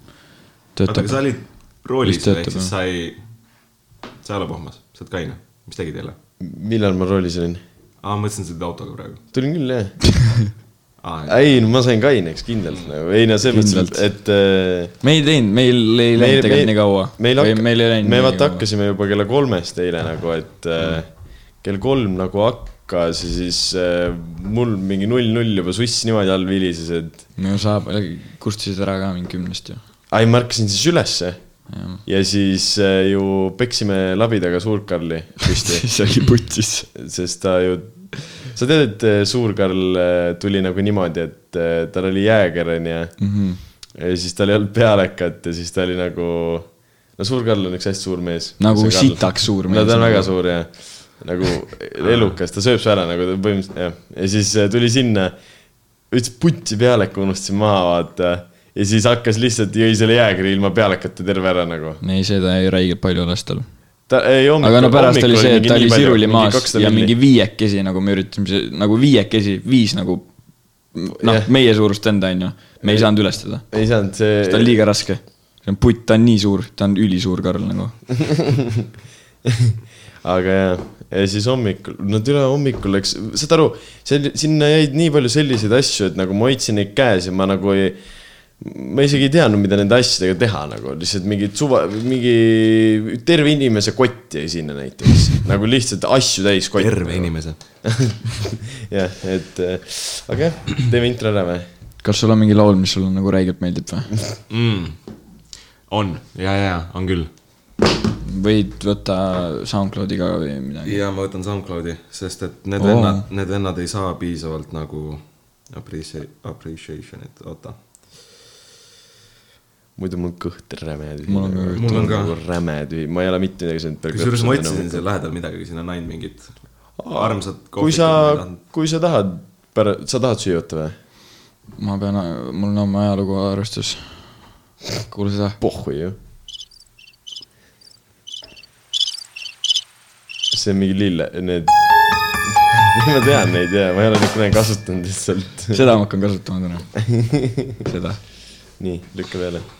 oota , töötab aga sa . olid roolis Vist veel , ehk töötab, jah. siis sa ei , sa ei ole pohmas , sa oled kaine , mis tegid jälle ? millal ma roolis olin ? aa , ma mõtlesin , sa olid autoga praegu . tulin küll jah . aa , ei , no ma sain kaineks kindlalt nagu , ei no selles mõttes , et äh, me ei teinud , meil ei läinud tegelikult nii kaua . meil hakkas , meil ei läinud me vaata . hakkasime juba kella kolmest eile nagu , et mm. kell kolm nagu hakkas ja siis äh, mul mingi null null juba suss niimoodi all vilises , et no saab , kustusid ära ka mingi kümnest ju . ai , ma ärkasin siis ülesse ja siis äh, ju peksime labidaga Suur-Karli püsti , siis oli putsis . sest ta ju , sa tead , et äh, Suur-Karl äh, tuli nagu niimoodi , et äh, tal oli jääger onju Mhm. ja siis tal ei olnud pealekat ja siis ta oli nagu , no Suur-Karl on üks hästi suur mees . Nagu sitaks suur no mees. nagu. ta on väga suur jah , nagu elukas , ta sööb su ära nagu ta põhimõtteliselt jah , ja siis äh, tuli sinna , ütles putsi pealeku unustasin maha vaata ja siis hakkas lihtsalt , jõi selle jääkiri ilma pealekata terve ära nagu . ei , seda ei räigelt palju lasta tal . ta ei hommikul . aga no pärast oli see , et ta oli siruli maas ja mingi viiekesi nagu me üritasime , nagu viiekesi , viis nagu noh Jah. , meie suurust enda on ju , me ei saanud üles teda , ei saanud see . ta on liiga raske . see on putt , ta on nii suur , ta on ülisuur Karl nagu . aga jah , ja siis hommikul , no tule hommikul läks , saad aru , seal , sinna jäid nii palju selliseid asju , et nagu ma hoidsin neid käes ja ma nagu ei , ma isegi ei teadnud , mida nende asjadega teha nagu , lihtsalt mingid suva , mingi terve inimese kott jäi sinna näiteks , nagu lihtsalt asju täis kott . terve . inimese . jah , et äh, aga jah , teeme intro ära või ? kas sul on mingi laul , mis sulle nagu räigelt meeldib või ? Mm. on , ja , ja , on küll . võid võtta SoundCloudi ka või midagi . ja ma võtan SoundCloudi , sest et need Oo. oh. vennad , need vennad ei saa piisavalt nagu appreciate , appreciation'it , oota . muidu mul kõht räme tühi . Mul on ka kõht. Mul on ka. nagu räme tühi , ma ei ole mitte midagi söönud . kusjuures ma otsisin seal lähedal midagi , siin on ainult mingid armsad kui kohvikud, sa ma ei tahtnud- , kui sa tahad , sa tahad süüa võtta või ? ma pean , mul on oma ajalugu arvestus . kuule seda . pohhu ju . see on mingi lille , need . ma ah, tean neid ja ma ei ole neid kunagi kasutanud lihtsalt . seda ma hakkan kasutama täna . seda . nii , lükka peale uh, .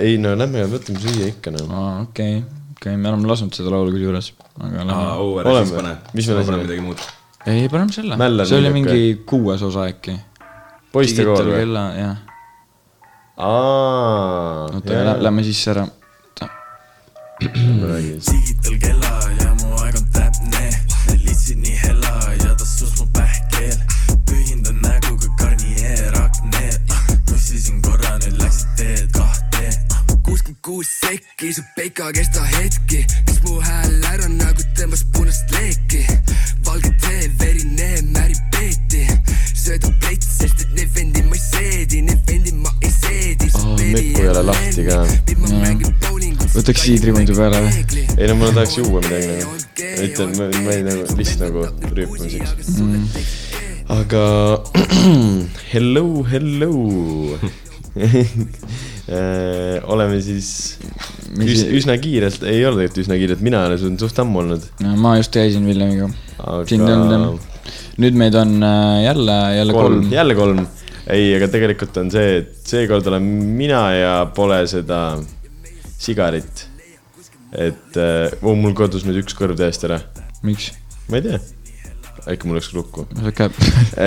ei no lähme võtame süüa ikka no . aa , okei , okei , me oleme lasknud seda laulu kusjuures , aga lähme aa , ORS-is pane . Oleme. Mis me lasime? midagi muud . ei , paneme selle Mäll on . see oli niisugune- mingi kuues osa äkki . poiste kool või ? kella , jah . Ah. oota , aa . lähme sisse ära . Mm. Digital kella ja mu aeg on täpne Need litsid nii hella ja ta sus mu pähkel pühindan näguga Garnier akne tussisin korra , nüüd läksid teed kahte kuuskümmend kuus sekki , su peika kesta hetki , siis mu hääl ära nagu tõmbas punast leeki . valge tee , verine määrib peeti , söödan pleit , sest et need vendi ma ei seedi , need vendi ma ei seedi . Ah, näppu ei ole lahti ka. Võtaks siidrimundu peale või? ? ei no ma tahaks juua midagi nagu . ütlen , ma ma ei nagu , lihtsalt nagu rüüpamiseks . mm. . aga Ah, hello , hello Eh, oleme siis Mis- üs, üsna kiirelt , ei ole tegelikult üsna kiirelt , mina olen siin suht ammu olnud . Ah, ma just käisin Villemiga Aga- siin on , nüüd meid on äh, jälle , jälle kolm, kolm. . jälle kolm . ei , aga tegelikult on see , et seekord olen mina ja pole seda sigarit . et uh, mul kodus nüüd üks kõrv täiesti ära , miks ? ma ei tea , äkki mul läks lukku . sihuke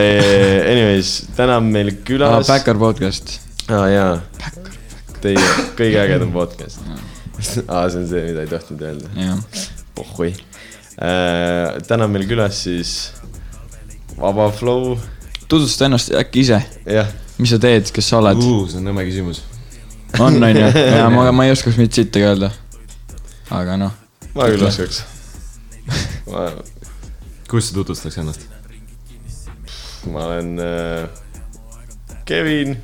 Anyways , täna on meil ah, külas . Backer podcast . aa ah, jaa , teie kõige ägedam podcast . aa , see on see , mida ei tohtinud öelda , jah , pohhui äh, . täna on meil külas siis Vaba Flow , tutvusta ennast äkki ise , jah , mis sa teed , kes sa oled ? see on nõme küsimus . on , on ju , ja ma , ma ei oskaks mitte sittagi öelda . aga noh , ma küll oskaks . ma , kuidas sa tutvustaks ennast ? ma olen äh, Kevin .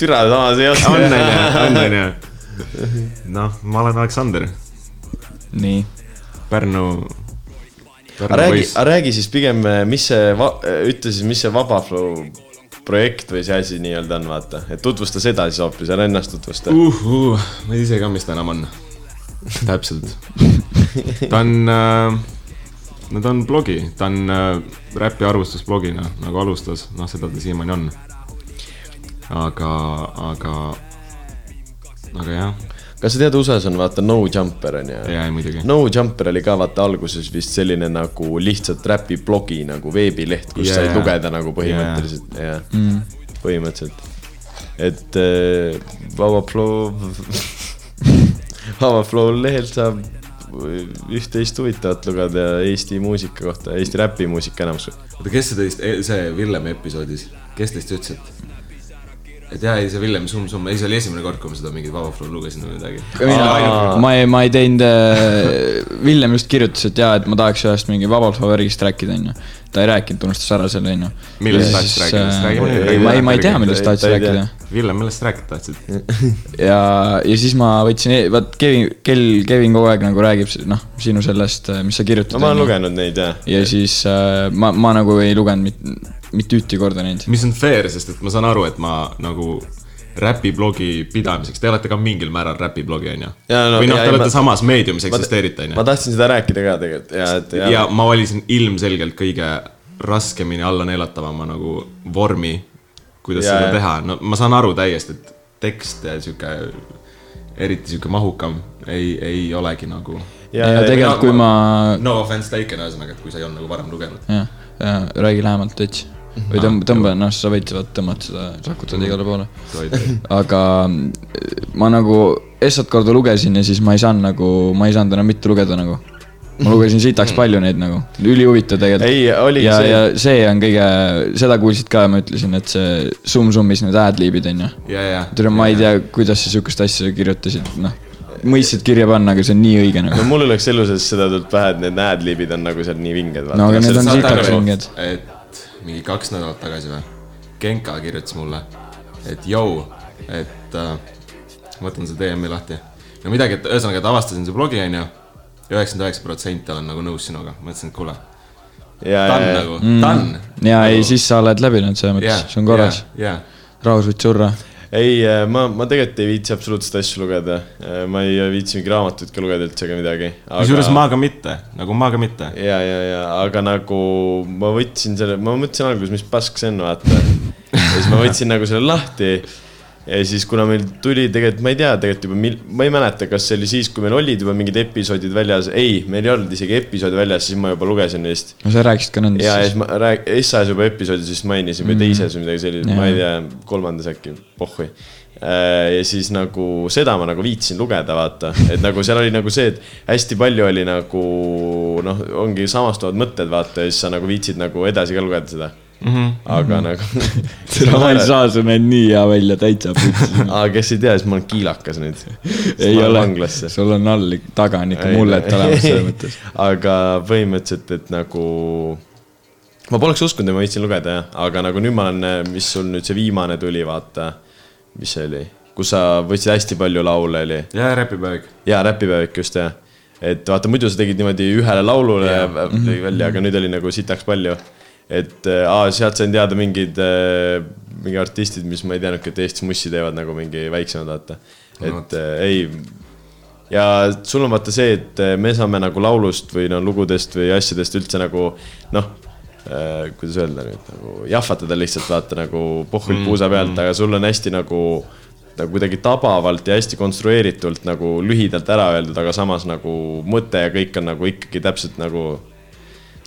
türa samas ei oska . on , on ju , on , on ju . noh , ma olen Aleksander , nii , Pärnu . räägi , räägi siis pigem , mis see , ütle siis , mis see Vaba Flow projekt või see asi nii-öelda on , vaata , et tutvusta seda siis hoopis , ära ennast tutvusta . uhuh , ma ei tea ise ka , mis ta enam on . täpselt . ta on äh, , no ta on blogi , ta on äh, räpi arvustusblogina nagu alustas , noh , seda ta siiamaani on . aga , aga aga jah , kas sa tead , USA-s on vaata no jumper on ju ? jaa , ei muidugi . no Jumper oli ka vaata alguses vist selline nagu lihtsalt räpi blogi nagu veebileht , kus yeah. Jaa. sai lugeda nagu põhimõtteliselt yeah. , jah mm. . põhimõtteliselt . et äh, Vaba Flow , Vaba Flow lehelt saab üht-teist huvitavat lugeda Eesti muusika kohta , Eesti räpimuusika enamus . oota , kes see teist , see Villemi episoodis , kes teist ütles , et et jaa , ei see Villem Sum Sum , ei see oli esimene kord , kui ma seda mingit Vaba Flow lugesin või midagi . mina , Ah. ma ei , ma ei teinud , Villem just kirjutas , et jaa , et ma tahaks ühest mingi vabalt favoriigist rääkida , onju . ta ei rääkinud , unustas ära selle , onju . Millest tahtis rääkida? Siis räägime nüüd. ma äh, ei , ma ei tea , millest Ta ei- tahtis ta ei tea. rääkida . Villem , millest rääkida tahtsid ? ja , ja siis ma võtsin , vaat Kevin , Kel , Kevin kogu aeg nagu räägib , noh , sinu sellest , mis sa kirjutad . no ma olen . lugenud neid jah . ja siis äh, ma , ma nagu ei lugenud mit- , mitte ühtegi korda neid . mis on fair , sest et ma saan aru , et ma nagu räpiblogi pidamiseks , te olete ka mingil määral räpiblogi , onju . Jaa, no, või noh , jaa, te ei, olete ma- samas meediumis eksisteerite , ma onju . tahtsin seda rääkida ka tegelikult ja , et ja, ja ma valisin ilmselgelt kõige raskemini alla neelatavama nagu vormi , kuidas Jaa, seda jaa. teha , no ma saan aru täiesti , et tekst ja sihuke , eriti sihuke mahukam ei , ei olegi nagu . ja, ja tegelikult , kui ma , no offense taken , ühesõnaga , et kui sa ei olnud nagu varem lugenud . jah , räägi lähemalt veits . Mhm. või tõmba , tõmba , noh , sa võid vaat- tõmmata seda , sakutad igale poole . aga äh, ma nagu esmalt korda lugesin ja siis ma ei saanud nagu , ma ei saanud enam mitte lugeda nagu . ma lugesin sitaks Mhm. palju neid nagu , ülihuvitav tegelikult . Ei, oligi ja , see- ja see on kõige , seda kuulsid ka , ma ütlesin , et see Sum-Sumis need ad-libid on ju . ja , ja . tere , ma ei tea , kuidas sa sihukest asja kirjutasid , noh . mõistsid kirja panna , aga see on nii õige nagu no . mul oleks elu sees seda tulnud pähe , et need ad-libid on nagu seal nii vinged . No aga need on Saate sitaks aru, vinged. et mingi kaks nädalat tagasi või , Genka kirjutas mulle , et jõu , et äh, ma võtan selle DM-i lahti . no midagi , et ühesõnaga , et avastasin su blogi , onju , üheksakümmend üheksa protsenti olen nagu nõus sinuga , mõtlesin , et kuule , ja, done ja- nagu , done . ja ei , siis sa oled läbinud selles mõttes yeah, , mm. see on korras yeah. . jaa , rahus võid surra . ei , ma , ma tegelikult ei viitsi absoluutselt asju lugeda . ma ei viitsi mingi raamatut ka lugeda üldse ega midagi aga... . kusjuures ma ka mitte , nagu ma ka mitte . ja , ja , ja , aga nagu ma võtsin selle , ma mõtlesin alguses , mis pask see on , vaata . ja siis ma võtsin nagu selle lahti . ja siis , kuna meil tuli tegelikult , ma ei tea tegelikult juba , mil- , ma ei mäleta , kas see oli siis , kui meil olid juba mingid episoodid väljas . ei , meil ei olnud isegi episoode väljas , siis ma juba lugesin neist . no sa rääkisid ka nendest ja , ja siis siis . Mhm. ma rääg- , SAS juba episoodis vist mainisin või teises või midagi sellist , ma ei tea , kolmandas äkki , pohhui . ja siis nagu seda ma nagu viitsin lugeda , vaata , et nagu seal oli nagu see , et hästi palju oli nagu noh , ongi samastuvad mõtted , vaata , ja siis sa nagu viitsid nagu edasi ka lugeda seda . aga nagu . Mhm. seda ma ei . saa , see näeb nii hea välja , täitsa putsi . aga kes ei tea , siis ma olen kiilakas nüüd . ei ole vanglasse ., sul on all ikka- taga on ikka Ei, mullet no- olemas selles mõttes . aga põhimõtteliselt , et nagu ma poleks uskunud , et ma viitsin lugeda jah , aga nagu nüüd ma olen , mis sul nüüd see viimane tuli , vaata , mis see oli , kus sa võtsid hästi palju laule oli jaa , räpipäevik . ja räpipäevik just jah , et vaata muidu sa tegid niimoodi ühele laulule vä- Mhm. lõi välja , aga nüüd oli nagu sitaks palju . et äh, aa, sealt sain teada mingid , mingi artistid , mis ma ei teadnudki , et Eestis mussi teevad nagu mingi väiksemad vaata , et äh, ei ja sul on vaata see , et me saame nagu laulust või no lugudest või asjadest üldse nagu noh , kuidas öelda nüüd nagu jahvatada lihtsalt vaata nagu pohhul mm, puusa pealt mm. , aga sul on hästi nagu , nagu kuidagi tabavalt ja hästi konstrueeritult nagu lühidalt ära öeldud , aga samas nagu mõte ja kõik on nagu ikkagi täpselt nagu ,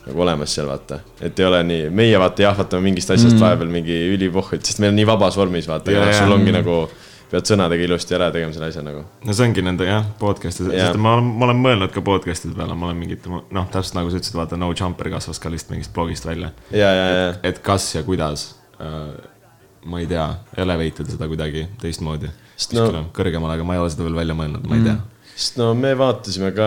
nagu olemas seal vaata . et ei ole nii , meie vaata jahvatame mingist asjast mm. vahepeal mingi ülipohhult , sest meil on nii vabas vormis vaata Jaa, yeah, , jaa. sul ongi nagu , pead sõnadega ilusti ära tegema selle asja nagu no see ongi nende jah , podcast'i , Jaa. sest ma olen , ma olen mõelnud ka podcast'ide peale , ma olen mingit , noh , täpselt nagu sa ütlesid , vaata , No Jumper kasvas ka lihtsalt mingist blogist välja . ja , ja , ja et kas ja kuidas , ma ei tea , elevate ida seda kuidagi teistmoodi . Sest no- No. kõrgemale , aga ma ei ole seda veel välja mõelnud , ma ei tea mm. . sest no me vaatasime ka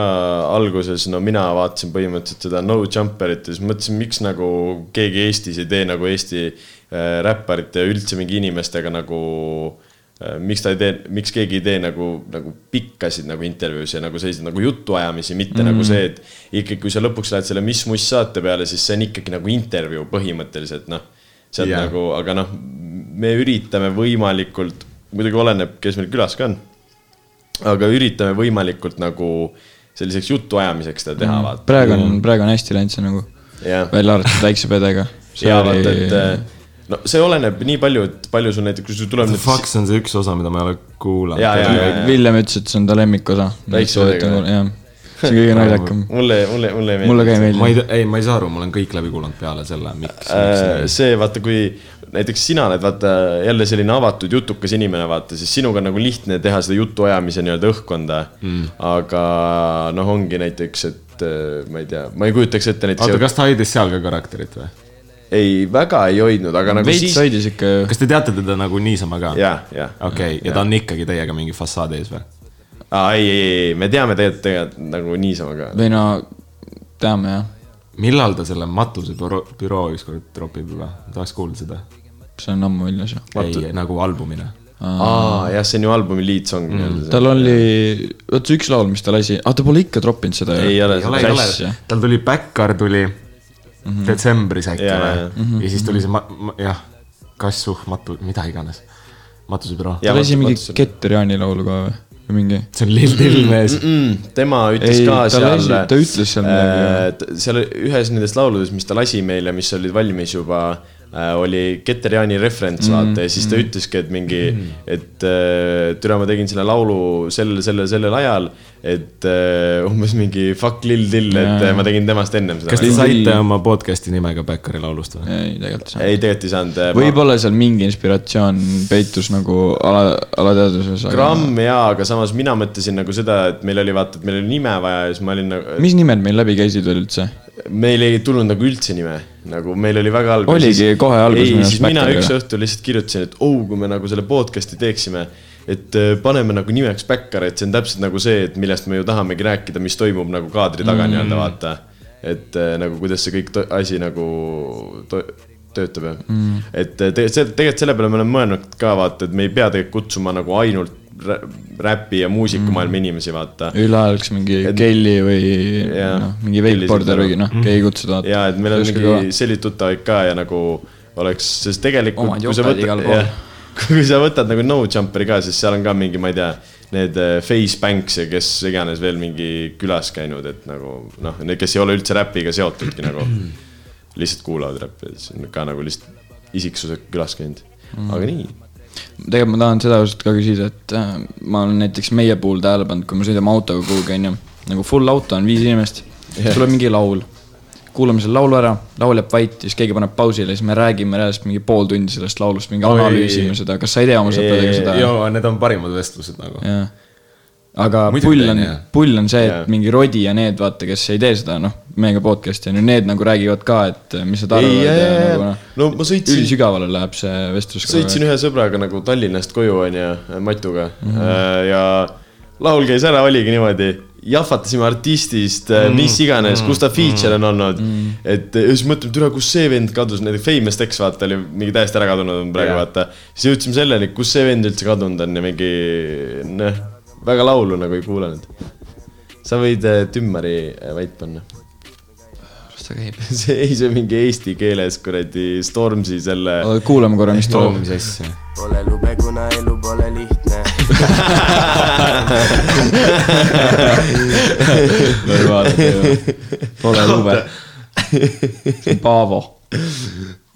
alguses , no mina vaatasin põhimõtteliselt seda No Jumperit ja siis mõtlesin , miks nagu keegi Eestis ei tee nagu Eesti äh, räpparite ja üldse mingi inimestega nagu äh, miks ta ei tee , miks keegi ei tee nagu , nagu pikkasid nagu intervjuusid ja nagu selliseid nagu jutuajamisi , mitte mm. nagu see , et ikkagi , kui sa lõpuks lähed selle Mis Muss saate peale , siis see on ikkagi nagu intervjuu põhimõtteliselt noh . see Jaa. on yeah. nagu , aga noh , me üritame võimalikult , muidugi oleneb , kes meil külas ka on aga üritame võimalikult nagu selliseks jutuajamiseks seda Mm, teha , vaata . praegu on , praegu on hästi läinud see nagu , jah , välja arvatud väikse pedega . ja vaata , et äh, no see oleneb nii palju , et palju sul näiteks , kui sul tuleb nüüd Fuck , see on see üks osa , mida ma ei ole kuulanud . Jaa, jaa, jaa. Villem ütles , et see on ta lemmikosa . äh, Väikse vedega, jah . see on kõige naljakam . mulle , mulle , mulle ei meeldi . mulle ka ei ma meeldi . ei , ei , ma ei saa aru , ma olen kõik läbi kuulanud peale selle , miks . Äh, see vaata , kui näiteks sina oled vaata jälle selline avatud jutukas inimene , vaata , siis sinuga on nagu lihtne teha seda jutuajamise nii-öelda õhkkonda mm. . aga noh , ongi näiteks , et äh, ma ei tea , ma ei kujutaks ette näiteks oota ,, kas ta hoidis seal ka karakterit või ? ei väga ei hoidnud , aga nagu veits siis , hoidis ikka ju . kas te teate teda nagu niisama ka ? ja , ja . okei , ja ta on ikkagi teiega mingi fassaadi ees või ? ei , ei , ei , me teame tegelikult , tegelikult nagu niisama ka . või no , teame jah . millal ta selle matusebüroo , büroo ükskord tropib juba ? tahaks kuulda seda . see on ammu väljas ju . ei , nagu albumina . aa , jah , see on ju albumi lead song mm. . tal oli , vot see üks laul , mis ta lasi , aa ta pole ikka troppinud seda ju . ei ole ei ole , ei seda . ole Clash, jah. , Mhm. tal tuli Backyard tuli mm -hmm. detsembris äkki Jaa, jaa, yeah, või ? ja siis tuli see ma- , ma- , jah , kassuh , matu , mida iganes , matusebüroo . ta lasi mingi Keter Jaani laulu ka või , või mingi ? see on Lil Lil Mhm. mees . mm, . tema ütles Ei, ei, ka ta seal . lasi- ta ütles seal midagi, midagi . seal ühes nendest lauludest , mis ta lasi meile , mis olid valmis juba , oli Keter Jaani referents mm, vaata ja siis ta mm. ütleski , et mingi mm. , et äh, türa , ma tegin selle laulu sellel , sellel , sellel ajal , et äh, umbes mingi fuck Lil Dill , et äh, ma tegin temast ennem kas seda . te Lil saite Lil- oma podcast'i nimega Backyari laulust või ? ei , tegelikult ei saa . ei , tegelikult ei saanud . äh, võib-olla seal mingi inspiratsioon peitus nagu ala , alateadvuses . gramm jaa , aga samas mina mõtlesin nagu seda , et meil oli vaata , et meil oli nime vaja ja siis ma olin nagu , mis nimed meil läbi käisid veel üldse ? meil ei tulnud nagu üldse nime , nagu meil oli väga halb . Oligi kohe alguses ei minu , arust siis mina Backyard, üks jah. õhtu lihtsalt kirjutasin , et oh , kui me nagu selle podcast'i teeksime , et äh, paneme nagu nimeks Backyard , et see on täpselt nagu see , et millest me ju tahamegi rääkida , mis toimub nagu kaadri taga mm. nii-öelda vaata . et äh, nagu kuidas see kõik to- asi nagu to töötab ja mm. , et äh, tegelikult see , tegelikult selle peale me oleme mõelnud ka vaata , et me ei pea tegelikult kutsuma nagu ainult rä- räpi ja muusikamaailma mm. inimesi , vaata . üleajaks mingi Et- Kelly või Jaa. noh , mingi Kelly wakeboarder saab või noh , keegi kutsuda . ja et meil on mingi selliseid tuttavaid ka ja nagu oleks , sest tegelikult . Omad jokad igal pool. kui sa võtad nagu no jumper'i ka , siis seal on ka mingi , ma ei tea , need eh, face banks ja kes iganes veel mingi külas käinud , et nagu noh , need , kes ei ole üldse räpiga seotudki nagu . lihtsalt kuulavad räppi , siis on ka nagu lihtsalt isiksused külas käinud , Mm. aga nii . tegelikult ma tahan seda ausalt ka küsida , et äh, ma olen näiteks meie puhul tähele pannud , kui me sõidame autoga kuhugi , onju , nagu full auto on viis inimest yeah. , tuleb mingi laul , kuulame selle laulu ära , laul jääb vait , siis keegi paneb pausile , siis me räägime järjest mingi pool tundi sellest laulust , mingi analüüsime seda , kas sa ei tea oma sõpradega seda ? joo , need on parimad vestlused nagu . jah . aga Muidugi pull on teen, jah. , pull on see , et Jaa. mingi Rodi ja need , vaata , kes ei tee seda , noh , meiega podcast'i on ju , need nagu räägivad ka , et mis nad ei , arvavad ja ei , nagu ei , noh , no ma sõitsin ülisügavale läheb see vestlus . sõitsin ühe sõbraga nagu Tallinnast koju , onju , Matuga mm . -hmm. ja laul käis ära , oligi niimoodi , jahvatasime artistist mm , -hmm. mis iganes , kus ta feature on olnud mm . -hmm. et ja siis mõtleme , et üle , kus see vend kadus , näiteks Famous Dex vaata oli mingi täiesti ära kadunud on praegu Jaa. yeah. vaata . siis jõudsime selleni , kus see vend üldse kadunud on ja mingi noh , väga laulu nagu ei kuulanud . sa võid eh, Tümmari eh, vait panna . see , ei see on mingi eesti keeles kuradi Stormzy selle . kuulame korra , mis tuleb . mis asja ? Pole lube , kuna elu pole lihtne . Pole lube . see on Paavo .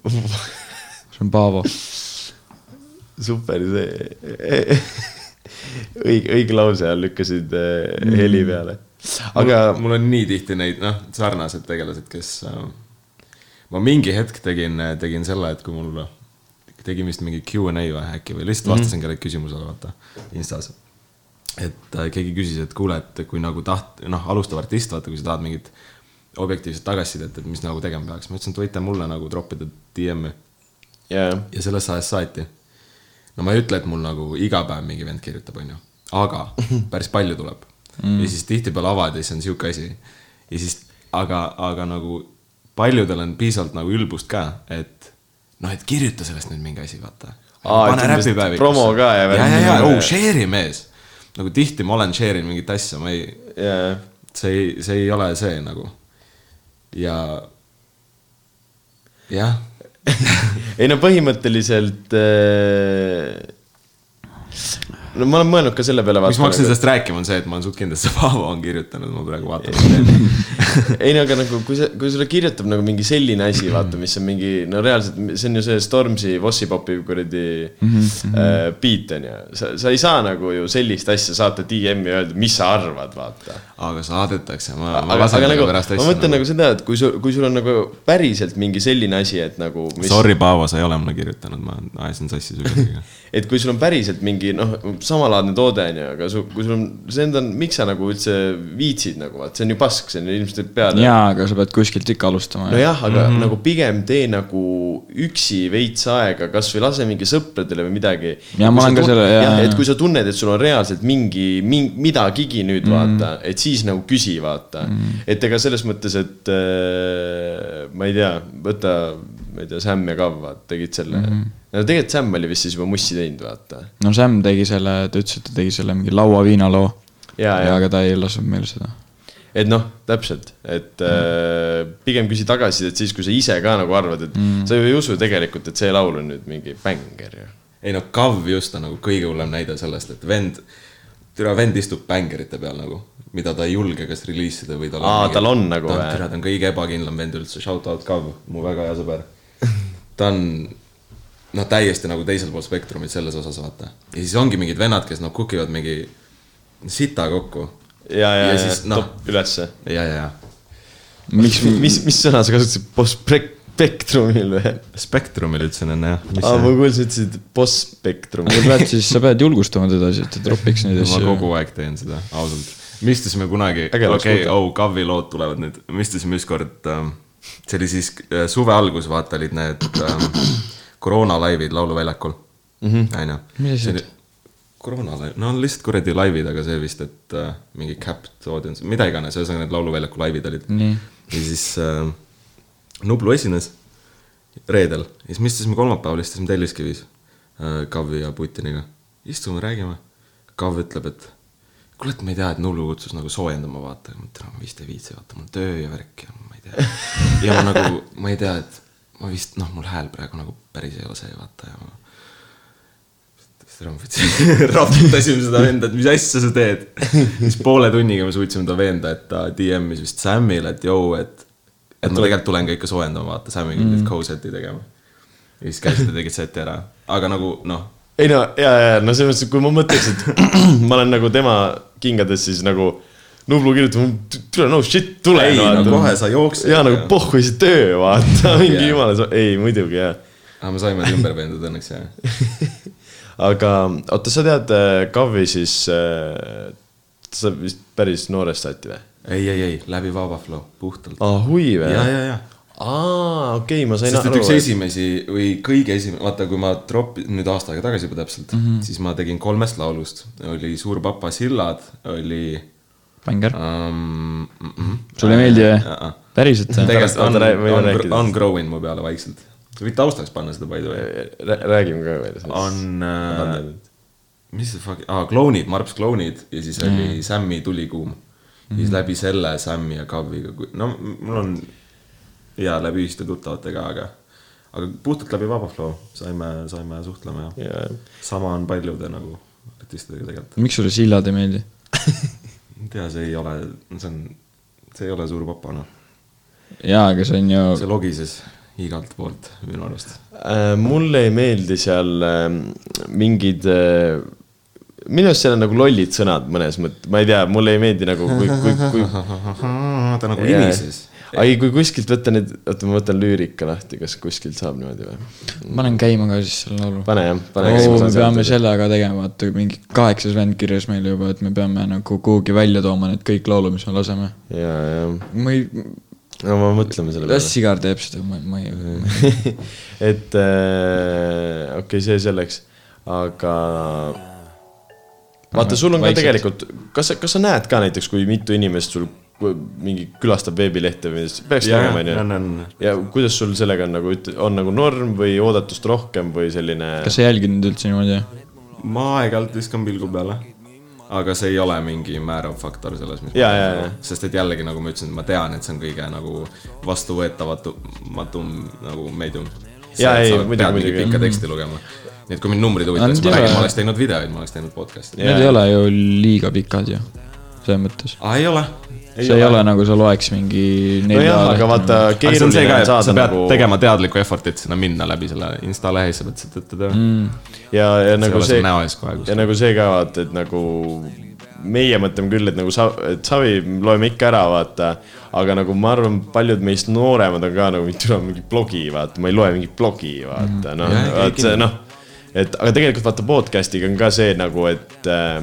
see on Paavo . super , see õige , õige lause all lükkasid eh, Mm. heli peale . aga mul on nii tihti neid , noh , sarnased tegelased , kes äh, . ma mingi hetk tegin , tegin selle , et kui mul , tegin vist mingi Q and A või äkki või lihtsalt vastasin mm -hmm. kellelegi küsimusele , vaata , Instas . et äh, keegi küsis , et kuule , et kui nagu taht- , noh , alustav artist , vaata , kui sa tahad mingit objektiivset tagasisidet , et mis nagu tegema peaks . ma ütlesin , et võite mulle nagu troppida DM-i jaa , ja sellest ajast saati . no ma ei ütle , et mul nagu iga päev mingi vend kirjutab , onju , aga Mhm. päris palju tuleb mm. . ja siis tihtipeale avad ja siis on sihuke asi . ja siis , aga , aga nagu paljudel on piisavalt nagu ülbust ka , et noh , et kirjuta sellest nüüd mingi asi , vaata . Aa, et umbes promo ka ja ja , värki. ja , ja , oh , share'i mees . nagu tihti ma olen share inud mingit asja , ma ei , jaa , see ei , see ei ole see nagu ja jah , ei no põhimõtteliselt äh, no ma olen mõelnud ka selle peale . mis ma hakkasin sellest rääkima , on see , et ma olen suht kindel , et see Paavo on kirjutanud , ma praegu vaatan seda teemat . ei no aga nagu , kui see , kui sulle kirjutab nagu mingi selline asi , vaata , mis on mingi , no reaalselt , see on ju see Stormzy Vossipopi kuradi Mhm, äh, beat on ju . sa , sa ei saa nagu ju sellist asja saata DM-i ja öelda , mis sa arvad , vaata . aga saadetakse , ma , ma aga , lasen aga nagu, nagu , pärast ma asja mõtlen nagu seda , et kui sul , kui sul on nagu päriselt mingi selline asi , et nagu . Sorry , Paavo , sa ei ole mulle kirjutanud , ma ajasin sassi su kellegagi . et kui sul on päriselt mingi noh , samalaadne toode on ju , aga su, kui sul on , see enda , miks sa nagu üldse viitsid nagu vaat , see on ju pask , see on ju ilmselt teeb peale . jaa , aga sa pead kuskilt ikka alustama . nojah , aga mhm. mm -hmm. nagu pigem tee nagu üksi veits aega , kasvõi lase mingi sõpradele või midagi . Jaa, ma olen ka selle- jaa, jaa. et kui sa tunned , et sul on reaalselt mingi, mingi , midagigi nüüd mm Mhm. -hmm. vaata , et siis nagu küsi , vaata mm . -hmm. et ega selles mõttes , et äh, ma ei tea , võta , ma ei tea , Sam ja Kav , vaata , tegid selle Mhm. mm . -hmm. no tegelikult Sam oli vist siis juba mussi teinud , vaata no Sam tegi selle , ta ütles , et ta tegi selle mingi lauaviina loo . Jaa, jaa. aga ta ei lasknud meil seda . et noh , täpselt , et mm. äh, pigem küsi tagasisidet siis , kui sa ise ka nagu arvad , et Mhm. mm. sa ju ei usu tegelikult , et see laul on nüüd mingi bänger ju . ei no Kav just on nagu kõige hullem näide sellest , et vend , türa vend istub bängerite peal nagu , mida ta ei julge kas reliisida või tal Aa, mingi- tal on nagu ta on , vä? türa , ta on kõige ebakindlam vend üldse , shout out Kav , mu väga hea sõber . ta on noh , täiesti nagu teisel pool spektrumit selles osas , vaata . ja siis ongi mingid vennad , kes noh , kukivad mingi sita kokku . ja , ja , Ja ja, siis, ja noh. noh. top ülesse . ja , ja , ja . miks , mis , mis sõna sa kasutasid , postspektrumil või ? spektrumil ütlesin enne jah . aa , ma kuulsin , ütlesid postspektrum . sa pead siis , sa pead julgustama teda siis , et ta tropiks neid ma asju . kogu aeg teen seda , ausalt . me istusime kunagi , Äge okei oleks okay, , kuulda. oh , Kavi lood tulevad nüüd , me istusime ükskord ähm, , see oli siis äh, suve algus , vaata , olid need ähm, koroona laivid Lauluväljakul , onju . Mhm. Mis asjad? ? koroona laiv , no lihtsalt kuradi laivid , aga see vist , et äh, mingi capped audience , mida iganes , ühesõnaga need Lauluväljaku laivid olid . Nii. ja siis äh, Nublu esines reedel ja siis me istusime kolmapäeval , istusime Telliskivis äh, Kavvi ja Putiniga . istume , räägime . Kav ütleb , et kuule , et ma ei tea , et Nublu kutsus nagu soojendama , vaata . ma ütlen , ma vist ei viitsi , vaata , mul töö ja värk ja ma ei tea . ja ma nagu , ma ei tea , et ma vist , noh , mul hääl praegu nagu päris ei ole see , vaata ja ma raputasime seda venda , et mis asja sa teed . siis poole tunniga me suutsime ta veenda , et ta DM-is vist Samile , et jõu , et , et ma tegelikult tulen ka ikka soojendama , vaata , Samiga mm. nüüd co-set'i tegema . ja siis käisid ja tegid seti ära , aga nagu noh , ei no , ja , ja , no selles mõttes , et kui ma mõtleks , et ma olen nagu tema kingades , siis nagu Nublu kirjutab , tule no shit , tule . Ei, no kohe sa jooksed ja ja- nagu pohhu see töö , vaata , mingi Jaa. yeah. jumala , ei muidugi jah aga me saime ta ümber veendud õnneks ja . aga oota , sa tead äh, Kavi siis , sa vist päris noorest saati või ? ei , ei , ei , läbi Vaba Flow , puhtalt . aa , hui või ? ja , ja , ja . aa , okei okay, , ma sain sest et aru üks . esimesi või kõige esimene , vaata , kui ma tropi- , nüüd aasta aega tagasi juba täpselt mm , -hmm. siis ma tegin kolmest laulust . oli Suur papa sillad , oli bänger , um, . Mm -mm. sulle ei meeldi või Jaa. ? päriselt või ? tegelikult oota, on räägi- , võime on , rääkida on sellest. growing mu peale vaikselt . sa võid taustaks panna seda by the way . räägime ka veel sellest . on äh, , mis see fuck , aa , klounid , Marps klounid ja siis Mm. oli Sammi tulikuum . ja siis läbi selle Sammi ja Kavviga , no mul on hea läbi ühiste tuttavatega , aga , aga puhtalt läbi Vaba Flow saime , saime suhtlema ja Jaa. sama on paljude nagu artistidega tegelikult . miks sulle sillad ei meeldi ? ma ei tea , see ei ole , see on , see ei ole suur papa noh , jaa , aga see on ju , see logises igalt poolt minu arust . Äh, mulle ei meeldi seal äh, mingid äh, minu arust seal on nagu lollid sõnad mõnes mõttes , ma ei tea , mulle ei meeldi nagu kui , kui , kui . ta nagu nimises . ei , kui kuskilt võtta need , oota , ma võtan lüürika lahti , kas kuskilt saab niimoodi või ? panen käima ka siis selle laulu . pane jah , pane oo , me Oh, peame . selle ka tegema , vaata mingi kaheksas vend kirjas meile juba , et me peame nagu kuhugi välja tooma need kõik laulud , mis me laseme . ja , ja ma ei , no ma mõtleme selle las Sigar teeb seda , ma , ma ei , peale . et äh, okei okay, , see selleks , aga vaata , sul on ka Vaikselt. tegelikult , kas sa , kas sa näed ka näiteks , kui mitu inimest sul kui- mingi külastab veebilehte või midagi , peaks jah , tegema , on , onju . on , ja kuidas sul sellega on nagu , on nagu norm või oodatust rohkem või selline ? kas sa jälgid neid üldse niimoodi ? ma aeg-ajalt viskan pilgu peale . aga see ei ole mingi määrav faktor selles , mis Jaa, jaa, jaa. sest et jällegi nagu ma ütlesin , ma tean , et see on kõige nagu vastuvõetamatum nagu meedium . Jaa, ei, muidugi, Mhm. muidugi. pikka teksti lugema . nii et kui mind numbrid huvitavad , siis Aga ma need ei räägin , ma ole- oleks teinud videoid , ma oleks teinud podcast'i . Need ei ole ju liiga pikad ju , selles mõttes . aa , ei ole . see ei ole nagu sa loeks mingi nelja nojah , aga vaata , aga see on see keeruline ka , on et sa saada pead nagu tegema teadlikku effort'it sinna minna läbi selle insta lehe , siis sa pead seda tõttu tegema mm, . ja , see ja ei nagu ole see sul näo ees kohe , ja kus nagu see ka vaata , et nagu meie mõtleme küll , et nagu sa , et savi loeme ikka ära , vaata . aga nagu ma arvan , paljud meist nooremad on ka nagu , tule mingi blogi , vaata , ma ei loe mingit blogi , vaata , noh Jah, , kõik vaat see kindlasti. noh . et aga tegelikult vaata podcast'iga on ka see nagu , et äh,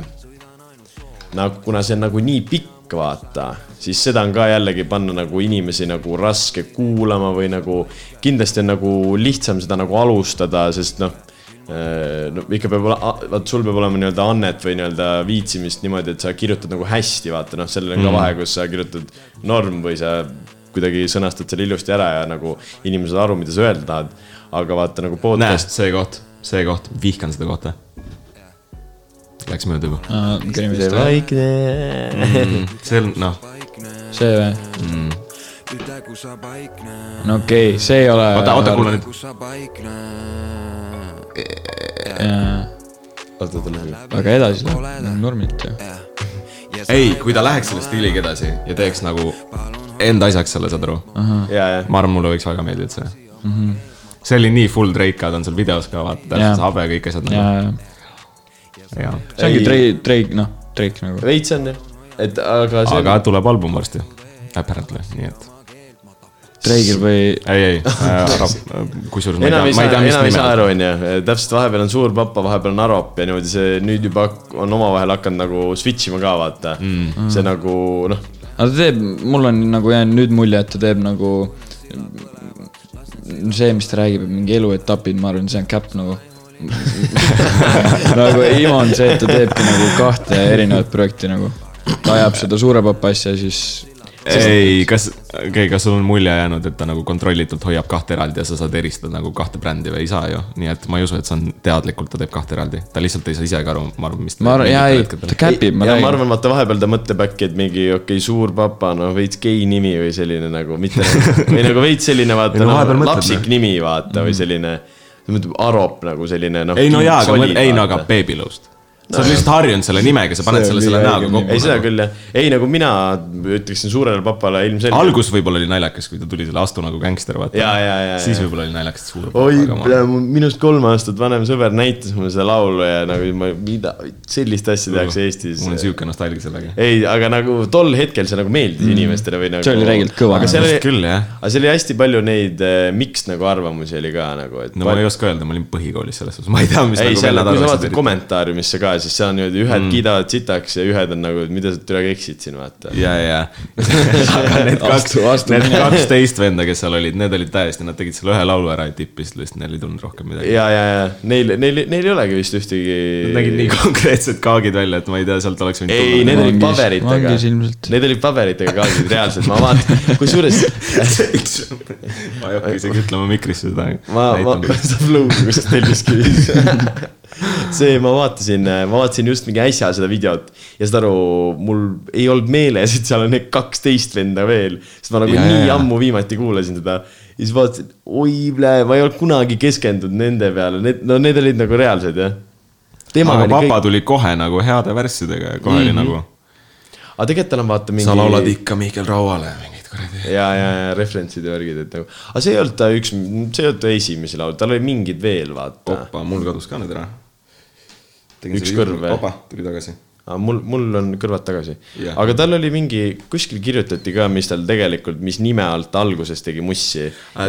nagu kuna see on nagu nii pikk , vaata , siis seda on ka jällegi panna nagu inimesi nagu raske kuulama või nagu kindlasti on nagu lihtsam seda nagu alustada , sest noh , no ikka peab olema , vaat sul peab olema nii-öelda annet või nii-öelda viitsimist niimoodi , et sa kirjutad nagu hästi , vaata noh , sellel on ka vahe , kus sa kirjutad norm või sa kuidagi sõnastad selle ilusti ära ja nagu inimesed saavad aru , mida sa öelda tahad . aga vaata nagu näe , podcast , see koht , see koht , vihkan seda kohta . Läks mööda juba . pikad . vaikne . see on , noh , see või ? Pidägu sa paikne , no okei okay, , see ei ole . oota , oota , kuule nüüd . kui sa paikne , oota , ta läheb . aga edasi läheb , normilt ju . ei , kui ta läheks selle stiiliga edasi ja teeks nagu enda asjaks selle , saad aru ? ja , ja . ma arvan , mulle võiks väga meeldida see mm . -hmm. Mhm. see oli nii full Drake'ad on seal videos ka , vaata , Jaa. täpselt see habe ja kõik asjad ja nagu ,, ja , jaa . see ongi Ei. Drake , Drake , noh , Drake nagu . veits on jah , et aga see aga tuleb album varsti , apparently , nii et . Drake'il või , ei , ei , ära , kusjuures ma ei enam ei tea , ma saa ei , tea , mis enam ei nimi saa on . aru , onju , täpselt vahepeal on suur papa , vahepeal on arop ja niimoodi see nüüd juba hak- on omavahel hakanud nagu switch ima ka vaata mm. . see nagu noh , aga ta teeb , mul on nagu jäänud nüüd mulje , et ta teeb nagu . see , mis ta räägib , mingi eluetapid , ma arvan , see on cap nagu . nagu ima on see , et ta teebki nagu kahte erinevat projekti nagu . ta ajab seda suure papa asja , siis ei , kas , okei okay, , kas sul on mulje jäänud , et ta nagu kontrollitult hoiab kahte eraldi ja sa saad eristada nagu kahte brändi või ei saa ju , nii et ma ei usu , et see on teadlikult , ta teeb kahte eraldi , ta lihtsalt ei saa isegi aru , ma arvan , mis . ma arvan , jaa ei , ta cap ib , ma ja ma räägin . arvan , vaata vahepeal ta mõtleb äkki , et mingi okei okay, , suur papa , noh veits gei nimi või selline nagu mitte või nagu veits selline vaata Ei, no no, , vahepeal no, mõtleb, lapsik noh. nimi vaata või selline . ta mõtleb arop nagu selline noh . ei no jaa , aga ma , ei no aga Baby Lost . sa oled lihtsalt harjunud selle nimega , sa paned See on selle , selle liiga näoga õige kokku . ei , seda küll jah , ei nagu mina ütleksin suurele papale ilmselgelt . algus võib-olla oli naljakas , kui ta tuli selle Astu nagu gängster , Jaa, jaa, jaa, vaata . siis jaa. võib-olla oli naljakas , et suur . oi , minust kolm aastat vanem sõber näitas mulle seda laulu ja nagu ma , mida , sellist asja tehakse Eestis . mul on sihuke nostalgia sellega . ei , aga nagu tol hetkel see nagu meeldis mm. inimestele või nagu . See oli tegelikult kõva. aga seal Vist oli , küll jah . aga seal oli hästi palju neid eh, miks nagu arvamusi oli ka nagu , et . no ma ei oska öelda , ma olin põhikoolis selles suhtes , ma ei tea , mis . nagu ei , seal , kui sa vaatad . kommentaariumisse ka , siis seal on niimoodi ühed mm. kiidavad sitaks ja ühed on nagu , mida sa türa eksid siin vaata . ja , ja , aga need kaks Astu- , astu need minema. kaksteist venda , kes seal olid , need olid täiesti , nad tegid selle ühe laulu ära ja tippisid lihtsalt , neil ei tulnud rohkem midagi . ja , ja , ja neil , neil , neil ei olegi vist ühtegi . Nad nägid nii konkreetsed kaagid välja , et ma ei tea , sealt oleks võinud ei , need olid paberitega . vangis ilmselt. Need olid paberitega kaardid , reaalselt , ma vaatan , kusjuures ma ei hakka isegi ütlema mikrisse seda . ma , ma , seda Blue'i , kus Telliskivis . see , ma vaatasin , ma vaatasin just mingi äsja seda videot ja saad aru , mul ei olnud meeles , et seal on need kaksteist venda veel , sest ma nagu Ja, ja, nii ja, ja. ja. ammu viimati kuulasin seda . ja siis vaatasin , oi , ma ei olnud kunagi keskendunud nende peale , need , no need olid nagu reaalsed jah . aga temaga oli papa kõik , tuli kohe nagu heade värssidega ja kohe oli nagu aga tegelikult tal on vaata mingi . ikka Mihkel Rauale mingit kuradi . ja , ja , ja referentsid ja värgid , et nagu , aga see ei olnud ta üks , see ei olnud ta esimesi laule , tal oli mingid veel , vaata . opa , mul kadus ka nüüd ära . Üks kõrv või? opa , tuli tagasi . aga mul , mul on kõrvad tagasi Jah. yeah. . aga tal oli mingi , kuskil kirjutati ka , mis tal tegelikult , mis nime alt alguses tegi mussi .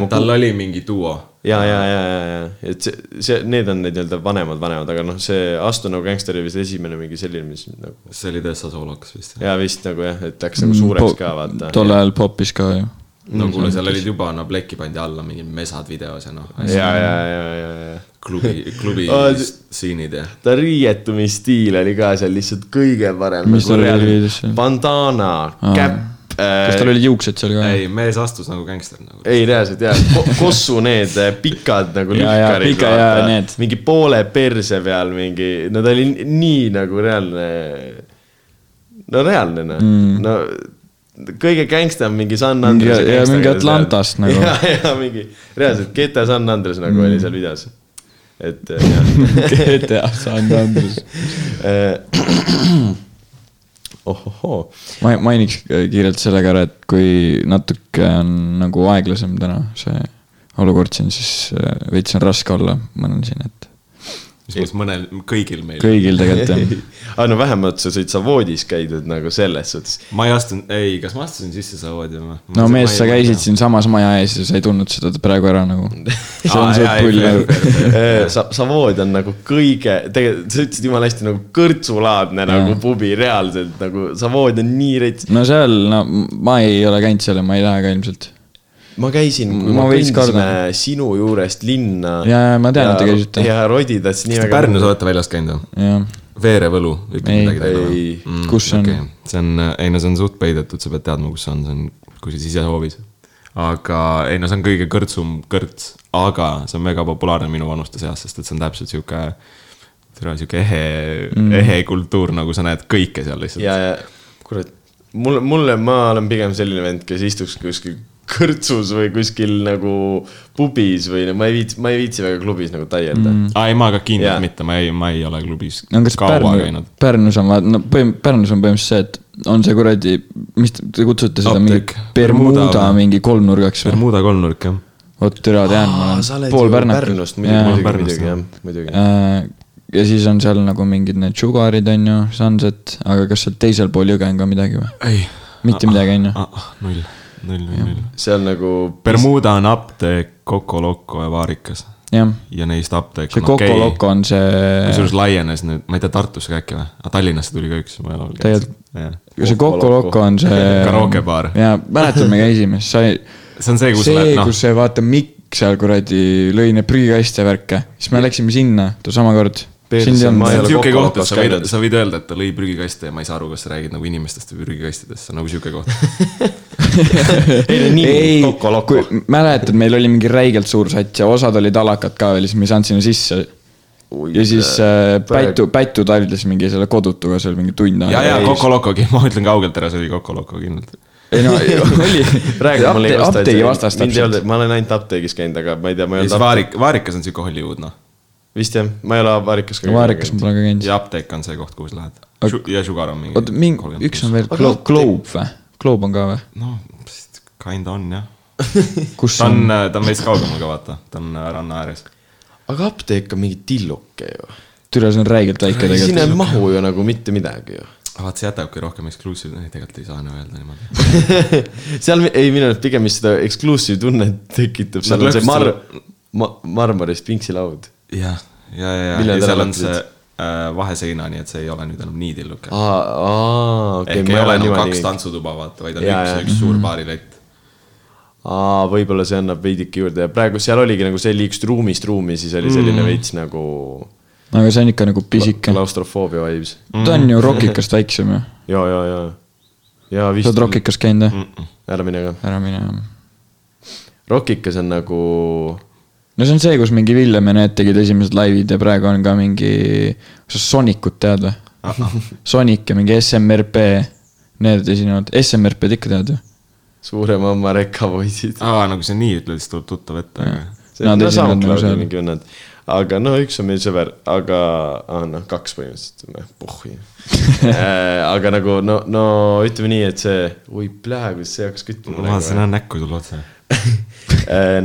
tal oli mingi duo . ja , ja , ja , ja , ja , et see , see , need on need nii-öelda vanemad , vanemad , aga noh , see Astu nagu gängster oli vist esimene mingi selline , mis nagu . see oli täitsa soolokas vist . ja vist nagu jah , et läks nagu suureks ka vaata . Mm, tol ajal popis ka ju . no Mm. kuule , seal olid juba , no pleki pandi alla mingid mesad videos ja noh , Mm. ja , ja , ja , ja , ja klubi , klubi Aa, see- stseenid ja . ta riietumisstiil oli ka seal lihtsalt kõige parem . Mis tal oli videos seal? bandana , käpp . äh, kas tal olid juuksed seal ka ? ei , mees astus nagu gängster nagu . ei , reaalselt jaa , kossu need eh, pikad nagu Jaa, jaa, lühkarid pika- jaa, need. . mingi poole perse peal mingi , no ta oli nii nagu reaalne . no reaalne noh mm. , no kõige gängstam mingi San Andres . ja mingi Atlantast nagu. ja , ja mingi reaalselt GTA San Andres nagu mm. oli seal videos . et eh, jah GTA San Andres . Eh, ohohoo , ma mainiks äh, kiirelt sellega ära , et kui natuke on nagu aeglasem täna see olukord siin , siis äh, veits on raske olla mõnel siin , et mis mõttes mõnel , kõigil meil . kõigil tegelikult on . aga Ah, no vähemalt sa said sa voodis käidud nagu selles suhtes . ma ei astunud , ei , kas ma astusin sisse samamoodi või ? no mees , sa käisid . siinsamas maja ees ja sa ei tundnud seda praegu ära nagu . see on see pull nagu . Äh, sa , sa vood on nagu kõige , tegelikult sa ütlesid jumala hästi nagu kõrtsulaadne nagu pubi reaalselt nagu sa vood on nii rets- . no seal , no ma ei ole käinud seal ja ma ei lähe ka ilmselt . ma käisin , kui Ma me veits kõndisime kardan. sinu juurest linna . Jaa, ma tean, et te käisite. ja Rodidas nii kas te väga . Pärnus olete väljas käinud või ? jah , Veerevõlu , ütle Ei. midagi teile Ei. . Kus see on? see on , ei no see on suht peidetud , sa pead teadma , kus see on , see on kuskil sisehoovis . aga ei no see on kõige kõrtsum kõrts , aga see on mega populaarne minu vanuste seas , sest et see on täpselt sihuke , tere , sihuke ehe mm. , ehe kultuur , nagu sa näed kõike seal lihtsalt . ja , ja kurat , mulle , mulle , ma olen pigem selline vend , kes istuks kuskil kõrtsus või kuskil nagu pubis või no ma ei viitsi , ma ei viitsi väga klubis nagu taielda mm. . aa ei , ma ka kindlalt Jaa. yeah. mitte , ma ei , ma ei ole klubis no kas kaua Pärnu käinud ., Pärnus on vaat- , no põhim- , Pärnus on põhimõtteliselt see , et on see kuradi , mis te- te kutsute seda , mingi Apteek. Bermuda Bermuda või? mingi kolmnurgaks või ? Bermuda kolmnurk jah . vot türa tean , ma sa olen oled pool ju Pärnat . Pärnust muidugi , muidugi , muidugi jah , muidugi . ja siis on seal nagu mingid need sugarid on ju , sunset , aga kas seal teisel pool jõge on ka midagi või ? ei . mitte midagi on ju , Ah, null , null , null , null . seal nagu Bermuda on apteek , Coco Loco ja Vaarikas jah . ja neist apteek see on Coco okei okay. . Loco on see , kusjuures laienes nüüd , ma ei tea , Tartusse ka äkki või ? aga Tallinnasse tuli ka üks , ma ei ole Tegelikult- . see Coco Coco Loco. Loco on see . Karookebaar. jaa , mäletad , me käisime , sai , see on see , kus sa see lähed , , noh , kus see vaata Mikk seal kuradi lõi need prügikaste värke , siis me läksime sinna , too sama kord . Perse, sind ei ma ei see on ole olnud , sihuke Coco koht , et sa Locos võid , käinud. sa võid öelda , et ta lõi prügikaste ja ma ei saa aru , kas sa räägid nagu inimestest või prügikastidest , see on nagu sihuke koht . ei , ei nii , Coco , Loco kui . mäletad , meil oli mingi räigelt suur sats ja osad olid alakad ka veel , siis me ei saanud sinna sisse ja siis äh, Pätu , Pätu taldis mingi selle kodutuga seal mingi tund ja , ja aega . Coco Loco , ma ütlen kaugelt ära , see oli Coco Loco kindlalt . ei no oli , räägi mulle ei vasta , apteegi vastas mind ei täpselt . olnud , ma olen ainult apteegis käinud , aga ma ei tea , ma ja ei siis olnud . Vaarik , Vaarikas on sihuke Hollywood , noh . vist jah , ma ei ole Vaarikas ka . Vaarikas ma pole ka käinud . ja apteek on see koht , kuhu sa lähed . ja Sugar on mingi . oota , mingi , üks on veel , Aga Globe , apteek- Globe või ? Globe on ka või ? noh , kinda on jah . kus ta on ? on , ta on meist kaugemal ka vaata , ta on äh, ranna ääres . aga apteek on mingi tilluke ju . türa , see on räigelt väike sinna ei tegelikult . mahu ju nagu mitte midagi ju . Ah, vaat see jätabki rohkem exclusive , ei tegelikult ei saa enam öelda niimoodi . seal ei , minu arust pigem vist seda exclusive tunnet tekitab , seal Nad on see mar- lõhkusid , ma- , Marmaris pinksilaud . jah , ja , ja , ja Millal te seal on lõpetasite? see äh, vaheseina , nii et see ei ole nüüd enam nii tilluke . aa , aa , okei , ehk Ah, ei ma nagu ole enam niimoodi kaks . tantsutuba , vaata , vaid on Jaa, üks jaa. , üks suur baarilett . aa , võib-olla see annab veidike juurde ja praegu seal oligi nagu see liigust ruumist ruumi , siis oli selline veits nagu aga see on ikka nagu Mm. pisike . klaustrofoobia vibes . ta on Mm. ju Rocikast väiksem ju . ja , ja , ja , ja sa vist oled . Rocikas käinud Mm. või ? ära mine ka . ära mine . Rockikas on nagu , no see on see , kus mingi Villem ja need tegid esimesed laivid ja praegu on ka mingi , kas sa Sonicut tead või ? Sonic ja mingi SMRP , need esinevad , SMRP-d ikka tead ju ? suurema oma rekavoisid . aa , nagu sa nii ütled , siis tuleb tuttav ette , aga . see on Nad no, esinevad nagu SoundCloudi seal. mingi vennad . aga no üks on meil sõber , aga ah, , noh , kaks põhimõtteliselt , noh , puhhi . aga nagu no , no ütleme nii , et see , oi plää , kus see hakkas ma vaatasin kütma . Nagu jah näkku sulle otse .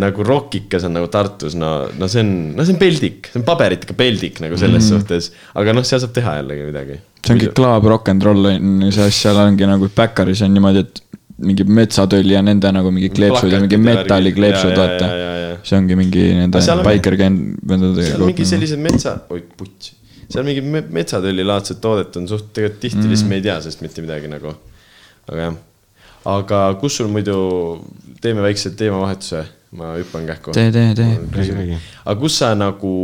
nagu Rockikas on nagu Tartus , no , no see on , no see on peldik , see on paberitega peldik nagu selles mm. suhtes , aga noh , seal saab teha jällegi midagi . see ongi klaab rock n roll on ju , see asja , seal ongi nagu Backeris on niimoodi , et mingi metsatõlli ja nende nagu mingi kleepsud ja mingi Plakatid ja metalli värgid. kleepsud , Ja, ja, vaata ja, ja, ja. . see ongi mingi nende Aga seal on- biker gang vendadega seal mingi kogu . sellised metsa , oi putš , seal mingi me- metsatõllilaadset toodet on suht tegelikult tihti mm. lihtsalt me ei tea sellest mitte midagi nagu . aga jah , aga kus sul muidu , teeme väikse teemavahetuse , ma hüppan kähku . tee , tee , tee . aga kus sa nagu ,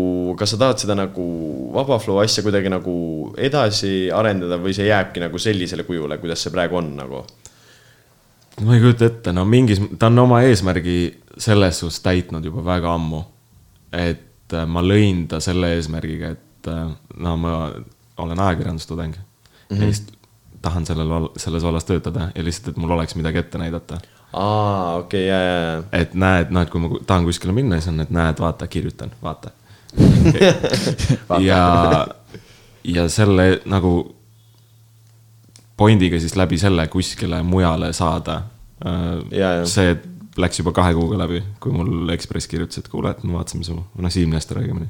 kas sa tahad seda nagu vaba flow asja kuidagi nagu edasi arendada või see jääbki nagu sellisele kujule , kuidas see praegu on nagu ? ma ei kujuta ette , no mingis , ta on oma eesmärgi selles suhtes täitnud juba väga ammu . et äh, ma lõin ta selle eesmärgiga , et äh, no ma olen ajakirjandustudeng mm . -hmm. ja lihtsalt tahan sellel , selles vallas töötada ja lihtsalt , et mul oleks midagi ette näidata aa , okei okay, , ja , ja , ja . et näed , noh , et kui ma ku- tahan kuskile minna , siis on , et näed , vaata , kirjutan , vaata . ja , ja selle nagu point'iga siis läbi selle kuskile mujale saada Jaa, jaa. . see läks juba kahe kuuga läbi , kui mul Ekspress kirjutas , et kuule , et me vaatasime su , noh , Siim Nestor õigemini .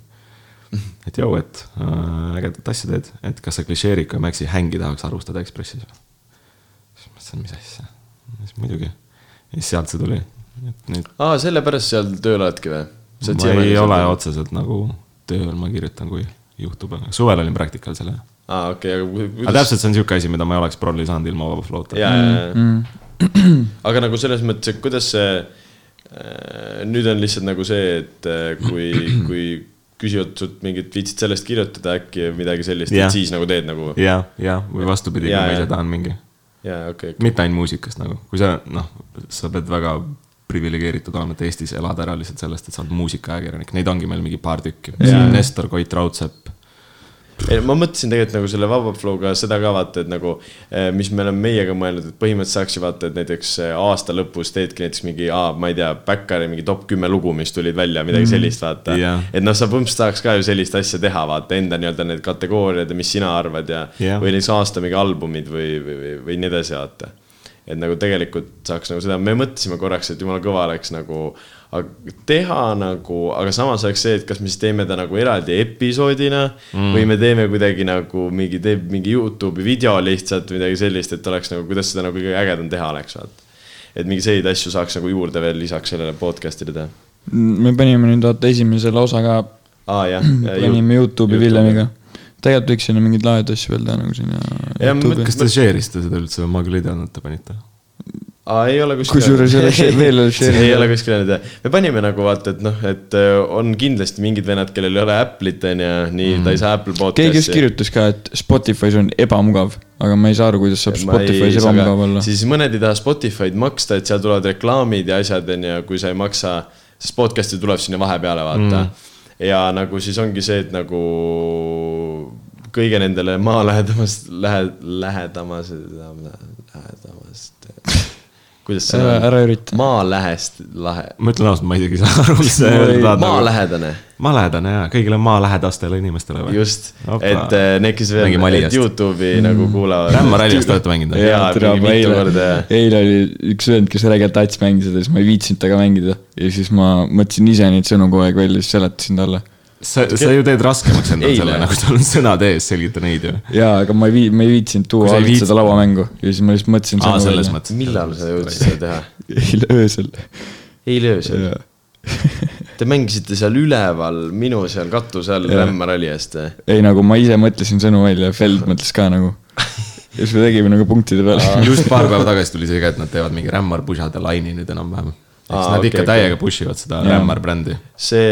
et jõu , et äh, ägedat asja teed , et kas sa klišeeriku ja Maxi hängi tahaks arvustada Ekspressis või ? siis ma mõtlesin , mis asja , siis muidugi . ja siis sealt see tuli , et nüüd aa , sellepärast seal tööl oledki või ? ma ei ole otseselt nagu tööl , ma kirjutan , kui juhtub , aga suvel olin praktikal selle . aa , okei , aga ku- aga kuidas ? täpselt see on sihuke asi , mida ma ei oleks prolli saanud ilma vaba flow'ta . jaa , jaa , jaa . aga nagu selles mõttes , et kuidas see , nüüd on lihtsalt nagu see , et äh, kui , kui küsivad sult mingit , viitsid sellest kirjutada äkki või midagi sellist , Jah. et siis nagu teed nagu . ja , ja , või vastupidi , kui Jaa, ma ise jaa. tahan mingi , jaa , okei . mitte ainult muusikast nagu , kui sa noh , sa pead väga priviligeeritud olema , et Eestis elad ära lihtsalt sellest , et sa oled muusikaajakirjanik , neid ongi meil mingi paar tükki . Siim Nestor , Koit Raudsepp , ei , ma mõtlesin tegelikult nagu selle vaba flow'ga seda ka vaata , et nagu , mis me oleme meiega mõelnud , et põhimõtteliselt saaks ju vaata , et näiteks eh, aasta lõpus teedki näiteks mingi , ma ei tea , Backari mingi top kümme lugu , mis tulid välja , midagi sellist , vaata Jah. et noh , sa põhimõtteliselt tahaks ka ju sellist asja teha , vaata enda nii-öelda need kategooriad ja mis sina arvad ja Jah. või näiteks aasta mingi albumid või , või , või , või nii edasi , vaata . et nagu tegelikult saaks nagu seda , me mõtlesime korraks , et jumala kõva oleks nagu aga teha nagu , aga samas oleks see , et kas me siis teeme ta nagu eraldi episoodina mm. või me teeme kuidagi nagu mingi , teeb mingi Youtube'i video lihtsalt või midagi sellist , et oleks nagu , kuidas seda nagu kõige ägedam teha oleks , vaata . et mingi selliseid asju saaks nagu juurde veel lisaks sellele podcast'ile teha . me panime nüüd vaata esimese lausa ka , aa jah . Mm, äh, panime Youtube'i Villemiga . tegelikult võiks sinna mingeid lahedaid asju veel teha nagu Ja ma sinna . kas te share'isite seda üldse või ma küll ei teadnud , et te panite . aa , ei ole kuskil . Kusjuures ei ole share- veel ei ole share'i. ei ole kuskil olnud jah . me panime nagu vaata , et noh , et äh, on kindlasti mingid vennad , kellel ei ole Apple'it on ju , nii mm. ta ei saa Apple podcast'i . keegi just kirjutas ka , et Spotify's on ebamugav , aga ma ei saa aru , kuidas saab Spotify's ebamugav olla . siis mõned ei taha Spotify'd maksta , et seal tulevad reklaamid ja asjad on ju , kui sa ei maksa , siis podcast'i tuleb sinna vahepeale vaata mm. . ja nagu siis ongi see , et nagu kõige nendele maa lähedamast , lähe , lähedamas , lähedamast . kuidas see Ära- on? ära ürita. maa lähest , lahe , ma ütlen ausalt , ma isegi ei saa aru , mis see nagu- Ma ei- öelda maa tahab . lähedane maalähedane jaa , kõigile maalähedastele inimestele või ? just , Opa. et eh, need , kes veel Mängi Mali et eest. Youtube'i nagu kuulavad . Rämma ralli eest olete mänginud, või? jaa , mingi mitu korda jah . eile oli üks vend , kes räigelt tats mängis ja siis ma ei viitsinud temaga mängida ja siis ma mõtlesin ise neid sõnu kogu aeg välja , siis seletasin talle . sa , sa ju teed raskemaks endale Eile. selle , nagu sul on sõnad ees , selgita neid ju . jaa , aga ma ei vii- , ma ei viitsinud Kui tuua sa ei alt seda viitsinud? lauamängu ja siis ma lihtsalt mõtlesin . aa , selles . mõttes . millal sa jõudsid seda teha ? eile öösel . eile öösel . Te mängisite seal üleval , minu seal katuse all Jaa. Rämma ralli eest või ? ei , nagu ma ise mõtlesin sõnu välja , Feld mõtles ka nagu . ja siis me tegime nagu punktide peale . just paar päeva tagasi tuli see ka , et nad teevad mingi Rämmar Pushade laine nüüd enam-vähem . eks Aa, nad okei, okay, ikka okei. täiega push ivad seda Jaa. Rämmar brändi . see ,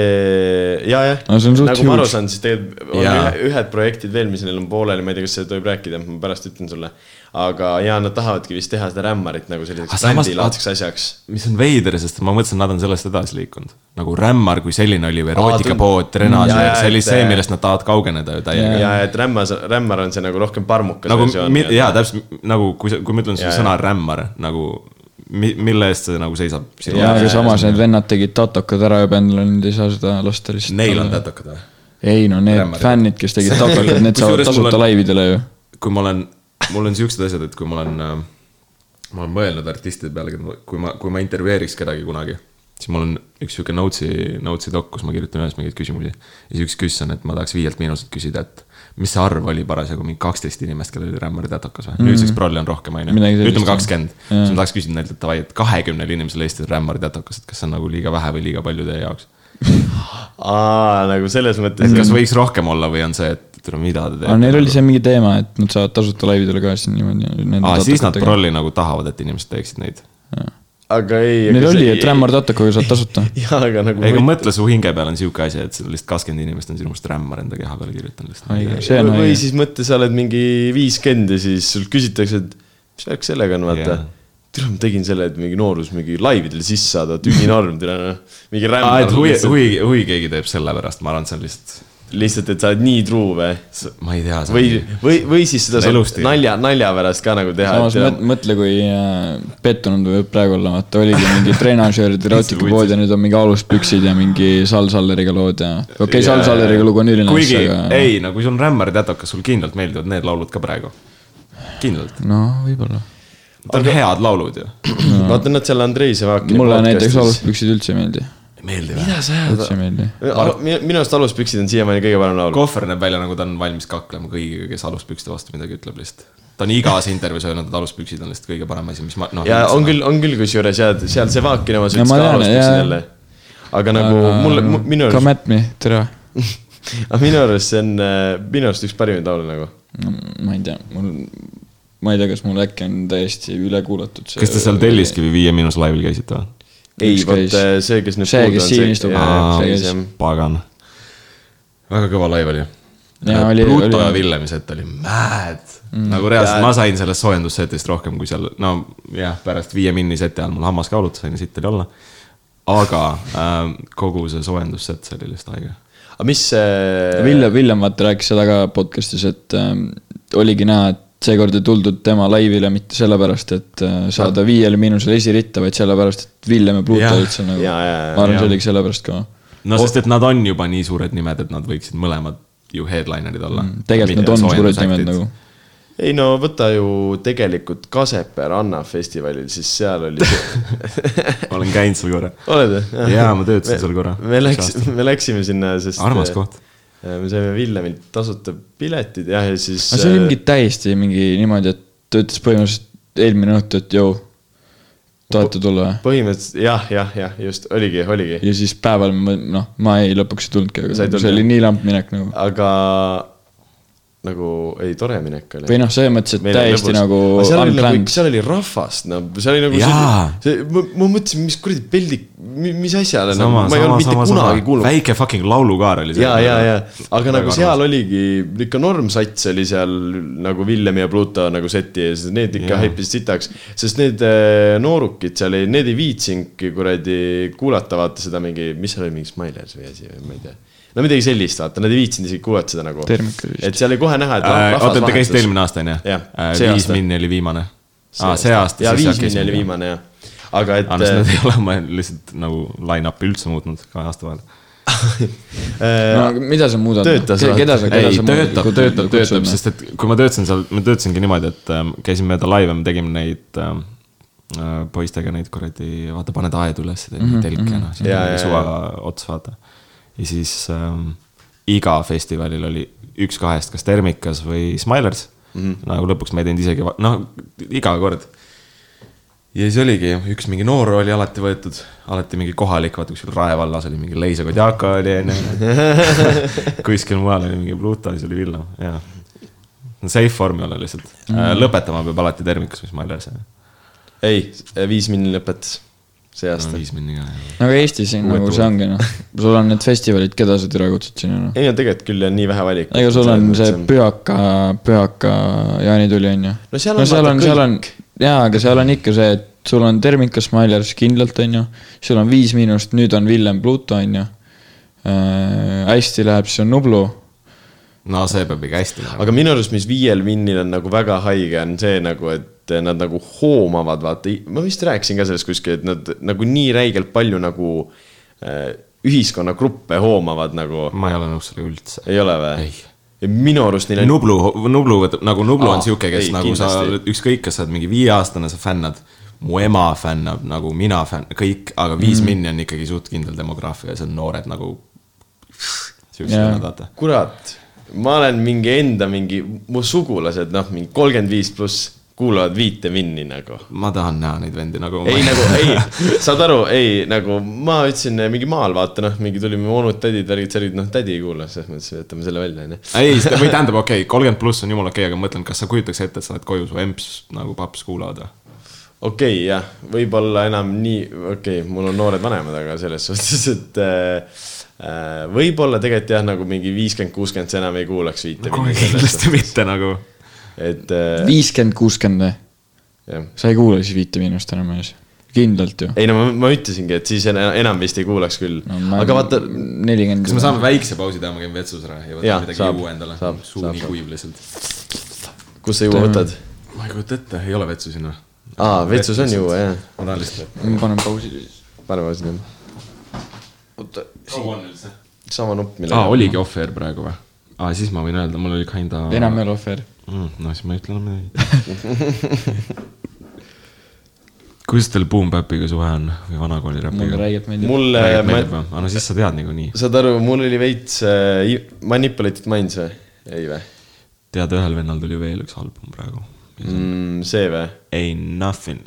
ja , jah . No see on suht nagu ma aru huge. saan , siis tegelikult on Jaa. ühe, ühed projektid veel , mis neil on pooleli , ma ei tea , kas seda tohib rääkida , ma pärast ütlen sulle . aga ja nad tahavadki vist teha seda Rämmarit nagu Aga selliseks samas- brändilaadseks asjaks . mis on veider , sest ma mõtlesin , nad on sellest edasi liikunud . nagu Rämmar kui selline oli ju tund- erootikapood , Jaa, trenaažer , see oli et- see , millest nad tahavad kaugeneda ju täiega . ja et Rämmas , Rämmar on see nagu rohkem parmukas nagu versioon, mi- nii-öelda. jaa , täpselt nagu kui sa , kui ma ütlen sulle Jaa, sõna Rämmar nagu mi- , mille eest see nagu seisab sinu jaa , aga jaoks? samas need vennad tegid tatokad ära ja bändil on , ei saa seda lasta lihtsalt . Neil on tätukad või ? ei no need Rämmarad. fännid , kes tegid tatokad , need saavad Kusjuures mul tasuta on- laividele ju . kui ma olen , mul on siuksed asjad , et kui ma olen , ma olen mõelnud artistide peale , kui ma , kui ma intervjueeriks kedagi kunagi , siis mul on üks sihuke notes'i , notes'i dok , kus ma kirjutan üles mingeid küsimusi . ja siis üks küsimus on , et ma tahaks viielt miinuselt küsida , et mis see arv oli parasjagu , mingi kaksteist inimest , kellel oli rämmar tätokas või mm. ? nüüdseks prolli on rohkem , on Mhm. Midagi ju . sellist, ütleme jah. kakskümmend . siis ma tahaks küsida neilt , et davai , et kahekümnel inimesel Eestis on rämmar tätokas , et kas see on nagu liiga vähe või liiga palju teie jaoks ? aa , nagu selles mõttes Mhm. et . kas võiks rohkem olla või on see , et tule, mida te aga neil teete ? oli see mingi teema , et nad saavad tasuta laividele ka siin niimoodi . aa , siis nad . prolli nagu tahavad , et inimesed teeksid neid aga ei . Neil oli , et Rämmar Tatakoga saad tasuta . jaa , aga nagu . ega mõtle , su hinge peal on sihuke asi , et sul lihtsalt kakskümmend inimest on sinust rämmar enda keha peale kirjutanud lihtsalt . see on või õige . siis mõtle , sa oled mingi viiskümmend ja siis sult küsitakse , et mis värk sellega on , vaata Jaa. yeah. tere , ma tegin selle , et mingi noorus mingi laividel sisse saada , tühi norm , tere noh . mingi aa , et huvi , rämm . huvi , huvi keegi teeb selle pärast , ma arvan , see on lihtsalt lihtsalt , et sa oled nii truu või ? ma ei tea . või , või , või siis seda saab Elustiil. nalja , nalja pärast ka nagu teha . samas mõt- , mõtle , kui äh, pettunud võib praegu olla , vaata oligi mingi treenažöörid ja raudtikupood ja nüüd on mingi aluspüksid ja mingi Sal Salleriga lood ja . okei okay, , Sal Salleriga lugu on üline , kuigi aga... aga ei , no kui sul on rämmar teatav , kas sul kindlalt meeldivad need laulud ka praegu ? kindlalt , no võib-olla . need on head laulud ju . vaata nad seal Andrei Sevakini . mulle näiteks . aluspüksid üldse ei meeldi , meeldivad . üldse ei meeldi . minu arust aluspüksid on siiamaani kõige parem laul . kohver näeb välja nagu ta on valmis kaklema kõigiga , kes aluspükste vastu midagi ütleb lihtsalt . ta on igas intervjuus öelnud , et aluspüksid on lihtsalt kõige parem asi , mis ma noh . ja on . küll , on küll , kusjuures ja seal Sevakin oma Ja sõitis ma ka tean, aluspüksid jaa. jälle . aga nagu mulle , minu Come at arust , me , tere . minu arust see on äh, minu arust üks parimaid laule nagu . no Mm, ma ei tea , mul , ma ei tea , kas mul äkki on täiesti üle kuulatud see . kas te seal Telliskivi Viie Miinus laivil käisite või ? ei , Üks vot käis. äh, see , kes nüüd . See, kes siin istub. Aa, see käis. Äh, pagan . väga kõva laiv oli . Jaa, oli- Pluto oli- ja Villemi set oli mad mm. . nagu reaalselt ma sain sellest soojendussetist rohkem kui seal , no jah , pärast Viie Minni seti all mul hammas ka valutas , on ju , siit oli olla . aga ähm, kogu see soojendusset , see oli lihtsalt haige . aga mis äh, see , Villem , Villem vaata rääkis seda ka podcast'is , et ähm, oligi näha , et seekord ei tuldud tema laivile mitte sellepärast , et äh, saada viiele miinusele esiritta , vaid sellepärast , et Villem ja Pluto Jah. Ah, üldse nagu , Jaa, jaa, jaa, ma arvan , jaa. see oligi sellepärast ka . no sest , et nad on juba nii suured nimed , et nad võiksid mõlemad ju headlinerid olla mm, . tegelikult nad on suured nimed nagu . ei no võta ju tegelikult Kasepe Ranna festivalil , siis seal oli , ma olen käinud seal korra . oled või ? jaa , ma töötasin seal korra . me läksime , me läksime sinna , sest . armas . koht . me saime Villemilt tasuta piletid jah , ja siis . äh, aga see oli mingi täiesti mingi niimoodi , et ta ütles põhimõtteliselt eelmine õhtu , et jõu , tahate tulla või ? põhimõtteliselt jah , jah , jah , just oligi , oligi . ja siis päeval ma , noh , ma ei , lõpuks ei tulnudki , aga Sa ei tulnud, see oli jah? nii lamp minek nagu . aga nagu ei , tore minek oli . või noh , selles mõttes , et täiesti nagu seal oli nagu , unplanned . seal oli rahvast , no seal oli nagu Jaa. see, see , ma, ma mõtlesin , mis kuradi peldik , mis asjale nagu, sama , ma sama , ei olnud mitte sama , kunagi sama . kuulnud . väike fucking laulukaar oli ja , ja , ja , aga nagu seal oligi ikka normsats oli seal nagu Villem ja Pluto nagu seti ees , need ikka Jaa. haipisid sitaks . sest need äh, noorukid seal ei , need ei viitsinudki kuradi kuulata , vaata seda mingi , mis seal oli , mingi Smilers või asi või ma ei tea . no midagi sellist , vaata , nad ei viitsinud isegi kuulata seda nagu . Termika vist. et seal oli kohe näha , et äh, . rahvas oota , te käisite vahetus. eelmine aasta , onju Jah, ? see viis aasta. minni oli viimane . aa , see aasta . ja viis minni oli . viimane jah , aga et . aa , äh, no siis nad ei ole oma lihtsalt nagu line-up'i üldse muutnud kahe aasta vahel . no aga mida sa muudad ? Töötas või? keda sa , keda ei , sa töötab , töötab , töötab ,. sest et kui ma töötasin seal , ma töötasingi niimoodi , et ähm, käisin mööda laive , me tegime neid ähm, äh, poistega neid kuradi , vaata , paned aed üles , teed mm -hmm, telke , noh , siin Jaa, on mingi jaa, suva ots , vaata . ja siis ähm, iga festivalil oli üks kahest , kas Termikas või Smilers mm . -hmm. nagu lõpuks me ei teinud isegi , noh , iga kord ja siis oligi üks mingi noor oli alati võetud , alati mingi kohalik , vaata kuskil Rae vallas oli mingi Leiso Kodjaka oli onju . kuskil mujal oli mingi Pluto , siis oli Villem , jaa . Safe vormi olla lihtsalt mm. . lõpetama peab alati termikus , mis ma ei tea , ei , viis minni lõpetas see aasta see . viis minni ka . no aga Eestis on nagu see ongi noh , sul on need festivalid , keda sa türa kutsud sinna noh . ei no tegelikult küll on nii vähe valikut . ega sul on see . pühaka , pühaka jaanituli on ju . No seal on seal vaata on , seal on , jaa , aga seal on ikka see , et sul on Termika Smilers kindlalt on ju , sul on Viis Miinust , nüüd on Villem Pluto on ju . hästi läheb , siis on Nublu . no see peab ikka hästi olema . aga minu arust , mis viiel minnil on nagu väga haige , on see nagu , et nad nagu hoomavad , vaata , ma vist rääkisin ka sellest kuskil , et nad nagu nii räigelt palju nagu äh, ühiskonnagruppe hoomavad nagu , ma ei ole nõus sellega üldse . ei ole või Ei. ? minu arust neil on Nublu , Nublu võtab , nagu Nublu Aa, on sihuke , kes ei, ei, nagu sa kindlasti. , ükskõik , kas sa oled mingi viieaastane , sa fännad . mu ema fännab nagu mina fänn- , kõik , aga viis mm. minni on ikkagi suht kindel demograafia , see on noored nagu . siuksed Jaa. nad vaata . kurat , ma olen mingi enda mingi , mu sugulased , noh , mingi kolmkümmend viis pluss kuulavad viite vinni nagu . ma tahan näha neid vendi nagu . ei nagu , ei , saad aru , ei nagu ma ütlesin mingi maal vaata noh , mingi tulime onud , tädid , värgid , särgid , noh tädi ei kuula , selles mõttes jätame selle välja onju . ei , või tähendab , okei okay, , kolmkümmend pluss on jumala okei okay, , aga ma mõtlen , kas sa kujutaks ette , et sa oled koju , su emps nagu paps kuulavad või ? okei okay, , jah , võib-olla enam nii , okei okay, , mul on noored vanemad , aga selles suhtes , et äh, äh, võib-olla tegelikult jah , nagu mingi viiskümmend , kuuskümmend , sa enam ei kuulaks viite . kindlasti mitte nagu . et äh, viiskümmend , kuuskümmend või ? jah , sa ei kuule siis Viite Miinust enam ees . kindlalt ju . ei no ma, ma ütlesingi , et siis ena- enam vist ei kuulaks küll no, , aga vaata , nelikümmend . kas me saame väikse pausi teha , ma käin vetsus ära ja Jaa, võtan midagi saab, juua endale saab, . suu saab, nii saab. kuiv lihtsalt . kus sa juua võtad ? ma ei kujuta ette , ei ole vetsu sinna . aa , vetsus on juua , jah . ma tahan lihtsalt . me paneme pausi siis . paneme sinna . oota , sama nupp , mille aa , oligi off-air praegu või ? aa , siis ma võin öelda , mul oli kinda . enam ei ole ohver . mm, . no siis ma ei ütle enam midagi . kuidas teil Boom-Bapiga suhe on või vanakooli mulle räpiga ? räigelt meeldib . mulle , räägib äh, ma , meeldib jah , aga no siis sa tead niikuinii . saad aru , mul oli veits äh, i- manipulated minds või ? ei või tead , ühel vennal tuli veel üks album praegu . mm, ? see või ? Ei nothing .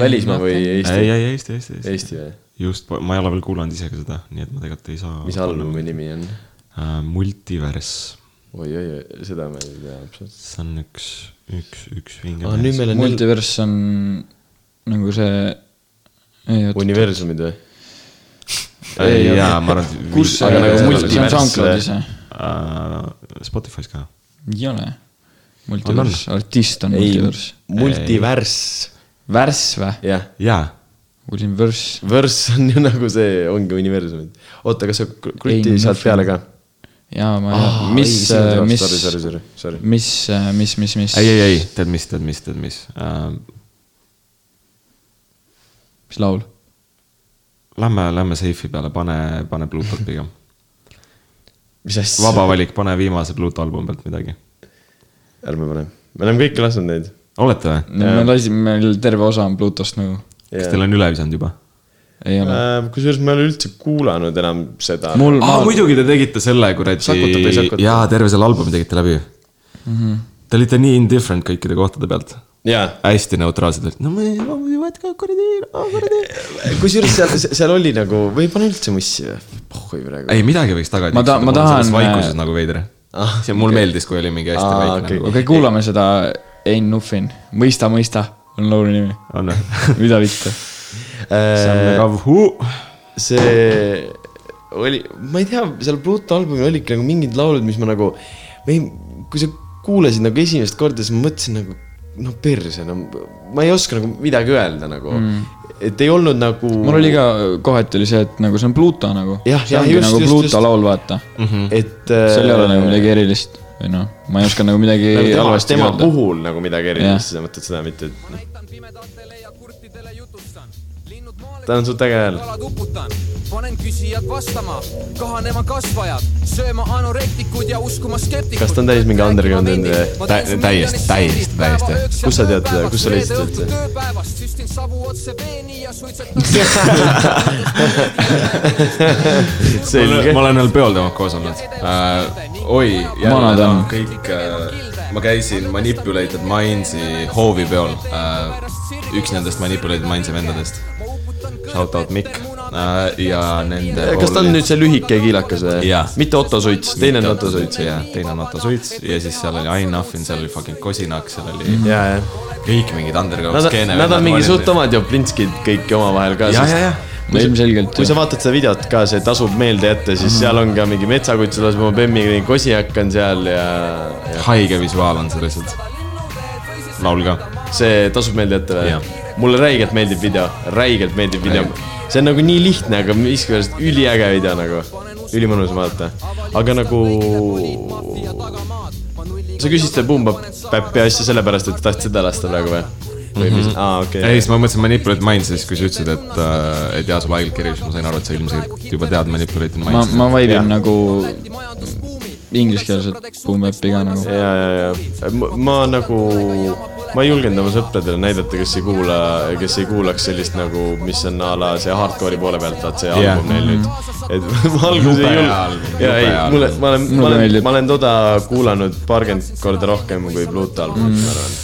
välismaa või Eesti ? ei , ei Eesti , Eesti , Eesti . Eesti või ? just , ma ei ole veel kuulanud ise ka seda , nii et ma tegelikult ei saa . Äh, mis ? albumi nimi on ? multivers , oi-oi , seda ma ei tea absoluutselt . see on üks , üks , üks vinge Ah, aa , Ah, nüüd meil on nel- multiverss on nagu see . ei oota , universumid või ? ei , ei, Äh, jaa , ma arvan , et . kus see aga nagu see on multiverss- SoundCloudis või ? Äh, Spotify's ka . ei ole . multiverss , artist on ei multiverss ., multiverss , värss või ? jah . jaa , kuulsin värss . Verse on ju nagu see , ongi universumid . oota , kas sa kr- kruti Ei, saad nothing. peale ka ? äh, jaa , ma , Ah, mis , mis , sorry , sorry , sorry , sorry . mis , mis , mis , mis , ei , ei , ei , tead mis , tead mis , tead mis uh, . mis laul ? Lähme , lähme seifi peale , pane , pane Bluetooth pigem . mis asja ? vaba valik , pane viimase Bluetooth albumi pealt midagi . ärme pane , me oleme kõiki lasknud neid . olete või ? me lasime , meil terve osa on Bluetoost nagu . kas teil on üle visanud juba ? ei ole . Äh, kusjuures ma ei ole üldse kuulanud enam seda . mul , aa , Ah, muidugi te tegite selle Sakutab või ei kuradi sakuta? , jaa , terve selle albumi tegite läbi mm . -hmm. Te olite nii indifferent kõikide kohtade pealt . jaa , hästi neutraalsed olite , no me oh, ei , ma ei tea , kuradi , kuradi . kusjuures seal , seal oli nagu , või ei pane üldse mussi või ? pohhui praegu . ei , midagi võiks tagasi . Ma ta- ma selles tahan- vaikuses nagu veider ah, . see mulle okay. meeldis , kui oli mingi hästi Aa, ah, väike okei. okay. nagu . okei , kuulame seda Ein Nuffin , Mõista , mõista on laulu nimi . on või ? mida vittu ? see on see väga huu- . oli , ma ei tea , seal Pluto albumil olidki nagu mingid laulud , mis ma nagu , või kui sa kuulasid nagu esimest korda , siis ma mõtlesin nagu , no perse , no ma ei oska nagu midagi öelda nagu mm. . et ei olnud nagu . mul oli ka kohati oli see , et nagu see on Pluto nagu . Jah, see jah, ongi just, nagu just, Pluto just. laul , vaata . Mhm. et . seal ei ole nagu midagi erilist või noh , ma ei oska nagu midagi nagu tema , halvasti tema öelda . puhul nagu midagi Jah. erilist , sa mõtled seda mitte , et noh , näitan pimedatele ja kurtidele jutustan . linnud maale tal on suht äge hääl . kalad uputan , panen küsijad vastama , kahanema kasvajad , sööma anorektikud ja uskuma skeptikud . Kas ta on täis mingi underground'i enda- Tä- täiesti, täiesti, täiesti. Kus sa tead seda? Kus sa leidsid üldse? tööpäevast süstin savu otse veeni ja suitsetan . selge ma . olen veel peol temaga koos olnud äh, . oi , jälle Vanad on. on kõik äh, , ma käisin Manipulated Mindsi hoovi peol äh, . üks nendest Manipulated Mindsi vendadest . Shout out Mikk äh, ja nende . kas ta on nüüd see lühike ja kiilakas või Jaa. ? mitte Otto Suits , teine on Otto Suits , jah jah ?, teine on Otto Suits ja siis seal oli Ain Ahvin , seal oli fucking Kosinak , seal oli ja , ja . kõik mingid underground Nad on , skeene . nad on mingi suht . omad Joplinskid kõik omavahel ka . ja , ja , ja . no ilmselgelt kui sa ju . vaatad seda videot ka , see tasub meelde jätta , siis Mhm. seal on ka mingi metsakutse laseb oma bemmiga , kosiak on seal ja, ja haige visuaal on see lihtsalt . laul ka . see tasub meelde jätta Jah. või ? mulle räigelt meeldib video , räigelt meeldib video . see on nagu nii lihtne , aga miskipärast üliäge video nagu , ülimõnus vaadata . aga nagu sa küsisid seda Bumba Päppi asja sellepärast , et sa tahtsid seda lasta praegu või ? või mis , aa okei Mhm. ei , siis ma mõtlesin Manipulated Minds ja siis , kui sa ütlesid , et äh, , et jaa , sul haigelt kirju , siis ma sain aru , et sa ilmselgelt juba tead Manipulated ma , Minds . ma Jah. vaibin nagu ingliskeelset boom-bap'i ka nagu . ja , ja , ja ma, ma nagu , ma ei julgenud oma sõpradele näidata , kes ei kuula , kes ei kuulaks sellist nagu , mis on a la see hardcore'i poole pealt , vaat see Jah. album neil nüüd . et ma alguses Jube ei album, julgenud , jube ja ei , album. mulle , ma olen , ma Mulle olen , meeldib. ma olen toda kuulanud paarkümmend korda rohkem kui Pluto albumit mm. , ma arvan .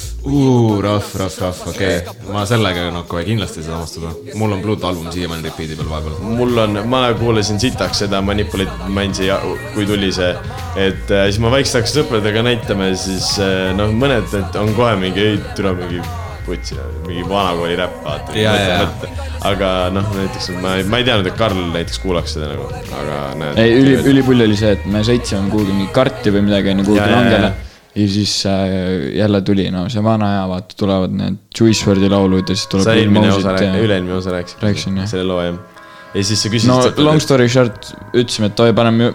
rough , rough , rough , okei okay. . ma sellega no, kohe kindlasti ei saa samastada . mul on Bluetooth album siiamaani repeat'i peal vahepeal . mul on , ma kuulasin sitaks seda Manipulate Mindsi , kui tuli see , et äh, siis ma vaikselt hakkasin sõpradega näitama ja siis äh, noh , mõned et on kohe mingi , ei tule mingi putsi , mingi vanakooli räpp , Ja, ja, vaata . aga noh , näiteks ma , ma ei teadnud , et Karl näiteks kuulaks seda nagu , aga näed . ei , üli , ülipull oli see , et me sõitsime kuhugi mingi karti või midagi onju , kuhugi Ja, ja, ja. langele . ja siis äh, jälle tuli , no see vana aja , vaata , tulevad need Jewish Wordi laulud ja siis tuleb . sa eelmine osa , üle-eelmine osa rääkisid . Rääkisin, jah. selle loo jah . ja siis sa küsisid no long . story short , ütlesime , et oi , paneme ,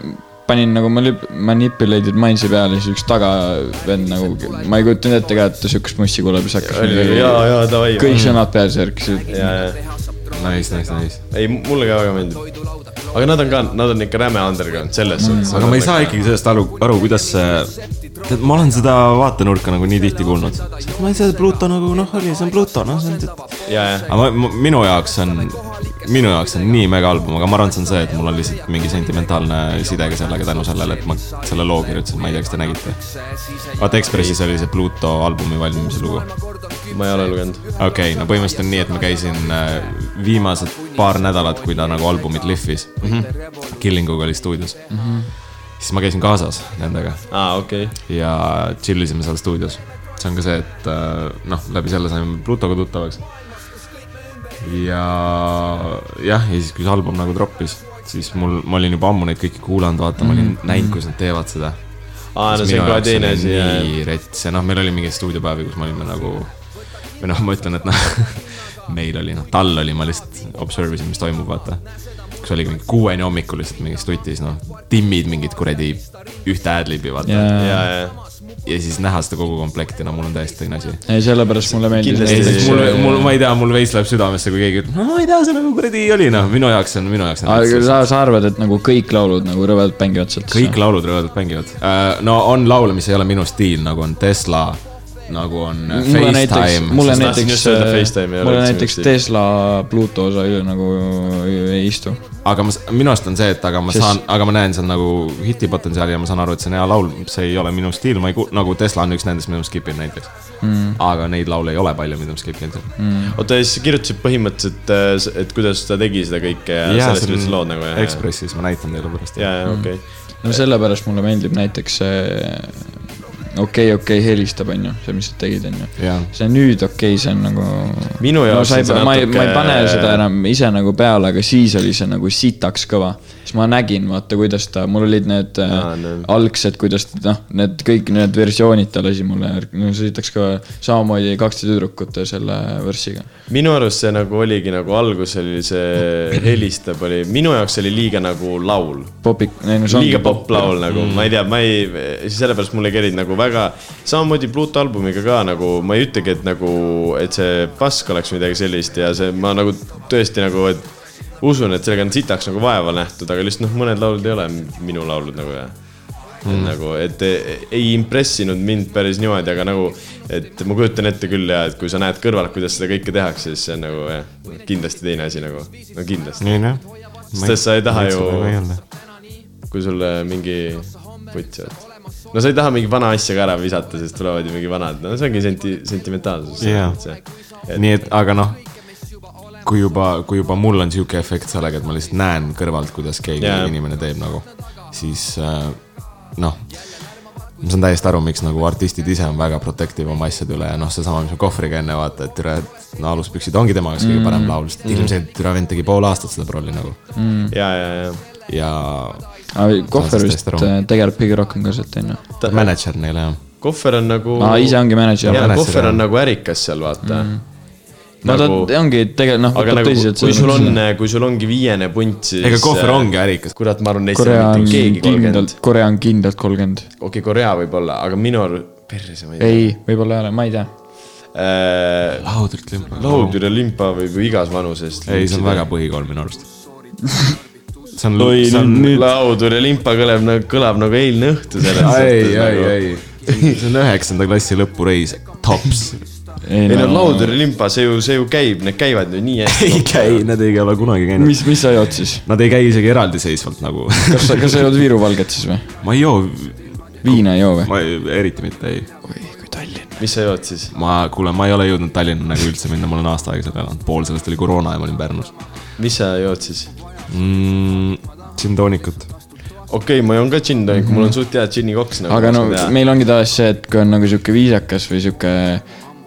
panin nagu manip- manipulated minds'i peale , siis üks tagavend nagu , ma ei kujutanud ette ka , et ta siukest mussi kuuleb , siis oli , ja , hakkas . ja davai . kõik . sõnad peale särkisid . ja , ja , Nice , nice , nice . ei mulle ka väga meeldib . aga nad on ka , nad on ikka räme underground selles Mm. suhtes . aga ma ei saa . ikkagi sellest aru , aru , kuidas see , tead , ma olen seda vaatenurka nagu nii tihti kuulnud . ma ei saa , Pluto nagu noh , oli , see on Pluto , noh , see on . ja , ja , aga ma, ma , minu jaoks on , minu jaoks on nii mega album , aga ma arvan , et see on see , et mul on lihtsalt mingi sentimentaalne side ka sellega tänu sellele , et ma selle loo kirjutasin , ma ei tea , kas te nägite . vaata Ekspressis oli see Pluto albumi valmimise lugu . ma ei ole lugenud . okei okay, , no põhimõtteliselt on nii , et ma käisin äh, viimased paar nädalat , kui ta nagu albumit lihvis mm . -hmm. Killinguga oli stuudios mm . -hmm. siis ma käisin kaasas nendega aa , okei . ja chill isime seal stuudios . see on ka see , et äh, noh , läbi selle saime Plutoga tuttavaks . ja jah , ja siis , kui see album nagu troppis , siis mul , ma olin juba ammu neid kõiki kuulanud , vaata , ma olin näinud , kuidas nad teevad seda . aa , no see on kohe teine asi , ja , ja . nii rets ja noh , meil oli mingeid stuudiopäevi , kus me olime nagu või noh , ma ütlen , et noh , meil oli noh , tal oli , ma lihtsalt observe isin , mis toimub , vaata . kus oligi mingi kuueni hommikul lihtsalt mingis tutis , noh , timmid mingit kuradi ühte ad-lib'i , vaata ja , ja , ja , ja , ja siis näha seda kogu komplekti , no mul on täiesti teine asi . ei sellepärast mulle meeldis . ei , Kindlasti- siis mul , mul , ma ei tea , mul veits läheb südamesse , kui keegi ütleb , no ma ei tea , see nagu kuradi oli , noh , minu jaoks on , minu jaoks on . sa , sa arvad , et nagu kõik laulud nagu rõvedalt mängivad sealt ? kõik laulud rõvedalt mängivad . no on laule , mis ei ole minu stiil , nagu on Tesla , nagu on mulle näiteks , mulle FaceTime . tahtsin näiteks äh, just öelda, FaceTime ei , ole mulle üldse näiteks mingit Tesla Bluetooth osa ju nagu ei istu . aga ma , minu arust on see , et aga ma Sest- saan , aga ma näen seal nagu hiti potentsiaali ja ma saan aru , et see on hea laul , see ei ole minu stiil , ma ei kuul- , nagu Tesla on üks nendest , mida ma skip in näiteks mm. . aga neid laule ei ole palju , mida ma skip in . Mm. oota , ja siis sa kirjutasid põhimõtteliselt , et kuidas ta tegi seda kõike ja sellest üldse lood nagu , ja , ja , Ekspressis , ma näitan teile pärast . ja , ja , okei . no sellepärast mulle meeldib näiteks see okei , okei helistab , onju , see , mis sa tegid , onju Jaa. . see nüüd okei , see on nagu . Minu jaoks no, on see see natuke . ma ei , ma ei natuke- pane seda enam ise nagu peale , aga siis oli see nagu sitaks kõva . siis ma nägin , vaata , kuidas ta , mul olid need Aa, Aa, no. algsed , kuidas ta- noh , need kõik need versioonid ta lasi mulle , no see sitaks kõva . samamoodi kakste tüdrukute selle värssiga . minu arust see nagu oligi nagu alguses oli see helistab , oli , minu jaoks oli liiga nagu laul popik , ei no see liiga ongi pop . poplaul nagu mm. , ma ei tea , ma ei , sellepärast mulle ei kerinud nagu väga , samamoodi Pluto albumiga ka nagu ma ei ütlegi , et nagu , et see pask oleks midagi sellist ja see , ma nagu tõesti nagu , et usun , et sellega on sitaks nagu vaeva nähtud , aga lihtsalt noh , mõned laulud ei ole minu laulud nagu ja mm. . nagu , et ei impressinud mind päris niimoodi , aga nagu , et ma kujutan ette küll ja , et kui sa näed kõrvalt , kuidas seda kõike tehakse , siis see on nagu jah , kindlasti teine asi nagu , no kindlasti . nii noh . Sest sa ei taha ju- kui sulle mingi putsi oled . no sa ei taha mingi vana asja ka ära visata , sest tulevad ju mingi vanad , no see ongi senti- , sentimentaalsus Jaa. nii et , aga noh , kui juba , kui juba mul on sihuke efekt sellega , et ma lihtsalt näen kõrvalt , kuidas keegi Jaa. yeah. inimene teeb nagu , siis äh, noh , ma saan täiesti aru , miks nagu artistid ise on väga protective oma asjade üle ja noh , seesama , mis ma kohvriga enne vaata , et türa , et no aluspüksid ongi tema jaoks Mm. kõige parem laul , sest ilmselt türa vend tegi pool aastat seda prolli nagu ja , ja , ja ja aga Kohver Saan vist sellest aru. äh, tegeleb kõige rohkem ka sealt , onju . Ta- mänedžer neile jah . kohver on nagu . aa , ise ongi Mhm. mänedžer . jaa , mänedžer, kohver jah. on nagu ärikas seal , vaata mm. . no ta ongi tegelikult noh , Nagu- aga võtab nagu , tõsiselt kui sul on , kui sul ongi viiene punt , siis . ega kohver ongi . ärikas . kurat , ma arvan , neist ei Korea ole on mitte keegi kolmkümmend kindlalt ., Korea on kindlalt kolmkümmend . okei okay, , Korea võib-olla , aga minu arust , perse ma ei tea . ei , võib-olla ei ole , ma ei tea . Äh, laudrit limpa . laudüri limpa võib ju igas vanuses . ei , see on väga põhikool minu arust . see on , oi see on nüüd laudur ja limpa kõlab nagu , kõlab nagu eilne õhtu selles ei , nagu. ei , ei , see on üheksanda klassi lõpureis , tops . ei no laudur ja limpa , see ju , see ju käib , need käivad ju nii hästi . ei käi , nad ei ole kunagi käinud . mis , mis sa jood siis ? Nad ei käi isegi eraldiseisvalt nagu . kas sa , kas sa jood Viru valget siis või ? ma ei joo , viina ei joo või ? ma ei- eriti mitte ei . mis sa jood siis ? ma , kuule , ma ei ole jõudnud Tallinna nagu üldse minna , ma olen aasta aega seal elanud , pool sellest oli koroona ja ma olin Pärnus mis sa jood siis ? mm, . Tšintoonikut . okei okay, , ma joon ka džinni , mul on suht hea džinnikoks nagu . aga no meil ongi tavaliselt see , et kui on nagu sihuke viisakas või sihuke ,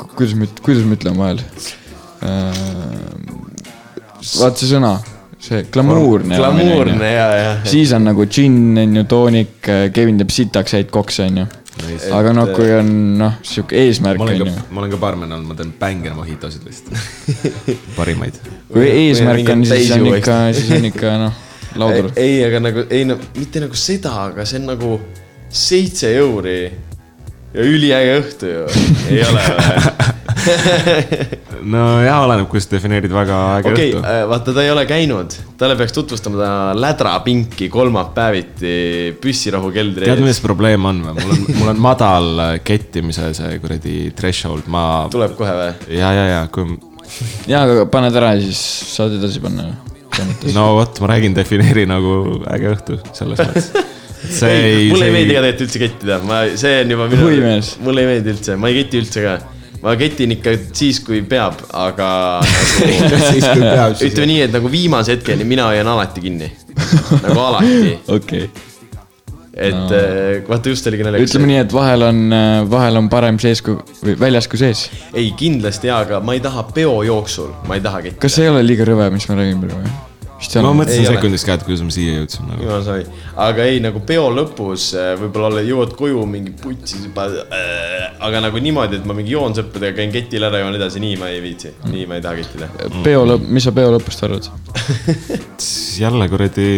kuidas me , kuidas me ütleme vahel ? vaat see sõna , see glamuurne . glamuurne ja , ja . äh, siis on nagu džinn , on ju , toonik , Kevin teeb sitaks häid kokse , on ju . Nice. aga noh , kui on noh , sihuke eesmärk ma on ju olen ka , ma olen ka baarmen olnud , ma teen bänge mojitosid lihtsalt . parimaid . kui eesmärk on , mingit siis on täisjõu ikka , siis on ikka noh , laudur . ei , aga nagu ei no mitte nagu seda , aga see on nagu seitse euri ja üliäge õhtu ju , ei ole või ? nojah , oleneb , kuidas defineerid väga aega okei okay, õhtu . okay, , vaata , ta ei ole käinud , talle peaks tutvustama täna lädrapinki kolmapäeviti püssirahu keldri tead , milles probleem on või ? mul on , mul on madal äh, kettimise see kuradi threshold , ma tuleb kohe või ? ja , ja , ja kui ja , aga paned ära ja siis saad edasi panna . no vot , ma räägin , defineeri nagu äge õhtu selles mõttes . see ei , mulle see ei meeldi ka tegelikult üldse kettida , ma , see on juba minu Oi, mees. , mulle ei meeldi üldse , ma ei keti üldse ka . ma ketin ikka siis , kui peab , aga nagu, ütleme nii , et nagu viimase hetkeni mina hoian alati kinni , nagu alati , okei , et no. vaata just oligi naljakas . ütleme nii , et vahel on , vahel on parem sees kui , või väljas kui sees . ei , kindlasti jaa , aga ma ei taha peo jooksul , ma ei taha kettida . kas see ei ole liiga rõve , mis ma räägin praegu ? ma mõtlesin Ei ole. sekundis ka , et kuidas ma siia jõudsin nagu . jumal sai , aga ei nagu peo lõpus äh, võib-olla alle- jõuad koju mingi putsi , aga nagu niimoodi , et ma mingi joon sõpradega , käin ketil ära , joon edasi , nii ma ei viitsi , nii ma ei taha kettida . Eh, peo lõpp , mis sa peo lõpust arvad ? jälle kuradi .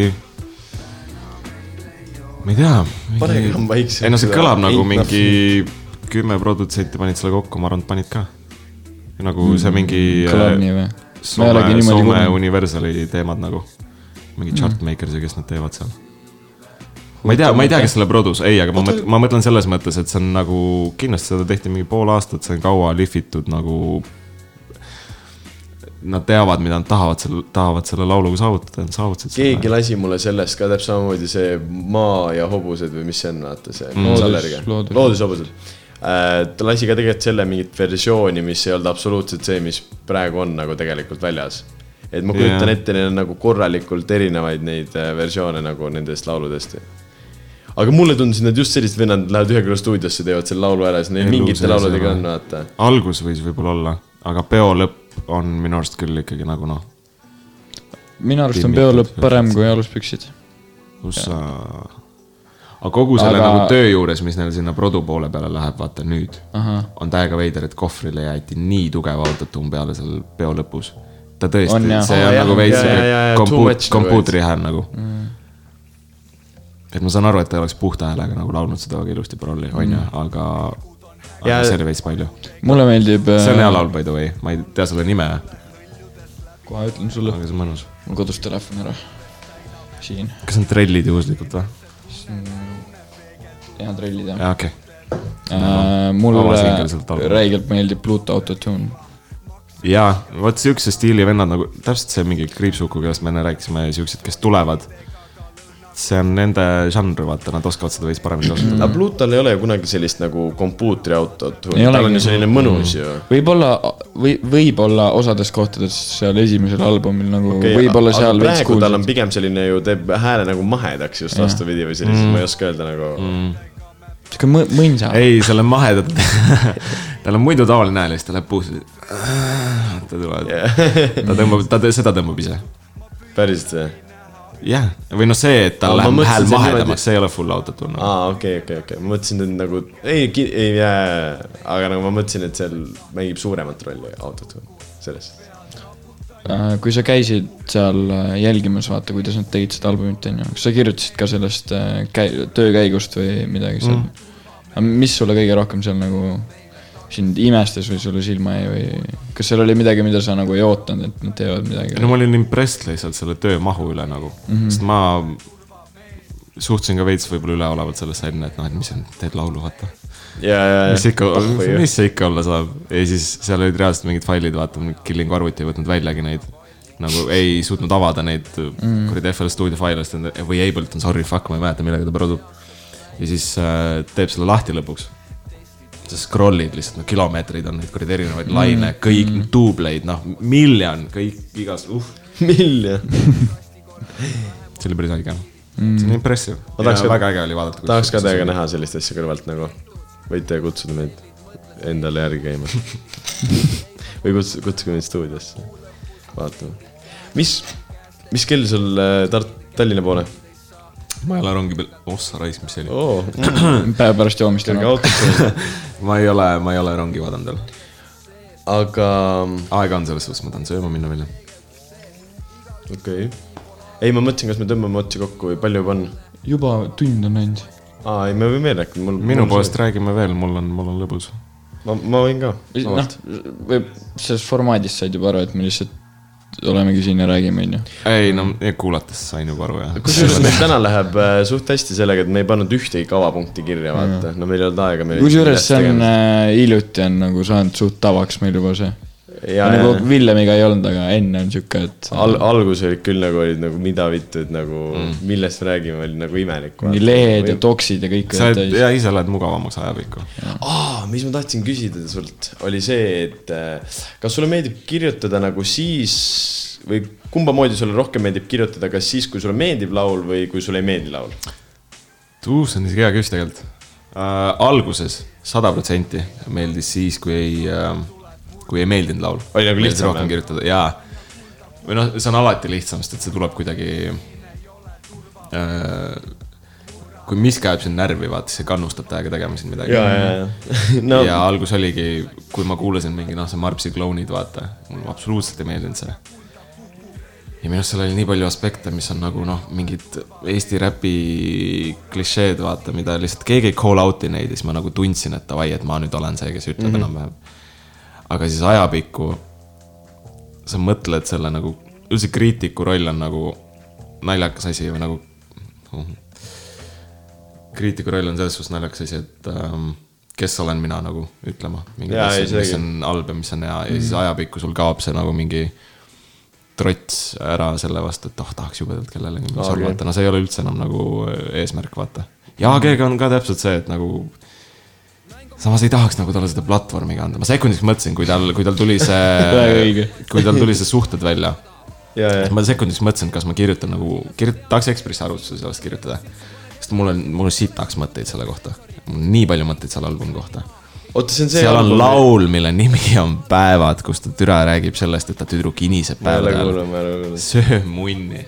ma ei tea . Panege kamm vaikselt. ei no see kõlab nagu Ain't mingi kümme produtsenti panid selle kokku , ma arvan , et panid ka . nagu Hmm. see mingi . kõlab nii või ? ma ei Soome olegi , niimoodi Soome kuulnud . Mhm. Universali teemad nagu . mingi chartmakers ja kes nad teevad seal . ma ei tea , ma ei tea , kes selle produs , ei , aga ma mõtlen , ma mõtlen selles mõttes , et see on nagu , kindlasti seda tehti mingi pool aastat , see on kaua lihvitud nagu . Nad teavad , mida nad tahavad selle , tahavad selle lauluga saavutada , nad saavutasid keegi selle . lasi mulle sellest ka täpselt samamoodi see maa ja hobused või mis see on , vaata see Loodus- mm. . loodus- loodushobused . ta lasi ka tegelikult selle mingit versiooni , mis ei olnud absoluutselt see , mis praegu on nagu tegelikult väljas . et ma kujutan Jaa. yeah. ette , neil on nagu korralikult erinevaid neid äh, versioone nagu nendest lauludest . aga mulle tundus , et nad just sellised vennad lähevad ühe küla stuudiosse , teevad selle laulu ära , siis neil Elu mingite sees ära. lauludega on , vaata . algus võis võib-olla olla , aga peo lõpp on minu arust küll ikkagi nagu noh , minu arust on peo lõpp parem kui aluspüksid . kus sa . aga kogu selle Aga- aga... nagu töö juures , mis neil sinna produ poole peale läheb , vaata nüüd ahah , on täiega veider , et kohvrile jäeti nii tugev autotune peale seal peo lõpus . ta tõesti , On, jah. see Aa, on jah, nagu veits jaa, jaa, jaa, sihuke too much kompuut- , nagu kompuutri hääl nagu mm. . et ma saan aru , et ta oleks puhta häälega nagu laulnud seda väga ilusti prolli , onju , aga , aga Ja- ja... see oli veits palju . mulle meeldib . äh, see on hea . laul , by the way , ma ei tea selle nime , kohe ütlen sulle , aga see on mõnus . mul kodus telefon ära . siin , kas need trellid juhuslikult või ? head rallid jah . jaa , okei okay. . Äh, Avas hingeliselt mulle algul. räigelt meeldib Bluetooth autotune . jaa , vot siukse stiili vennad nagu , täpselt see mingi kriipsuku , kellest me enne rääkisime , siuksed , kes tulevad . see on nende žanr , vaata , nad oskavad seda veits paremini kasutada . aga Plutal ei ole ju kunagi sellist nagu kompuutriautot . Ei tal on olegi. ju selline mõnus ju . võib-olla , või , võib-olla osades kohtades seal esimesel albumil nagu okay, Okei, võib-olla aga seal veits praegu tal on kuulsid . pigem selline ju teeb hääle nagu mahedaks just vastupidi või sellise mm. , ma ei oska öelda nagu mm. . sihuke mõ- , mõnsa . ei , selle maheda , tal on muidu taoline hääl ja siis ta läheb puusse . ta tuleb , ta tõmbab , ta tõ- seda tõmbab ise . päriselt või ? jah , või noh , see , et tal Aa, ma läheb mõtlesin, hääl see on niimoodi- mahedamaks , see ei ole full autotune nagu. . aa , okei , okei , okei , ma mõtlesin , et nagu ei , ei jää , aga nagu ma mõtlesin , et seal mängib suuremat rolli autot selles . Äh, kui sa käisid seal äh, jälgimas , vaata , kuidas nad tegid seda albumit , onju . kas sa kirjutasid ka sellest äh, käi- , töö käigust või midagi seal mm. ? mis sulle kõige rohkem seal nagu sind imestas või sulle silma jäi või kas seal oli midagi , mida sa nagu ei ootanud , et nad teevad midagi no ? ma olin impressed lihtsalt selle töö mahu üle nagu mm , Mhm. -hmm. sest ma suhtusin ka veits võib-olla üleolevalt sellesse enne , et noh , et mis on , teed laulu , vaata . ja , ja , ja . mis ikka , mis see ikka olla saab ja siis seal olid reaalselt mingid failid , vaata , Killing arvuti ei võtnud väljagi neid . nagu ei suutnud avada neid mm. kuradi FL stuudio faile , sest nende- või Ableton , sorry , fuck , ma ei mäleta , millega ta produb . ja siis äh, teeb selle lahti lõpuks . sa scroll'id lihtsalt , no kilomeetreid on neid kuradi erinevaid mm. laine , kõik duubleid , noh , miljon , kõik igas , uh miljon . see oli päris äge mm. . see on impressive . Ma tahaks ka- väga äge oli vaadata . tahaks ka noh. teiega . näha sellist asja kõrvalt nagu . võite kutsuda meid endale järgi käima . või kuts- , kutsuge meid stuudiosse . vaatame . mis , mis kell sul äh, Tart- , Tallinna poole ? ma ei ole rongi peal , ossa raisk , mis see oli ? oo , päev pärast joomist kerge enam . autosse . ma ei ole , ma ei ole rongi vaadanud veel . aga aega on selles suhtes , ma tahan sööma minna veel . okei okay. . ei , ma mõtlesin , kas me tõmbame otsi kokku või palju juba on . juba tund on läinud . aa , ei , me võime veel rääkida . minu poolest . räägime veel , mul on , mul on lõbus . ma , ma võin ka . noh , võib , selles formaadis said juba aru , et me lihtsalt olemegi siin ja räägime , onju . ei no , kuulates sain juba aru jah . kusjuures meil täna läheb äh, suht hästi sellega , et me ei pannud ühtegi kavapunkti kirja , vaata , no meil ei olnud aega . Mm. kusjuures see on , hiljuti on nagu saanud suht tavaks meil juba see . ja , ja nagu Villemiga ei olnud , aga enne on siuke , et al- , algus olid küll nagu olid nagu mida vittu , et nagu mm. millest me räägime , oli nagu imelik . mingi lehed ja toksid ja kõik sa olid oled , täis . ja ise oled mugavamaks ajapikku . aa , mis ma tahtsin küsida sult , oli see , et äh, kas sulle meeldib kirjutada nagu siis või kumba moodi sulle rohkem meeldib kirjutada , kas siis , kui sulle meeldib laul või kui sulle ei meeldi laul ? tuus on isegi hea küsimus tegelikult äh, . alguses sada protsenti meeldis siis , kui ei äh, , kui ei meeldinud laul . Oli nagu lihtsam, rohkem jah? kirjutada jaa . või noh , see on alati lihtsam , sest et see tuleb kuidagi äh, . kui miski ajab sind närvi , vaata , see kannustab täiega tegema siin midagi . ja , no ja algus oligi , kui ma kuulasin mingi noh , see Marpsi klounid , vaata , mulle absoluutselt ei meeldinud see . ja minu arust seal oli nii palju aspekte , mis on nagu noh , mingid Eesti räpi klišeed , vaata , mida lihtsalt keegi ei call out'i neid ja siis ma nagu tundsin , et davai , et ma nüüd olen see , kes ütleb mm -hmm. enam-vähem . aga siis ajapikku sa mõtled selle nagu , üldse kriitiku roll on nagu naljakas asi või nagu noh, kriitiku roll on selles suhtes naljakas asi , et ähm, kes olen mina nagu ütlema . Jaa, ei, mis seegi. mis on halb ja mis on hea ja siis ajapikku sul kaob see nagu mingi trots ära selle vastu , et oh , tahaks jubedalt kellelegi okay. Aa, okei. solvata , no see ei ole üldse enam nagu eesmärk , vaata . ja keegi on ka täpselt see , et nagu samas ei tahaks nagu talle seda platvormi ka anda , ma sekundiks mõtlesin , kui tal , kui tal tuli Väga õige. see , kui tal tuli see suhted välja ja , ja , ma sekundiks mõtlesin , et kas ma kirjutan nagu , kirjut- , tahaks Ekspressi arvutuse sellest kirjutada . sest mul on , mul on sitaks mõtteid selle kohta . mul on nii palju mõtteid selle albumi kohta . oota , see on see . seal on . laul , mille nimi on Päevad , kus ta türa räägib sellest , et ta tüdruk iniseb ma ei ole päevade ajal . kuulnud , ma ei ole kuulnud . söö munni .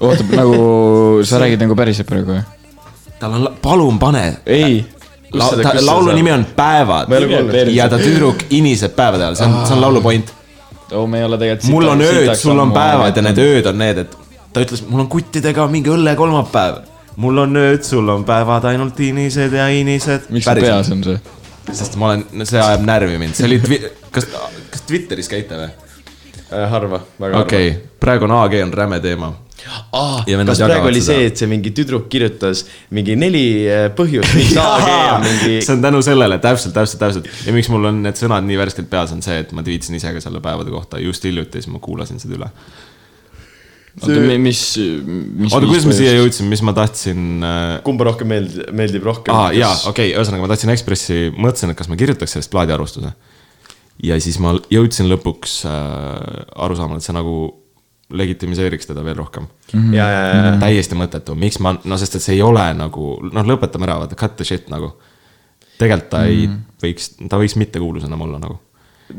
oota , nagu sa räägid nagu päriselt praegu või ? tal on , palun pane . ei , La, seda- ta, kus sa laulu saad? nimi on Päevad Ma ei ole kuulnud. ja ta tüdruk iniseb päevade ajal , see on , see on laulu point . oo , me ei ole tegelikult . mul on ööd , sul on päevad ja need ööd on need , et ta ütles , mul on kuttidega mingi õllekolmapäev . mul on ööd , sul on päevad ainult inised ja inised . miks sul peas ? on see ? sest ma olen , see ajab närvi mind , see oli twi- , kas , kas Twitteris käite või ? Äh, harva , väga harva . okei okay, , praegu on AG on räme teema . ah, . Ja vennad kas praegu jagavad oli seda. see , et see mingi tüdruk kirjutas mingi neli eh, põhjust , miks AG on mingi . see on tänu sellele , täpselt , täpselt , täpselt ja miks mul on need sõnad nii värskelt peas , on see , et ma tweetsin ise ka selle päevade kohta just hiljuti , siis ma kuulasin seda üle . oota , mis , mis . oota , kuidas me siia ? jõudsime , mis ma tahtsin äh, kumba rohkem meeldib , meeldib rohkem ? aa ah, jaa , okei okay, , ühesõnaga ma tahtsin Ekspressi , mõtlesin , et kas ma kirjutaks sellest plaadiarvustuse . ja siis ma jõudsin lõpuks äh, arusaamale , et see nagu legitimiseeriks teda veel rohkem mm . okay. . ja , ja , ja , -hmm. täiesti mõttetu , miks ma , no sest et see ei ole nagu , noh , lõpetame ära , vaata cut the shit nagu . tegelikult ta mm -hmm. ei võiks , ta võiks mittekuulus enam olla nagu .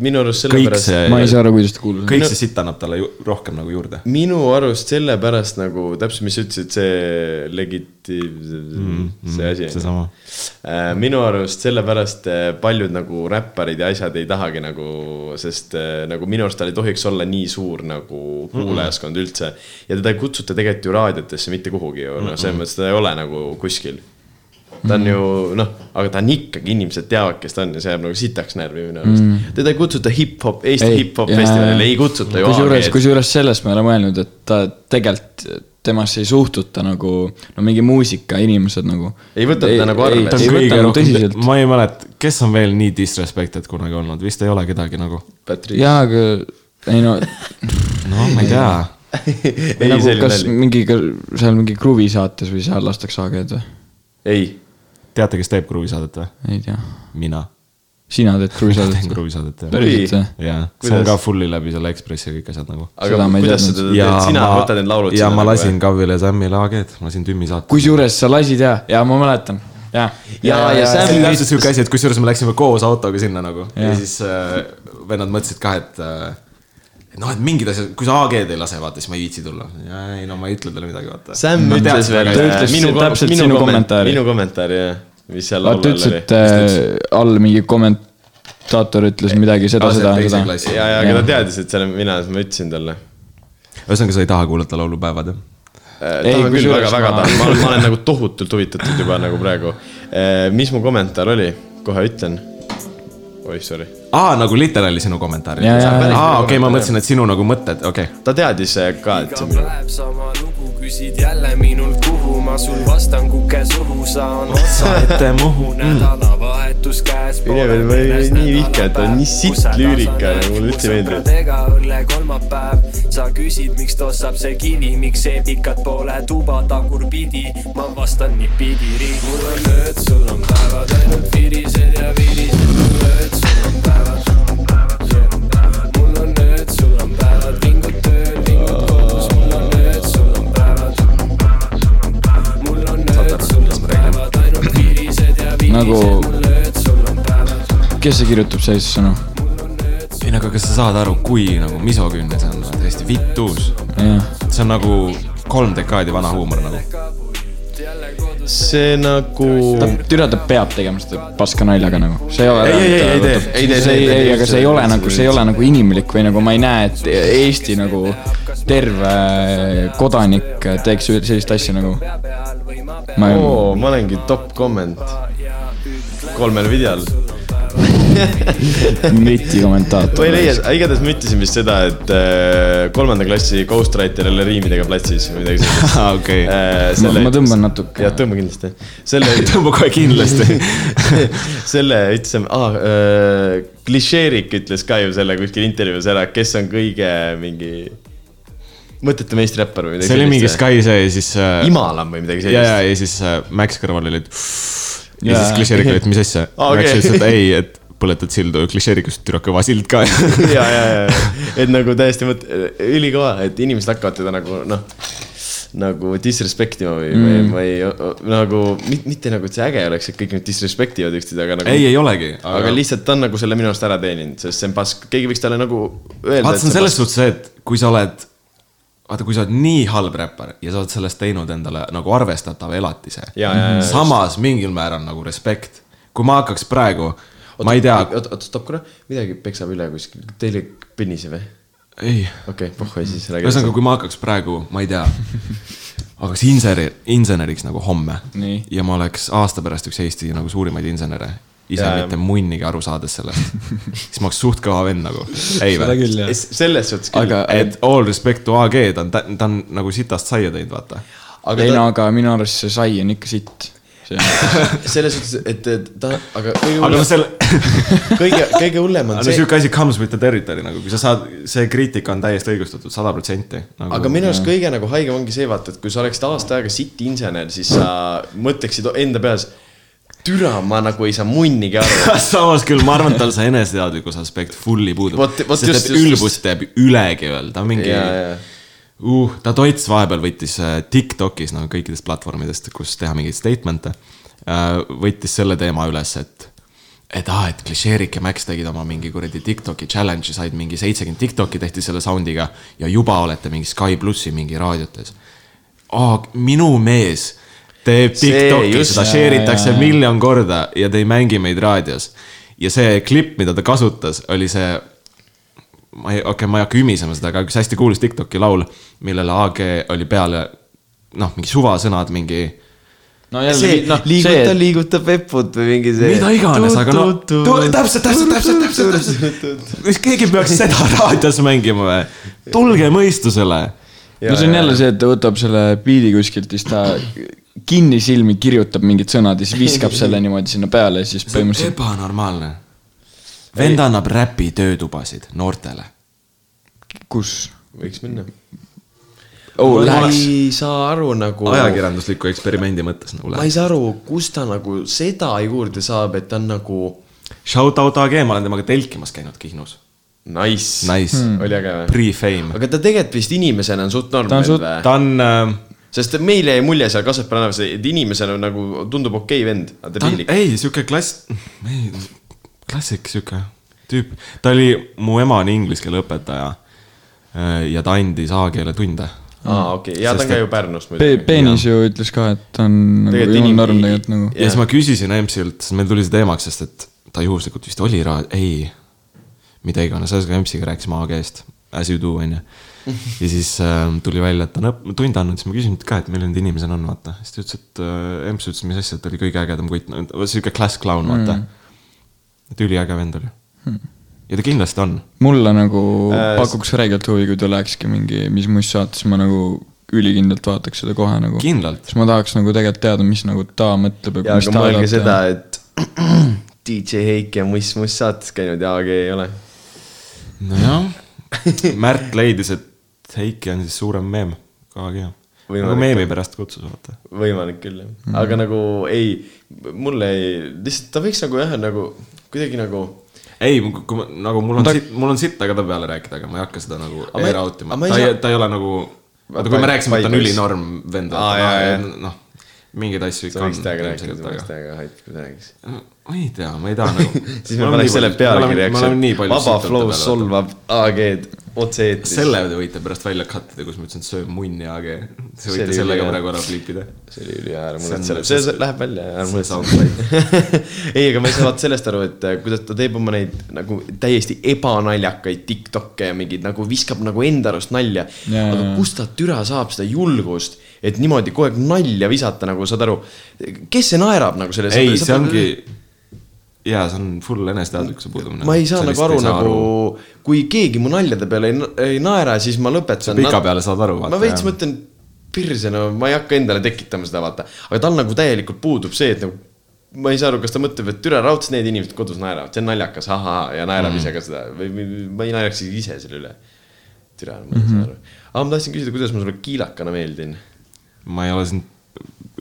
minu arust kõik sellepärast , see , ma ei saa aru , kuidas ta kuulus . kõik see sitt annab talle ju, rohkem nagu juurde . minu arust sellepärast nagu täpselt , mis sa ütlesid , see legitiimse Mhm, mm, , see asi . seesama . minu arust sellepärast eh, paljud nagu räpparid ja asjad ei tahagi nagu , sest eh, nagu minu arust tal ei tohiks olla nii suur nagu Mhm. kuulajaskond üldse . ja teda ei kutsuta tegelikult ju raadiotesse mitte kuhugi ju , noh , Mhm. selles mõttes teda ei ole nagu kuskil . ta on ju noh , aga ta on ikkagi , inimesed teavad , kes ta on ja see jääb nagu sitaks närvi minu arust mm. . teda ei kutsuta hip-hop , Eesti Mhm. Ei, hip-hop jaa. festivalile ei kutsuta ju . kusjuures , kusjuures sellest ma ei ole mõelnud , et ta tegelikult , temasse ei suhtuta nagu , no mingi muusikainimesed nagu . Ei võta teda nagu arvesse. ta ei on võta kõige nagu rohkem tõsiselt ,. ma ei mäleta , kes on veel nii disrespected kunagi olnud , vist ei ole kedagi nagu . Patrick . jaa , aga ei no , no ma ei tea ei , nagu selline kas nali . mingi , seal mingi Gruvi saates või seal lastakse AG-d või ? ei , teate , kes teeb kruvisaadet või ? ei tea , mina . sina teed Gruvi saadet teen ? kruvisaadet jah . päriselt või ? jaa , see on Kuidas? ka fully läbi selle Ekspressi ja kõik asjad nagu . aga Seda ma ei kuidas sa teadnud. teda teed , sina võtad need laulud nagu, ja ma lasin Kavile ja Sammile AG-d , ma lasin tümmi saate . kusjuures sa lasid ja , ja ma mäletan , ja . Jaa, ja see Sam- oli täpselt siuke asi , et kusjuures me läksime koos autoga sinna nagu ja, Jaa. ja siis äh, vennad mõtlesid ka , et äh, et noh , et mingid asjad , kui sa AG-d ei lase , vaata , siis ma ei viitsi tulla . ei no ma ei ütle talle midagi , vaata . Sam Ma tean ütles seda veel ka, ütles täpselt sinu kommentaari. minu kommentaari jah , mis seal vaata , laulul ütles , oli . et äh, all mingi kommentaator ütles midagi seda , Ah, see seda , teise seda . klassi. ja , ja aga ta teadis , et see olen mina , siis ma ütlesin talle . ühesõnaga , sa ei taha kuulata laulupäevad , jah ? Ei, tahan Äh, küll kusjuures väga-väga ma- tahan , ma olen , ma olen nagu tohutult huvitatud juba nagu praegu . mis mu kommentaar oli , kohe ütlen . oih , sorry . aa , nagu literaali sinu kommentaari . Jaa, jaa, jaa. aa , okei , ma mõtlesin , et sinu nagu mõtted , okei okay. . ta teadis eh, ka , et see iga on minu . päev sama lugu , küsid jälle minult , kuhu ma sul vastan , kuke suhu saan otsa ette muhu , nädalavahetus käes . Üleval ma Mm. ei- nii vihka, et ta on nii sitt lüürika ja mulle üldse ei meeldi. sõpradega õlle kolmapäev , sa küsid , miks tossab see kivi , miks seepikad pole tuba tagurpidi , ma vastan niipidi . mul on ööd , sul on päevad , ainult virised ja virised . mul on ööd , sul on päevad . mul on ööd , sul on päevad , vingud tööl , vingud kodus , mul on ööd , sul on päevad mul on ööd , sul on päevad , ainult virised ja virised Nagu- mul ööd , sul on päevad kes see kirjutab sellist sõnu ? ei no aga kas sa saad aru , kui nagu misoküünne see on , täiesti vitus . jah , see on nagu kolm dekaadi vana huumor nagu . see nagu . ta , türa ta peab tegema seda paska naljaga nagu , see ei ole . ei , ei , ei tee , ei tee . see ei , ei , aga see ei ole nagu , see ei ole nagu inimlik või nagu ma ei näe , et Eesti nagu terve äh, kodanik teeks ühe- sellist asja nagu . ma ei , oo , ma olengi top comment kolmel videol . miti ma ei kommentaator . leia , igatahes ma ütlesin vist seda , et äh, kolmanda klassi Ghostwriterile riimidega platsis või midagi sellist . Ah, okei . Ma- ma tõmban natuke. jah , tõmba kindlasti . selle , tõmba kohe kindlasti . selle ütlesime , aa , klišeerik ütles ka ju selle kuskil intervjuus ära , kes on kõige mingi mõttetu meistriräppar või midagi see oli mingi . Sky see ja siis äh, Imalam või midagi ja , ja , sellist . ja siis äh, Max kõrval olid . ja Jaa. siis klišeerik oli , et mis asja . Aa, Ah, okei. Max ütles , et ei , et põletad sildu , klišeerik ütles , et türa kõva sild ka . ja , ja , ja , et nagu täiesti mõt- , ülikõva , et inimesed hakkavad teda nagu noh , nagu disrespect ima või mm. , või , või nagu mit, mitte nagu , et see äge oleks , et kõik nüüd disrespect ivad üksteist , aga nagu . ei , ei olegi , aga, aga lihtsalt ta on nagu selle minu arust ära teeninud , sest see on pask , keegi võiks talle nagu öelda . vaata , see on selles suhtes see , et kui sa oled , vaata , kui sa oled nii halb räppar ja sa oled sellest teinud endale nagu arvestatava elatise Jaa, jaa, jaa, . samas mingil määral nagu respekt . kui ma hakkaks praegu , ma ei tea , oot , oot , stopp korra , midagi peksab üle kuskil , teile pinnise või ? ei , okei okay, , pohhu ja siis räägi . ühesõnaga , kui ma hakkaks praegu , ma ei tea , hakkaks insener , inseneriks nagu homme Nii. ja ma oleks aasta pärast üks Eesti nagu suurimaid insenere ise ja, Jaa, jaa. mitte munnigi aru saades sellest , siis ma oleks suht kõva vend nagu , ei või ? küll jah . selles suhtes küll , aga , et all respect to AG , ta on , ta on nagu sitast saia teinud , vaata aga ei ta, no aga minu arust see sai on ikka sitt . selles suhtes , et , et ta , aga kõige aga no hullem , selle , kõige , kõige hullem on aga no see , sihuke asi comes with the territory nagu , kui sa saad , see kriitika on täiesti õigustatud sada protsenti nagu, . aga minu arust kõige nagu haigem ongi see , vaata , et kui sa oleksid aasta aega city insener , siis sa mõtleksid enda peas , türa , ma nagu ei saa munnigi aru . samas küll , ma arvan , et tal see eneseteadlikkuse aspekt fully puudub . Vot- vot sest just- et just- ülbus teeb ülekeel , ta on mingi ja , ja , uh, ta toits vahepeal võttis äh, Tiktokis nagu kõikidest platvormidest , kus teha mingeid statement'e äh, . võttis selle teema üles , et , et aa , et klišeerik ja Max tegid oma mingi kuradi Tiktoki challenge'i , said mingi seitsekümmend Tiktoki tehti selle sound'iga ja juba olete mingi Sky plussi mingi raadiotes . aa , minu mees teeb See Tiktoki , just- seda share itakse miljon korda ja te ei mängi meid raadios . ja see klipp , mida ta kasutas , oli see ma ei , okei okay, , ma ei hakka ümisema seda , aga üks hästi kuulus Tiktoki laul , millele AG oli peale noh , mingi suvasõnad , mingi no see jälle , noh , see liiguta ,, liigutab veput või mingi see . mida iganes , aga noh , täpselt , täpselt , täpselt , täpselt , täpselt . kas keegi peaks seda raadios mängima või ? tulge mõistusele . no see on jälle see , et ta võtab selle biidi kuskilt , siis ta kinnisilmi kirjutab mingid sõnad ja siis viskab selle niimoodi sinna peale ja siis see on põhimõtteliselt ebanormaalne . vend annab räpi töötubasid noortele . kus ? võiks minna . oh , ma läheks , ei saa aru nagu . Oh. ajakirjandusliku eksperimendi mõttes nagu ma ei läheb . saa aru , kust ta nagu seda juurde saab , et ta on nagu Shout out AG , ma olen temaga telkimas käinud Kihnus . nice, Nice. Hmm. oli äge või ? Pre-fame . aga ta tegelikult vist inimesena on suht Ta on normaalne suht- või ? ta on äh, sest meile jäi mulje seal Kasepääl tänavas , et inimesena on nagu tundub okei okay vend , aga ta ta on on piinlik . ei , sihuke klass , ei , klassik sihuke tüüp , ta oli , mu ema on inglise keele õpetaja äh, ja ta andis A-keele tunde . aa , Ah, okei , ja ta Sest on ka et ju Pärnust Pe- , Peenis ju ütles ka , et ta on nagu Tegelikult jõulunorm inim- tegelikult nagu . ja siis ma küsisin EMS-ilt , sest meil tuli see teemaks , sest et ta ühuslikult vist oli ra- , ei , mida iganes , ühesõnaga EMS-iga rääkisime A-keest , as you do , onju . ja siis äh, tuli välja , et ta on õpp- , tunde andnud , siis ma küsisin talt ka , et milline ta inimesena on , vaata . siis ta ütles , et äh, EMS ütles , mis asja , et ta oli kõige ägedam kutt , sihuke class clown , vaata mm. . et üliäge vend oli hmm. . ja ta kindlasti on . mulle nagu Äh, pakuks räigelt huvi , kui tal lähekski mingi , mis muist saates ma nagu ülikindlalt vaataks seda kohe nagu . kindlalt . siis ma tahaks nagu tegelikult teada , mis nagu ta mõtleb ja jaa , mis aga ta mõelge seda arvab ., et DJ Heik ja Muss Muss saates käinud ja AG ei ole . nojah , Märt leidis , et Heiki on siis suurem meem , KG . nagu Võimalik. meemi pärast kutsus , vaata . võimalik küll jah mm. , aga nagu ei , mulle ei , lihtsalt ta võiks nagu jah , nagu kuidagi nagu . ei , kui ma , nagu mul on Ma ta... ta- , mul on sitt aga ta peale rääkida , aga ma ei hakka seda nagu ma ei- ära out ima aga , ma ei ta ei saa- , ta ei ole nagu , vaata Pai- kui me rääkisime , et ta on Paides. ülinorm vend , Aa, jaa, jaa. noh , mingeid asju sa ikka võiks temaga rääkida , sa võiks on . temaga rääkida , räägiks .. ma ei tea , ma ei taha nagu siis me paneks selle pealkirjaks , et Vaba Flow . solvab AG-d otse-eetris . selle te võite pärast välja cut ida , kus ma ütlesin , et söö munni , aga te See oli võite sellega ülihea. praegu ära flipida . see oli ülihea , ära See on- muretse selle , see see läheb välja , ära see muretse . ei , aga ma ei saa vaata sellest aru , et äh, kuidas ta teeb oma neid nagu täiesti ebanaljakaid Tiktok'e ja mingeid nagu viskab nagu enda arust nalja . Jaa, aga jaa. kust ta türa saab seda julgust , et niimoodi kogu aeg nalja visata , nagu saad aru , kes see naerab nagu selle . ei , see ongi , jaa , see on full eneseteadlikkuse puudumine . ma ei saa nagu aru , nagu kui keegi mu naljade peale ei, na- ei naera , siis ma lõpetan . pika peale saad aru, vaata, ma veits jah. mõtlen , pirse , no ma ei hakka endale tekitama seda , vaata , aga tal nagu täielikult puudub see , et nagu ma ei saa aru , kas ta mõtleb , et türa raudselt need inimesed kodus naeravad , see on naljakas , ahaa , ja naerab mm. ise ka seda või või- ma ei naeraks isegi ise selle üle . türa , ma ei Mhm. saa aru . aga ma tahtsin küsida , kuidas ma sulle kiilakana meeldin ? ma ei ole sind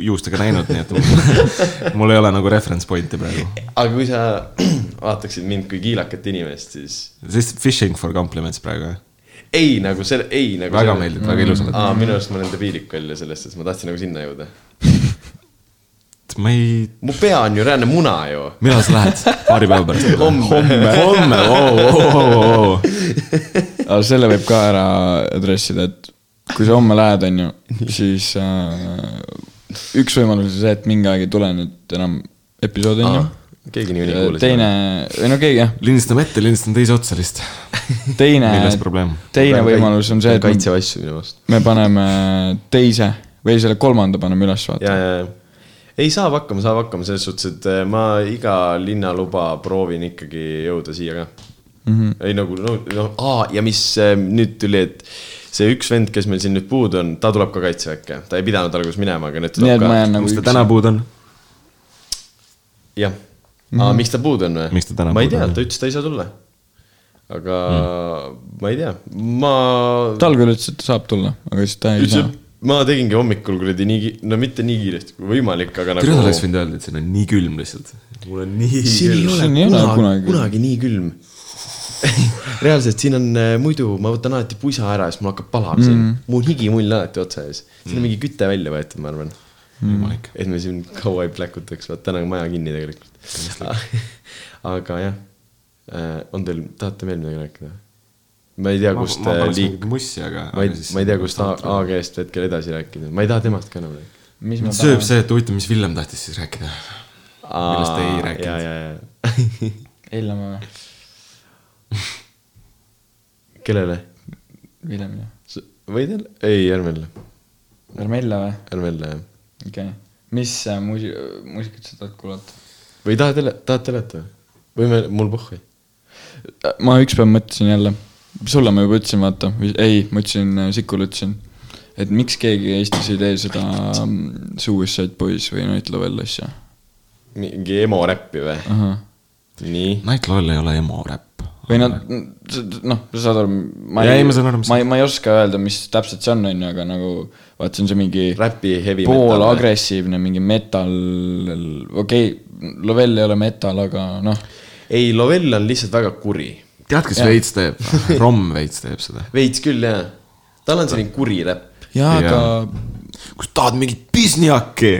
juustega näinud , nii et mul- mul ei ole nagu reference pointi praegu . aga kui sa vaataksid mind kui kiilakat inimest , siis siis fishing for compliments praegu , jah . ei nagu selle , ei nagu . väga meeldib , väga ilus oled . aa , minu arust ma olen debiilik välja sellest , et ma tahtsin nagu sinna jõuda . ma ei , mu pea on ju reaalne muna ju . millal sa lähed ? paari päeva pärast . Homme. homme , oo , oo , oo , aga selle võib ka ära adressida , et kui sa homme lähed , onju , siis äh, üks võimalus on see , et mingi aeg ei tule nüüd enam episood , onju . keegi niikuinii kuulis . teine , ei no keegi jah , lindistame ette , lindistame teise otsa lihtsalt . teine Milles probleem? , teine võimalus on see , et me- kaitsev asju minu meelest . me paneme teise või selle kolmanda paneme üles , ja , vaata . ja , ja . ei , saab hakkama , saab hakkama selles suhtes , et eh, ma iga linnaluba proovin ikkagi jõuda siia ka mm . Mhm. -hmm. ei nagu , no , no , aa , ja mis eh, nüüd tuli , et see üks vend , kes meil siin nüüd puudu on , ta tuleb ka kaitseväkke , ta ei pidanud alguses minema , aga nüüd ta nii tuleb et ma jään ka . nagu mis ta täna puud on ? jah , aa , miks ta puudu on või ? Miks ta täna ma ei puudu tea , on? ta ütles , ta ei saa tulla . aga mm. ma ei tea , ma tal küll ütles , et ta saab tulla , aga siis ta ei üldse saa ., ma tegingi hommikul kuradi nii , no mitte nii kiiresti kui võimalik , aga tere , nagu . oleks võinud öelda , et siin on nii külm lihtsalt . mul on nii siin ei külm . ole siin ei ole kunagi, kunagi. kunagi- kunagi nii külm . reaalselt siin on äh, muidu , ma võtan alati pusa ära ja siis mul hakkab palav siin mm. . mul higimull alati otsa ees . siin on mingi küte välja võetud , ma arvan . võimalik . et me siin kaua ei pläkutaks , vaat täna on maja kinni tegelikult . aga jah , on teil , tahate veel midagi rääkida ? ma ei tea , ma kust ma äh, paneks liik- mingit , mussi , aga . ma ei , ma ei tea , kust A- AG-st hetkel edasi rääkida , ma ei taha temast ka enam rääkida . mis mind sööb see , et huvitav , mis Villem tahtis siis rääkida . Millest te ei rääkinud? ja , ja , ja . Hellemaa või ? kellele ? Villem jah . võid jälle ? ei , ärme jälle , Vermella või ? ärme jälle jah . okei okay. . mis äh, muusi- , muusikat sa tahad kuulata ? või tahad jälle , tahad teleta või ? või me , mul pohhu . ma ükspäev mõtlesin jälle , sulle ma juba ütlesin , vaata , ei , ma ütlesin , Sikule ütlesin , et miks keegi Eestis ei tee seda mm, Suicide Boys või Night Level asja . mingi emo räppi või ? Ah. nii . Night Loll ei ole emo räpp . või nad , noh , sa saad aru , ma Jaa, ei ei, , ma saan aru, mis- ma ei , ma ei oska öelda , mis täpselt see on , on ju , aga nagu vaat see on see mingi Räpi heavy metal pool või? agressiivne mingi metal , okei okay, , Lovell ei ole metal , aga noh , ei , Lovell on lihtsalt väga kuri . tead , kes Jah. veits teeb ? Romm veits teeb seda . veits küll jah . tal on selline kuri räpp . jaa , Jaa. aga , kus tahad mingit pisniaki ?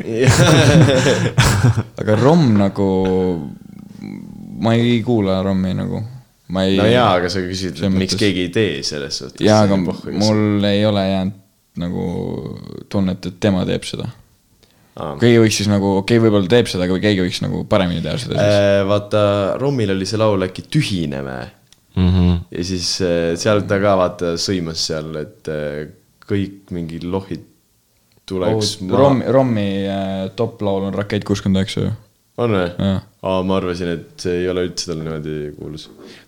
aga Rom nagu , ma ei kuula Romi nagu , ma ei . no jaa , aga sa küsid , selles miks mõttes- keegi ei tee selles suhtes . jaa , aga mul ei ole jäänud nagu tunnet , et tema teeb seda . keegi võiks siis nagu , okei okay, , võib-olla teeb seda , aga keegi võiks nagu paremini teha seda siis . Äh, vaata , Rommil oli see laul äkki Tühineme ja siis äh, seal ta ka vaata sõimas seal , et äh, kõik mingid lohid tuleks Oh, . Rom , Romi äh, top laul on Rakett kuuskümmend üheksa Äh, ju . on või Jaa. ? aa , ma arvasin , et see ei ole üldse tal niimoodi kuulus .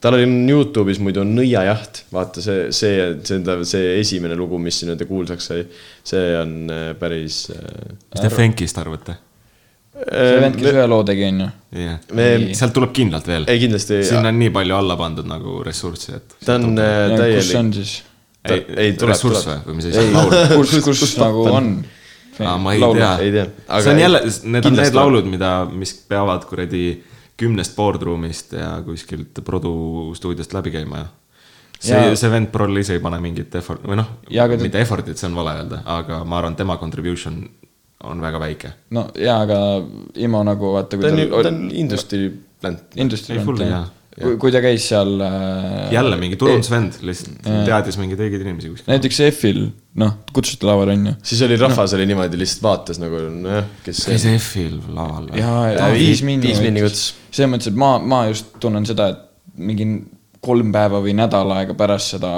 tal oli Youtube'is muidu on Nõiajaht , vaata see , see , see , see esimene lugu , mis nii-öelda kuulsaks sai , see on äh, päris äh, mis te Fenkist arvate ? see vend , kes ühe loo tegi , Äh, onju . jah Me- , sealt tuleb kindlalt veel . ei kindlasti , sinna on nii palju alla pandud nagu ressurssi , et . ta on äh, kus see on täielik . siis ? ta- ei, tuleb, ressurss või tuleb. , või mis asi see on , laul ? kus , kus nagu on ? aa , ma ei Laulu. tea . Ei tea. Aga see on ei- jälle , need on kindlasti need on. laulud , mida , mis peavad kuradi kümnest boardroom'ist ja kuskilt produstuudiost läbi käima ja see , Jaa. see vend prolli ise ei pane mingit effort või noh , Jaa, aga ta- mitte effort'it , see on vale öelda , aga ma arvan , tema contribution on väga väike . no jaa , aga Imo nagu vaata , kui ta on ju , ta tal on industry plant . industry Ei, full plant, jaa. jah. kui , kui ta käis seal äh, jälle mingi turundusvend , lihtsalt teadis mingeid õigeid inimesi Eh, kuskil . näiteks EF-il , noh , kutsuti lavale , onju . siis oli rahvas oli niimoodi , lihtsalt vaatas nagu nojah , kes käis EF-il laval või ? jaa , Ta jaa , viis- viis minni . viis minni kutsus. . selles mõttes , et ma , ma just tunnen seda , et mingi kolm päeva või nädal aega pärast seda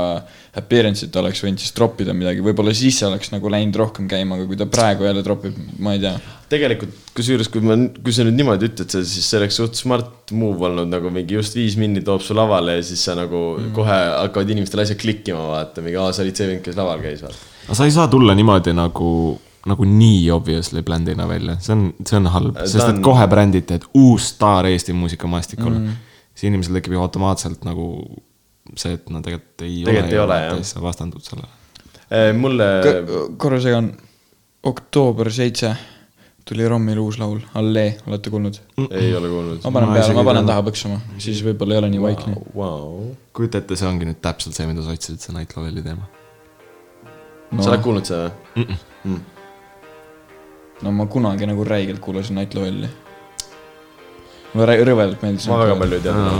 appearance'it oleks võinud siis troppida midagi , võib-olla siis see oleks nagu läinud rohkem käima , aga kui ta praegu jälle tropib , ma ei tea . tegelikult kusjuures , kui ma , kui sa nüüd niimoodi ütled , siis see oleks suht smart move olnud nagu mingi just viis minni toob su lavale ja siis sa nagu mm. kohe hakkavad inimestel asjad klikkima , vaata mingi , aa , sa olid see vend , kes laval käis , vaata . aga sa ei saa tulla niimoodi nagu , nagu nii obviously brändina välja , see on , see on halb , Ta sest et on- kohe brändite , et uus staar Eesti muusikamaastikul mm. . siis inimesel tekib ju automaatselt nagu see , et no tegelikult ei Tegelikult ei ole, jah. ja siis sa vastandud sellele . Äh, mulle korra segan , oktoober seitse tuli Rommil uus laul , Allee , olete kuulnud ? ei ole kuulnud ma . panen Ma peale , isegi ma ei panen tea. taha põksuma , siis võib-olla ei ole nii vaikne . Wow. kujuta ette , see ongi nüüd täpselt see , mida sa otsisid , see Night Loveli teema . No. sa oled kuulnud seda või ? no ma kunagi nagu räigelt kuulasin Night Lovelli . mulle rä- rõvedalt meeldis . ma väga palju ei tea .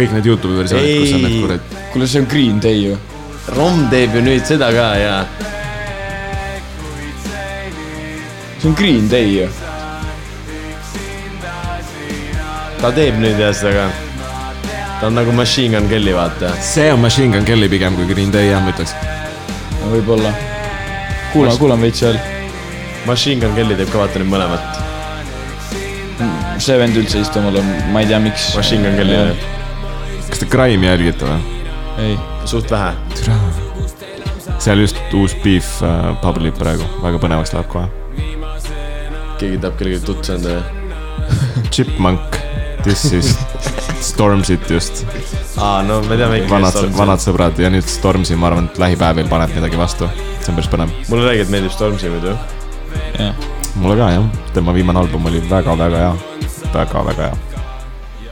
kõik need Youtube'i versioonid , kus on need Ei. kurat , kuule , see on Green Day ju . Rom teeb ju nüüd seda ka ja see on Green Day ju . ta teeb nüüd ja seda ka . ta on nagu Machine Gun Kelly , vaata . see on Machine Gun Kelly pigem kui Green Day , jah , ma ütleks . võib-olla . kuulan , kuulan veits veel . Machine Gun Kelly teeb ka vaata nüüd mõlemat . see vend üldse ei istu mulle , ma ei tea , miks . Machine Gun Kelly on . kas te Crime'i jälgite või ? ei , suht vähe . seal just uus beef äh, publib praegu , väga põnevaks läheb kohe keegi tahab kellelegi tutsa anda või ? Chipmunk , this is Stormzy't just , aa , no me teame ikka . vanad , vanad . sõbrad ja nüüd Stormzy , ma arvan , et lähipäevil paneb midagi vastu . see on päris põnev . mulle räägid , meeldib Stormzy muidu . jah . mulle ka jah , tema viimane album oli väga-väga hea , väga-väga hea .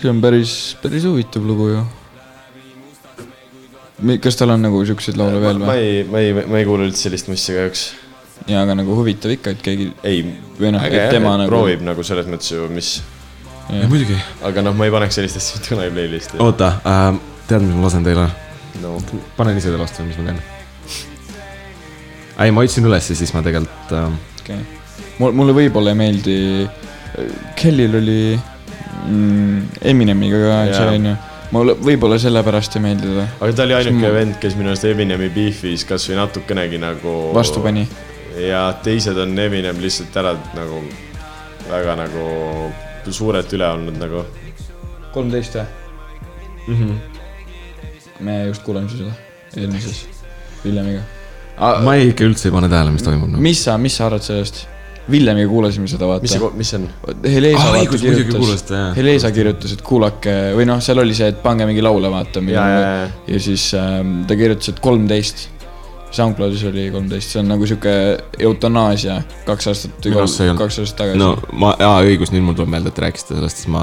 see on päris , päris huvitav lugu ju . kas tal on nagu siukseid laule veel ma või ? ei , ma ei , ma ei kuule üldse sellist mussi kahjuks . jaa , aga nagu huvitav ikka , et keegi ei , või noh , aga et jah tema , nagu . proovib nagu selles mõttes ju , mis , muidugi . aga noh , ma ei paneks sellist asja mitte kunagi playlist'i . oota äh, , tead , mis ma lasen teile ? no panen ise teile vastu , mis ma teen . ei , ma otsin üles ja siis ma tegelikult äh, , okay. . mul , mulle võib-olla ei meeldi , Kellil oli mm, Eminemiga ka Jaa. see onju , mulle võib-olla sellepärast ei meeldi teda , aga ta oli ainuke Siis ma- vend , kes minu arust Eminemi beef'is kasvõi natukenegi nagu . vastu . pani . ja teised on Eminem lihtsalt ära nagu väga nagu suurelt üle olnud nagu . kolmteist või ? me just kuulasime seda eelmises Villemiga . ma ei, ikka üldse ei pane tähele , mis toimub nagu . mis sa , mis sa arvad sellest ? Villemiga kuulasime seda , mis see vaata ., mis see on ? Helesa Ah, vaata õigus, muidugi kirjutas , kuulasite, jah. Helesa kirjutas , et kuulake või noh , seal oli see , et pange mingi laule vaata . ja , ja , ja . ja siis ähm, ta kirjutas , et kolmteist . SoundCloudis oli kolmteist , see on nagu sihuke eutanaasia kaks aastat Minu , arust Noh, see ei olnud. kaks aastat tagasi no . ma , jaa , õigus , nüüd mul tuleb meelde , et rääkisite sellest , siis ma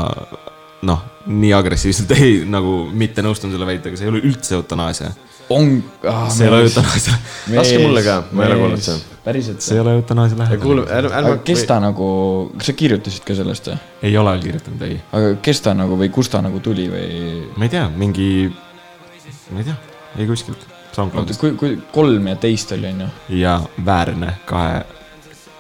noh , nii agressiivselt ei nagu mitte nõustun selle väitega , see ei ole üldse eutanaasia on ah, see ei ole . eutanaasia . laske mulle ka , ma ei ole kuulnud seda . päriselt see ei . ole eutanaasia kuule , lähedal . ärme , aga ärme . kes ta nagu , sa kirjutasid ka sellest või ? ei ole kirjutanud , ei . aga kes ta nagu või kust ta nagu tuli või ? ma ei tea , mingi , ma ei tea , ei kuskilt . oota , SoundCloudist kui , kui kolm ja teist oli , onju . ja Väärne kahe .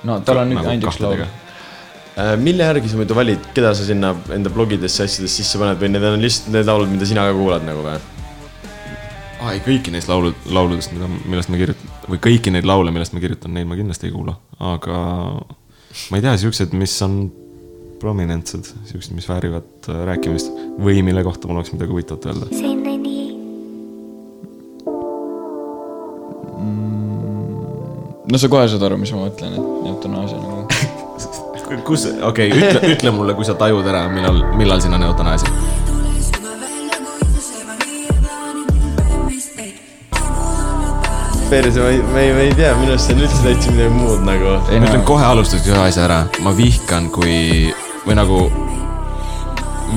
no tal Nagu on nüüd ainult üks laul . Äh, mille järgi sa muidu valid , keda sa sinna enda blogidesse asjadesse sisse paned või need on lihtsalt need laulud , mida sina ka kuulad nagu või ? aa , ei kõiki neist laulu , lauludest , mida , millest ma kirjutan või kõiki neid laule , millest ma kirjutan , neid ma kindlasti ei kuula , aga ma ei tea , siuksed , mis on prominentsed , siuksed , mis väärivad äh, rääkimist või mille kohta mul oleks midagi huvitavat öelda . Seinani. no sa kohe saad aru , mis ma mõtlen , et eutanaasia nagu . kus , okei okay, , ütle , ütle mulle , kui sa tajud ära , millal , millal siin on eutanaasia . perse , ma ei , ma ei , ma ei tea , minu arust see on üldse täitsa midagi muud nagu . ma ütlen kohe alustuseks ühe asja ära , ma vihkan , kui või nagu ,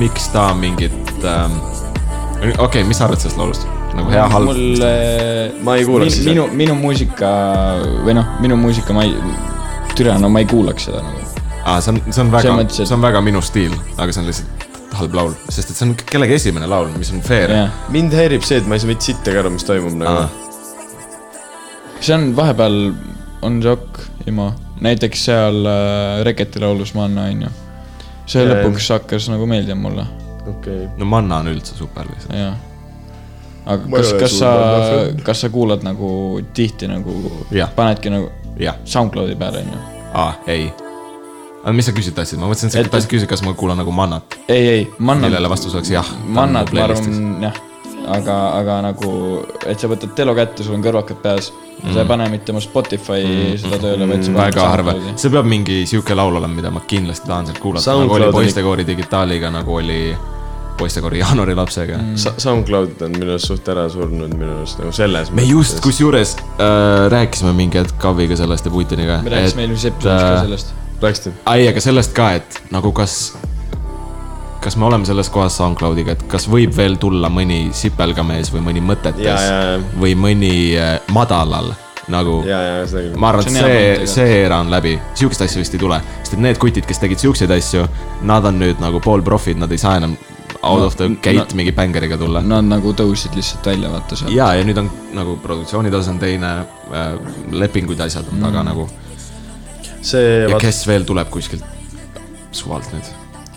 miks ta mingit ähm, , okei okay, , mis sa arvad sellest laulust ? nagu hea , halb mul . Ma ei min, kuulaks seda. minu , minu muusika või noh , minu muusika , ma ei , türa , no ma ei kuulaks seda nagu . aa , see on , see on väga Selles , mõttes, et- see on väga minu stiil , aga see on lihtsalt halb laul , sest et see on kellegi esimene laul , mis on fair . jah , mind häirib see , et ma ei saa mitte sittagi aru , mis toimub nagu . see on vahepeal , on rock , IMO , näiteks seal äh, Reketi laulus Manna , onju . see Jaa, lõpuks hakkas nagu meeldima mulle , okei . no Manna on üldse super lihtsalt . jah . aga Ma ei kas ole , kas suur sa Manna , fänn. kas sa kuulad nagu tihti nagu Jah. , panedki nagu jah , SoundCloudi peale , onju aa , ei . aga mis sa küsida tahtsid , ma mõtlesin , et Et- sa tahtsid küsida , kas ma kuulan nagu Mannat , ei , ei , Manna . millele vastus oleks jah . mannad , ma . arvan , jah , aga , aga nagu , et sa võtad telo kätte , sul on kõrvakad peas mm. , sa ei pane mitte oma Spotify mm. seda tööle , vaid sa paned väga harva SoundCloudi. , see peab mingi sihuke laul olema , mida ma kindlasti tahan sealt kuulata , nagu oli SoundCloud on ikka- poistekoori digitaaliga , nagu oli poistekoori jaanuarilapsega mm. . SoundCloud on minu arust suht ära surnud minu arust nagu selles me just , kusjuures äh, rääkisime mingi hetk Kaviga sellest ja Putiniga . me rääkisime eelmises episoodis ka . sellest . Läksid ? ai , aga sellest ka , et nagu kas , kas me oleme selles kohas SoundCloudiga , et kas võib veel tulla mõni sipelgamees või mõni ja , mõtetes ja , ja , või mõni äh, madalal nagu . ja , ja seda küll . ma arvan , See et on hea see , mõte ka. see era on läbi , sihukest asja vist ei tule , sest et need kutid , kes tegid siukseid asju , nad on nüüd nagu poolprofid , nad ei saa enam out No, of the n- gate mingi bängeriga tulla . Nad nagu tõusid lihtsalt välja , vaata seal . ja , ja nüüd on nagu produktsioonitase on teine äh, , lepingud ja asjad on taga Mm. nagu . see , ja vaata , kes veel tuleb kuskilt suvalt nüüd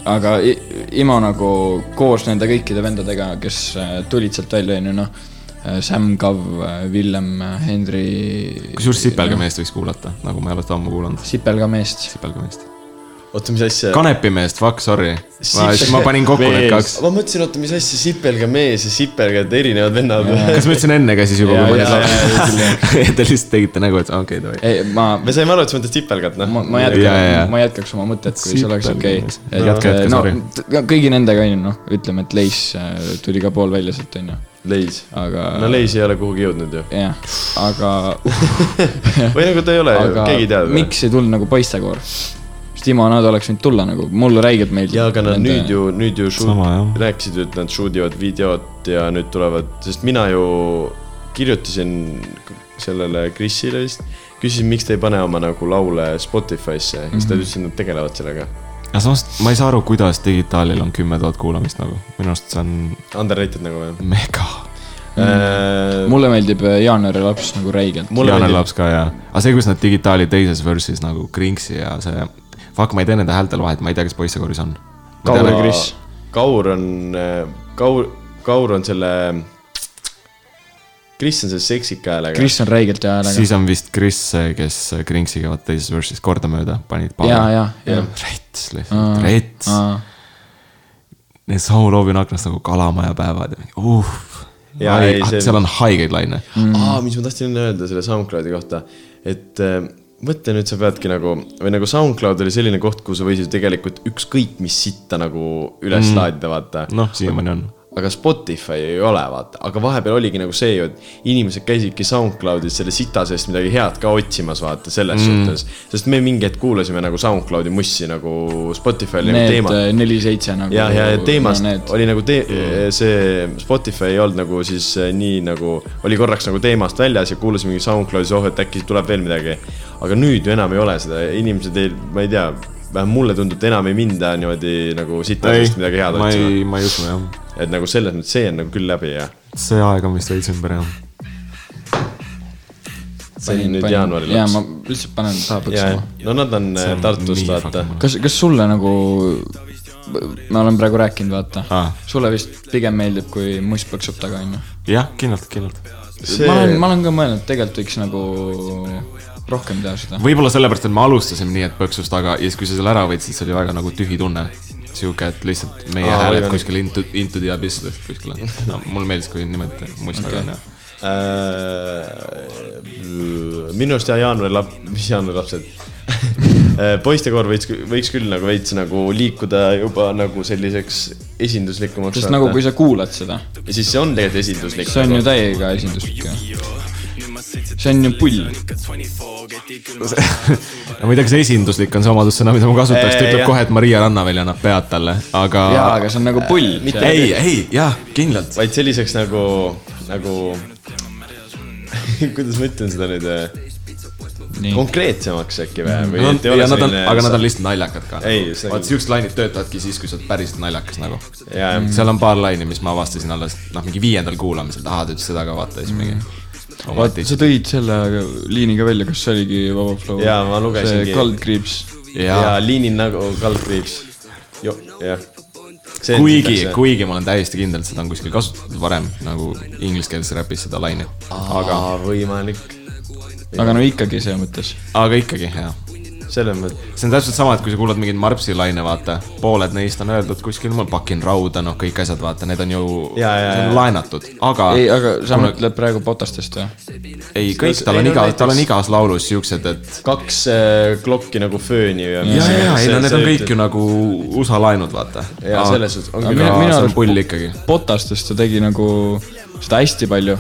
aga I- Imo nagu koos nende kõikide vendadega , kes äh, tulid sealt välja , onju , noh , Sam äh, Kav , Villem , Henri . kusjuures sipelgameest võiks kuulata , nagu ma ei ole seda ammu kuulanud . sipelgameest . sipelgameest . Äh. oota , mis asja ? kanepimeest , fuck sorry . ma Sipelga- , ma panin kokku need mees. kaks . ma mõtlesin , oota , mis asja , sipelga mees ja sipelgad , erinevad vennad . kas ma ütlesin enne ka siis juba , Jaa, kui ma jaa, jaa, jaa, nüüd laulsin ? Te lihtsalt tegite nägu , et okei , davai . ei , ma me saime aru , et sa mõtled sipelgat , noh . ma , ma Jaa, jaa. jätkan , ma jätkaks oma mõtet , kui see oleks okei Sipelgas. Et, Jätka, jätka, eh, no sorry. t- kõigi nendega on ju noh , ütleme , et Leis eh, tuli ka pool välja sealt on ju , leis . aga no leis ei ole kuhugi jõudnud ju . jah , aga , või nagu ta ei ole ju , aga keegi ei tea . miks ei tulnud nagu poistekoor ? sest Timo , nad oleks võinud tulla nagu , mulle räigelt meeldib . ja aga nad nüüd . ju , nüüd ju shoot- Sama, jah. rääkisid , et nad shoot ivad videot ja nüüd tulevad , sest mina ju kirjutasin sellele Krisile vist , küsisin , miks te ei pane oma nagu laule Spotify'sse ja siis Mhm. ta ütles , et nad tegelevad sellega . aga samas ma ei saa aru , kuidas digitaalil on kümme tuhat kuulamist nagu , minu arust see on Underrated nagu või ? mega . Mhm. mulle meeldib eh, Jaanuari laps nagu räigelt . Mulle Jaan meeldib- laps ka ja , aga see , kus nad digitaali teises versus nagu Kringsi ja see , fuck , ma ei tee nende häältel vahet , ma ei tea , kes poissekooris on . Kaur nagu ja Kris . Kaur on , Kaur , Kaur on selle , Kris on selle seksika häälega . Kris on räigelt hea häälega . siis on vist Kris see , kes Kringsiga vaata teises versus kordamööda panid . ja , ja , ja . rets lihtsalt , rets . Need samu loobi on aknast nagu kalamajapäevad ja mingi uh . Jaa, ei, see- Mm. seal on haigeid laine . aa , mis ma tahtsin enne öelda selle SoundCloudi kohta , et äh, mõtle nüüd sa peadki nagu , või nagu SoundCloud oli selline koht , kuhu sa võisid tegelikult ükskõik mis sitta nagu üles mm. laadida , vaata . noh , siiamaani on . aga Spotify ei ole , vaata , aga vahepeal oligi nagu see ju , et inimesed käisidki SoundCloudis selle sita seest midagi head ka otsimas , vaata selles mm. suhtes . sest me mingi hetk kuulasime nagu SoundCloudi mussi nagu Spotify'l nagu Need teema . äh, neli seitse nagu . ja , ja teemast no, oli . oli nagu te- , see Spotify ei olnud nagu siis eh, nii nagu , oli korraks nagu teemast väljas ja kuulasime mingi SoundCloudis , oh , et äkki tuleb veel midagi . aga nüüd ju enam ei ole seda , inimesed ei , ma ei tea , vähemalt mulle tundub , et enam ei minda niimoodi nagu sita ei seest , midagi head ma otsima . ei , ma ei usu jah . et nagu selles mõttes see on nagu küll läbi ja see aeg on vist veits ümber jah . see on nüüd jaanuari ja ma lõpus . lihtsalt panen saabuks ja yeah. , no nad on eh, on Tartust , nii vaata fucking- . kas , kas sulle nagu , ma olen praegu rääkinud , vaata Aa. sulle vist pigem meeldib , kui muss plõksub taga , onju . jah , kindlalt , kindlalt . ma olen , ma olen ka mõelnud , tegelikult võiks nagu rohkem teha seda . võib-olla sellepärast , et me alustasime nii , et põksus taga ja siis , kui sa selle ära võtsid , see oli väga nagu tühi tunne . sihuke , et lihtsalt meie Aa, hääled võimalik. kuskil into , into the abyss lihtsalt kuskile no, . mulle meeldis , kui nimelt must taga on jah . Äh, minu arust jah , jaanuari lap- , mis jaanuari lapsed poistekoor võiks , võiks küll nagu veits nagu liikuda juba nagu selliseks esinduslikumaks . sest nagu , kui sa kuulad seda , ja siis see on tegelikult esinduslik . nagu. see on ju täiega esinduslik ju . see on ju pull . ma ei tea , kas esinduslik on see omadussõna , mida ma kasutaks , ta Ei, ütleb jah. kohe , et Maria Rannaveli annab pead talle , aga . jaa , aga see on nagu Äh, pull . ei , ei , jah , kindlalt . vaid selliseks nagu , nagu kuidas ma ütlen seda nüüd , konkreetsemaks äkki või , või Nad on- et ei ole ja nad on , selline- aga nad on lihtsalt naljakad ka . Ei, just vot nagu- siuksed lainid töötavadki siis , kui sa oled päriselt naljakas nagu . Jaa, jah. seal on paar laini , mis ma avastasin alles , noh , mingi viiendal kuulamisel , aa , ta ütles seda ka , vaata , siis mingi . Oh, vaata , sa tõid selle liini ka välja , kas see oligi Vaba Flow ? Jaa, ma lugesingi. see kaldkriips . ja jaa , liinil nagu kaldkriips . jah . kuigi , kuigi ma olen täiesti kindel , et seda on kuskil kasutatud varem nagu ingliskeelses räpis seda laine . aga võimalik , aga no ikkagi see mõttes . aga ikkagi , jah . selles mõttes . see on täpselt sama , et kui sa kuulad mingeid Marpsi laine , vaata , pooled neist on öeldud kuskil , ma pakin rauda , noh , kõik asjad , vaata , need on ju Jaa, jaa, see on jaa. laenatud , Ah. aga ei , aga sa kuna- mõtled praegu Potastest või ? ei , kõik , Ei, tal on no iga , tal on näiteks- igas laulus siuksed , et kaks äh, klokki nagu fööni ja . ja , ja , ei no need on kõik ju . nagu USA laenud , vaata . ja selles suhtes on aga küll minu, minu- minu see on arust- pull ikkagi , Potastest ta tegi nagu seda hästi palju ,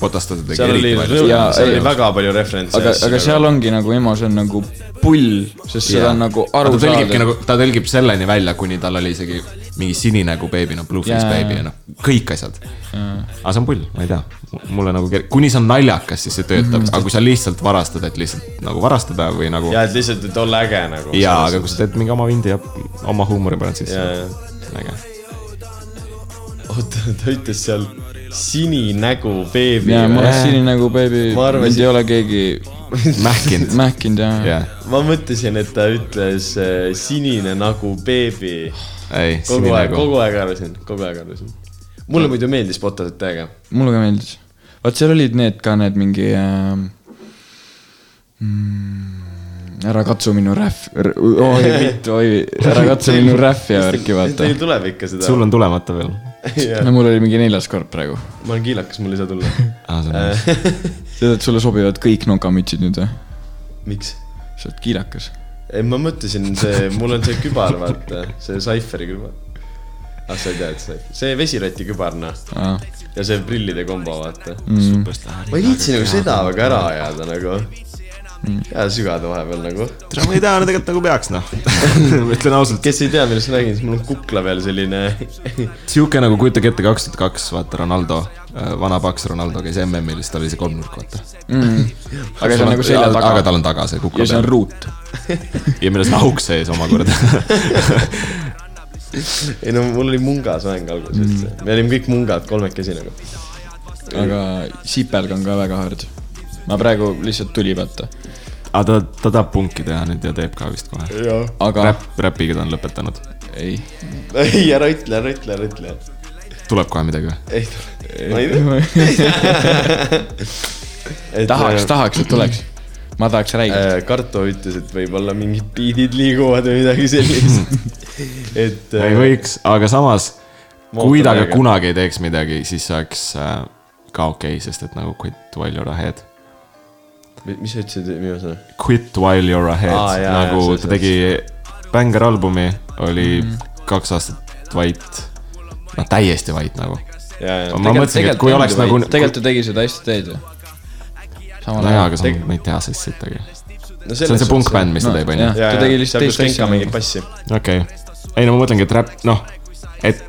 Potastad tegi seal oli eriti , palju . Jaa, seal ei. oli väga palju referentse . aga , aga seal ongi nagu emo , see on nagu pull , sest seda on nagu ta aru tõlgibki saada . nagu , ta tõlgib selleni välja , kuni tal oli isegi mingi sininägu beebi , noh , Blueface Jaa. beebi ja noh , kõik asjad . aga see on pull , ma ei tea , mulle nagu , kuni see on naljakas , siis see töötab , Mhm. aga kui sa lihtsalt varastad , et lihtsalt nagu varastada või nagu ja , et lihtsalt , et olla äge nagu . jaa , aga kui sa teed mingi oma vindi ja oma huumori paned sisse noh, Jaa, , äge . oota , ta ütles seal sininägu beebi . jaa , ma olen sinine nagu beebi , Ma arvasin- mind ei ole keegi mähkinud , mähkinud ja jah , ma mõtlesin , et ta ütles äh, sinine nagu beebi . ei , nagu- kogu aeg , sininägu . kogu aeg arvasin , kogu aeg arvasin . mulle muidu meeldis Potased täiega . mulle ka meeldis . vaat seal olid need ka need mingi äh, . ära katsu minu rähv , oi mitt , oi , ära katsu minu rähv ja värki vaata . Teil tuleb ikka seda . sul on tulemata veel . no mul oli mingi neljas kord praegu . ma olen kiilakas , mul ei saa tulla . aa , Ah, see on nice . tead , et sulle sobivad kõik nokamütsid nüüd või ? miks ? sa oled kiilakas . ei , ma mõtlesin , see , mul on see kübar , vaata , see Cypheri kübar . ah , sa ei tea , et see , see vesirati kübar , noh , ja see prillide kombo , vaata mm. . ma ei viitsi nagu seda väga ära ajada nagu mm. . ja sügada vahepeal nagu . tere , ma ei tea , no tegelikult nagu peaks , noh . ma ütlen ausalt , kes ei tea , millest ma räägin , siis mul on kukla peal selline sihuke nagu kujutage ette , kaks tuhat kaks , vaata Ronaldo , vana paks Ronaldo käis MM-il , siis tal oli see kolmnurk , vaata . aga see on nagu selja aga taga tal on taga see kukla ja see on peal ruut . ja milles on auk sees omakorda . ei no mul oli mungas mäng alguses üldse mm. . me olime kõik mungad kolmekesi nagu . aga Mm. sipelg on ka väga hard . ma praegu lihtsalt tuli vaata , aga ta , ta tahab punki teha nüüd ja teeb ka vist kohe . jah . aga Räpp , räpiga ta on lõpetanud . ei . ei , ära ütle , ära ütle , ära ütle . tuleb kohe midagi või ? ei , ma ei tea . tahaks , tahaks , et tuleks . ma tahaks räägida . Äh, Karto ütles , et võib-olla mingid biidid liiguvad või midagi sellist . et äh, ei võiks , aga samas , Ma kui ta ootan ka väga. kunagi ei teeks midagi , siis see oleks äh, ka okei okay, , sest et nagu quit while you are ahead . Mi- mis sa ütlesid minu sõna ? Quit while you are ahead Aa, jaa, nagu ja, jaa, see- Mhm. ta tegi bängaralbumi , oli mm. kaks aastat vait . no täiesti vait nagu . ja , ja . ma mõtlesingi , et kui oleks nagu . tegelikult ta tegi seda hästi teed ju . samal nojaa , ajal . aga sa teg- neid teha siis siit , aga . see on see punkbänd , mis ta teeb , onju . jah. Ta tegi lihtsalt teist asja asja . mingit nagu. bassi . okei okay. , ei no ma mõtlengi , et räpp , noh , et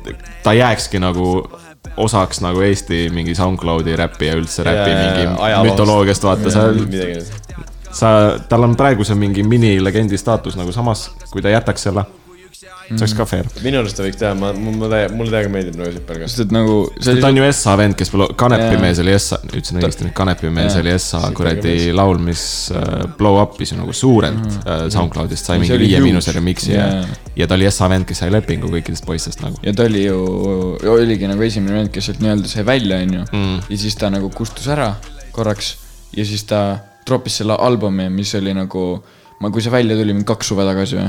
ta jääkski nagu osaks nagu Eesti mingi SoundCloudi räppi ja üldse räppi Jaa, jaa, yeah, ajaloost. mingi mütoloogiast vaata , sa , midagi . sa , tal on praegu see mingi minilegendi staatus nagu samas , kui ta jätaks selle mm. , see oleks Mhm. ka fair . minu arust ta võiks teha , ma , ma , mulle täiega meeldib nagu Sipel ka . sest et nagu see ta oli , on ju Essa vend , kes blo- , Kanepi Jaa. mees oli Essa , ütlesin õigesti nüüd , Kanepi mees Jaa. oli Essa kuradi laul , mis äh, blow up'is ju nagu suurelt mm. SoundCloudist , sai mingi Mhm. oli viie huge. miinuse remix'i ja Jaa. , ja ta oli Essa vend , kes sai lepingu kõikidest poistest nagu . ja ta oli ju , oligi nagu esimene vend , kes sealt nii-öelda sai välja , onju . Mm. ja siis ta nagu kustus ära korraks ja siis ta troppis selle albumi , mis oli nagu , ma , kui see välja tuli , mingi kaks suve tagasi või ?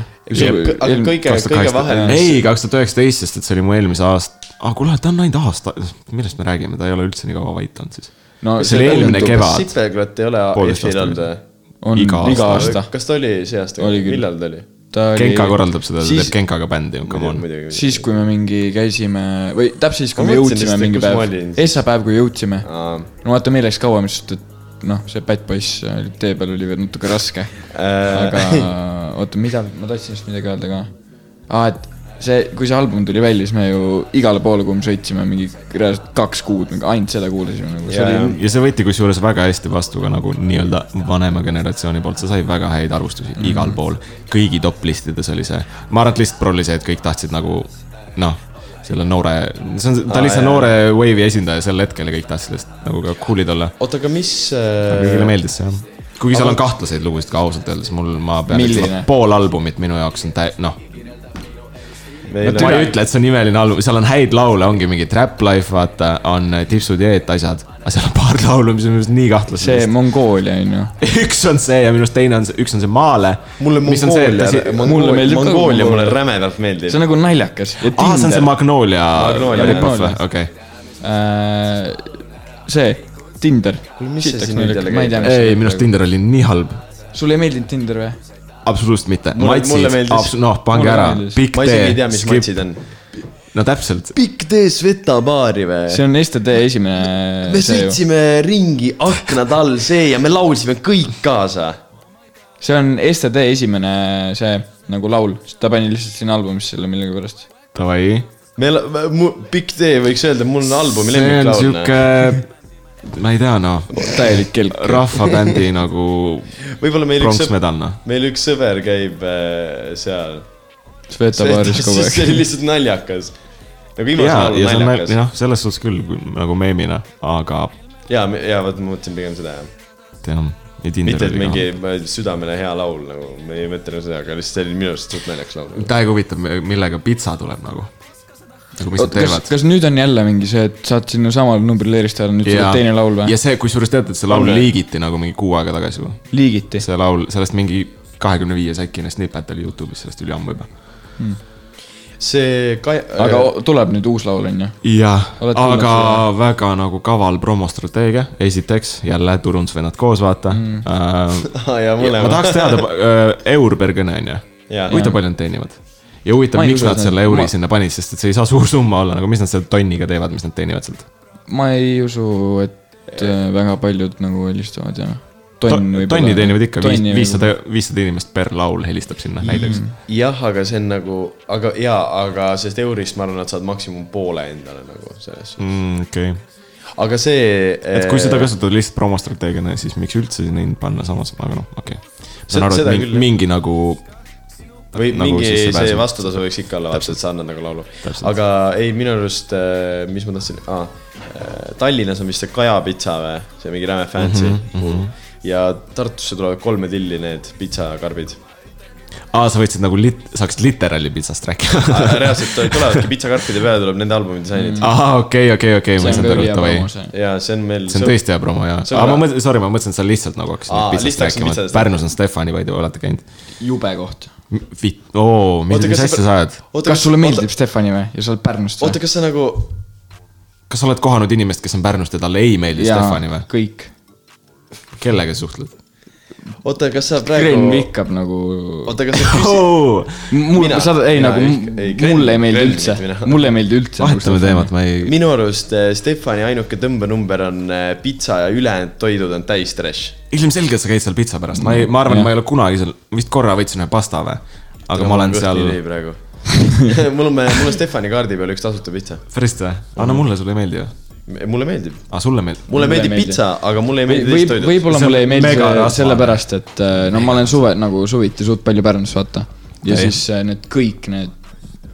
aga kõige , kõige vahel . ei , kaks tuhat üheksateist , sest et see oli mu eelmise aasta , ah kuule , ta on ainult aasta , millest me räägime , ta ei ole üldse nii kaua vait olnud siis . no see oli eelmine kevad , Sipelklat ei ole Poolteist EF-il aastat olnud või ? on iga iga, iga aasta. aasta . kas ta oli see aasta Oli , küll. millal ta oli ? Genka korraldab seda , ta siis- teeb Genkaga bändi , come on . siis , kui me mingi käisime või täpselt siis , kui Ma me mõtlesin jõudsime just, et mingi kus ma päev olin. , esmapäev , kui jõudsime . Aa. no vaata , meil läks kauem , sest et noh , see Bad Boys äh, oli tee peal oli veel natuke raske . Äh. aga oota , mida , ma tahtsin just midagi öelda ka . aa , et see , kui see album tuli välja , siis me ju igale poole , kuhu me sõitsime , mingi reaalselt kaks kuud , ainult seda kuulasime nagu , see Jaa, oli jaa. ja see võeti kusjuures väga hästi vastu ka nagu nii-öelda vanema generatsiooni poolt , see sai väga häid arvustusi mm. igal pool . kõigi top listides oli see , ma arvan , et listpro oli see , et kõik tahtsid nagu noh , selle noore , see on , ta oli see noore wave'i esindaja sel hetkel ja kõik tahtsid lihtsalt nagu ka cool'id olla . oota , aga mis , äh, kõigile meeldis see jah . kuigi seal on kahtlaseid lugusid ka ausalt öeldes , mul , ma pean Milline? ütlema , pool albumit minu jaoks on täi- , noh . meil ma ei on , ütle , et see on imeline album , seal on häid laule , ongi mingi Trap Life , vaata , on Tipsud ja eetasjad . aga seal on paar laulu , mis on minu arust nii see kahtlased . Mongoolia onju . üks on see ja minu arust teine on see , üks on see Maale . mulle mulle Mongoolia , meeldib ka Mongoolia mulle Mongoolia. rämedalt meeldib see on . nagu naljakas . aa , see on see Magnolia . Magnolia, rip-off või , Magnolia. okei . Äh, see , Tinder . mis see siin nüüd jälle käib? ei , minu arust Tinder oli nii halb . sulle ei meeldinud Tinder või ? absoluutselt mitte . Mulle- mulle matsid , meeldis. noh , pange Mulle ära meeldis. . Big ma isegi ei tea , D , mis Skip , matsid on . no täpselt . Big D Sveta baari või ? see on STD esimene . me . sõitsime ringi aknad all see ja me laulsime kõik kaasa . see on STD esimene see nagu laul , ta pani lihtsalt sinna albumisse selle millegipärast . Davai meil , Big D võiks öelda , mul on albumi noh. see on lemmiklaul . sihuke , ma ei tea noh , täielik kelk . rahvabändi nagu võib-olla meil üks sõber , pronksmedal noh . meil üks sõber käib äh, seal . Sveta baaris kogu see aeg . oli lihtsalt naljakas . nagu viimase ja , ja laulu see on nal- , naljakas . noh , selles suhtes küll kui- nagu meemina , aga ja , ja vot ma mõtlesin pigem seda jah . tean , ei Tinder mitte , et oli mingi ka . äh, südamele hea laul nagu , me ei mõtle seda , aga lihtsalt see oli minu arust suht naljakas laul . täiega huvitav , millega pitsa tuleb nagu . nagu mis nad kas , teevad . kas nüüd on jälle mingi see , et saad sinna samal numbrile helistada nüüd ja yeah. , teine laul või ja yes. ? see , kusjuures teate , et see laul On või? liigiti nagu mingi kuu aega tagasi juba . liigiti . see laul , sellest mingi kahekümne viie sekine snippet oli Youtube'is sellest üliammu juba . see Kai- . Äh. aga o- tuleb nüüd uus laul onju . jah , Oled kuulnud aga seda? väga nagu kaval promostrateegia , esiteks jälle turundusvennad koos , vaata mm. . ja ma mõlemad . tahaks teada , eur per kõne on ju , huvitav palju nad teenivad . ja huvitav , Ma ei miks usu, nad et selle nad- euri ma- sinna panid , sest et see ei saa suur summa olla , nagu mis nad selle tonniga teevad , mis nad teenivad sealt . ma ei usu , et äh, väga paljud nagu helistavad ja . tonni teenivad ikka , viissada , viissada inimest per laul helistab sinna näiteks . jah , aga see on nagu , aga ja , aga sest eurist ma arvan , nad saavad maksimum poole endale nagu selles mm. . okei , aga see . äh, et kui seda . kasutada lihtsalt promostrateegiana , siis miks üldse neid panna samas , aga noh , okei okay. . ma Se- saan aru , seda et mingi, küll, jah. mingi nagu või nagu nagu mingi sissepääsu. see vastutasu võiks ikka olla , vaata , et sa annad nagu laulu . aga ei , minu arust , mis ma tahtsin ah, , Tallinnas on vist see Kaja pitsa või , see mingi räme fancy Mhm, mm . -hmm. ja Tartusse tulevad kolme tilli need pitsakarbid . aa , sa võtsid nagu lit- , saaks literaali pitsast rääkida . reaalselt tulevadki pitsakarpide peale tuleb nende albumi disainid . aa , okei , okei , okei , ma ei saanud aru , davai Mm. ja see on meil . see on tõesti hea promo jaa , see on aga ma hea. mõtlesin , sorry , ma mõtlesin , et sa lihtsalt nagu hakkasid Aa, nüüd pitsast lihtsalt hakkasin rääkima , et pitsast Pärnus on Stefani , vaid olete käinud . jube koht . Vitt , oo , mis Oota, kas mis sa asja pär- sa ajad ? kas sulle meeldib ? Stefani või ja sa oled Pärnust oota , või ? kas sa nagu kas sa oled kohanud inimest , kes on Pärnust ja talle ei meeldi Stefani või ? kõik . kellega sa suhtled ? oota , kas sa Kren praegu , vihkab nagu . oota , kas sa küsid , Oh. mul mina- , sa , ei mina nagu vihk- ei, , Kren- mulle ei meeldi Kren üldse vihkan mina. , mulle ei meeldi üldse . nagu vahetame teemat , ma ei . minu arust eh, Stefani ainuke tõmbenumber on eh, pitsa ja ülejäänud toidud on täis trash . ilmselgelt sa käid seal pitsa pärast , ma ei , Mm. ma arvan , Jah. et ma ei ole kunagi seal , vist korra võtsin ühe pasta või . aga ma olen seal , praegu mul on , mul on Stefani kaardi peal üks tasuta pitsa . päriselt või ? anna Ah, mulle , sulle ei meeldi ju . mulle meeldib , aa , sulle meeldib ? mulle Mulle meeldib meeldib. pitsa , aga mulle ei meeldi võib teist , toidut . võib-olla See on mulle ei meeldi mega see rasvane. sellepärast , et äh, no ma olen suve nagu suviti suht palju Pärnus , vaata . ja siis äh, need kõik need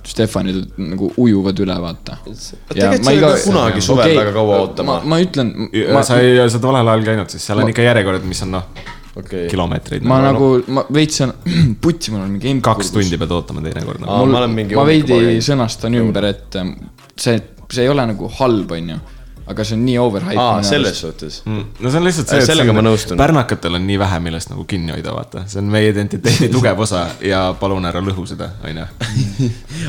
Stefanid nagu ujuvad üle , vaata . tegelikult sa ei pea kunagi suvel väga kaua ootama. ma ütlen , Ma... sa ei , sa oled valel ajal käinud , siis seal on ikka järjekorrad , mis on noh , okei , kilomeetreid . ma nagu , ma veits on , putsi , mul on mingi imp- . kaks tundi pead ootama teinekord Aa, nagu. . mul , ma ma, olen mingi ma veidi hommikupoolel. sõnastan ümber , et ähm, see , see ei ole nagu halb , onju . aga see on nii overhype . aa , selles suhtes . mm. no see on lihtsalt see , Sellega ma nõustun. pärnakatel on nii vähe , millest nagu kinni hoida , vaata , see on meie identiteedi tugev osa ja palun ära lõhu seda , onju .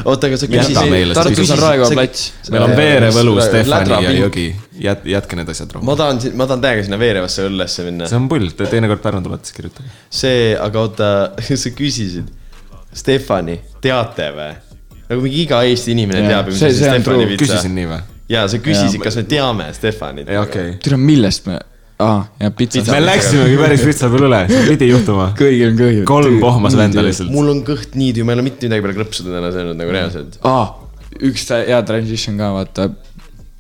oota , aga sa jäta meile küsisid . see Tartus on küsimus. Raekoja plats . meil Äh, on Veere , Võlu , Stefani ja Lädrapind. Jõgi , jät- , jätke need asjad rahu . ma tahan , ma tahan täiega sinna veerevasse õllesse minna . see on pull , te teinekord Pärnu tulete , siis kirjutage . see , aga oota , sa küsisid , Stefani , teate või ? nagu mingi iga Eesti inimene Jaa, teab , mis see- asi see on Stefani true. pitsa küsisin . nii või ? ja sa küsisid , kas me teame Stefanit . ei , okei . türa , millest me , aa , ja pitsa . me läksimegi päris pitsa peal üle , see pidi juhtuma . kõigil on kõhju . kolm pohmas venda . lihtsalt . mul on kõht nii tüü , ma ei ole mitte midagi peale krõpsuda täna söönud nagu reaalselt . aa , üks tä- hea transition ka , vaata .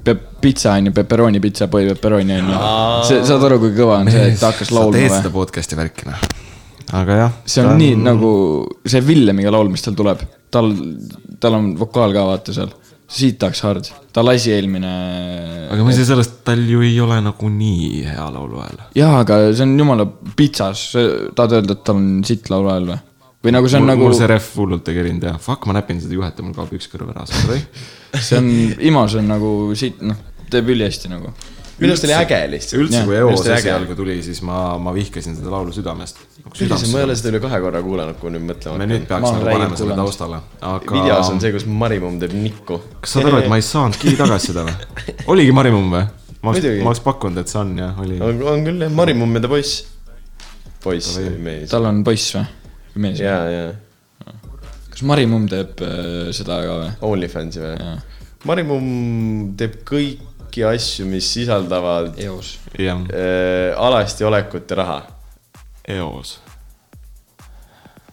peab pitsa onju , peperoni pitsa , poi peperoni onju . see , saad aru , kui kõva on see , et ta hakkas sa teed laulma seda või ? podcast'i värki , noh . aga jah . see on nii . nagu see Villemiga laul , mis tal tuleb , tal , tal on vokaal ka vaata seal . siit tahaks hard , ta lasi eelmine . aga ma ei saa sellest , tal ju ei ole nagunii hea laulu hääl . jaa , aga see on jumala pitsas , tahad öelda , et tal on sitt laulu ajal või ? või nagu see on mul, nagu mul , see ref hullult ei kerinud ja fuck , ma näpin seda juhet ja mul kaob üks kõrv ära , sorry . see on , Imas on nagu sitt , noh , teeb ülihästi nagu . minu arust oli äge lihtsalt . üldse , kui Jah, Nagu EOS just äge. esialgu tuli , siis ma , ma vihkasin seda laulu südamest . üldiselt ma ei ole me seda üle kahe korra kuulanud , kui nüüd mõtlema nüüd hakkan . peaks Ma olen nagu räigelt panema selle kuulanud. taustale , aga . videos on see , kus Marimumm teeb nikku . kas saad aru , et ma ei saanudki tagasi seda või ? oligi Marimumm või ? ma oleks , Muidugi. ma oleks pakkunud , et see on jah , oli . on , on küll jah , Marimumm ja ta poiss . poiss , mees . tal on poiss või ? või mees ? ja , ja kas Mari Mumm teeb äh, seda ka või ? Onlyfansi või Jaa. ? Marimumm teeb kõiki asju , mis sisaldavad äh, eos . jah , alasti olekut ja raha . eos .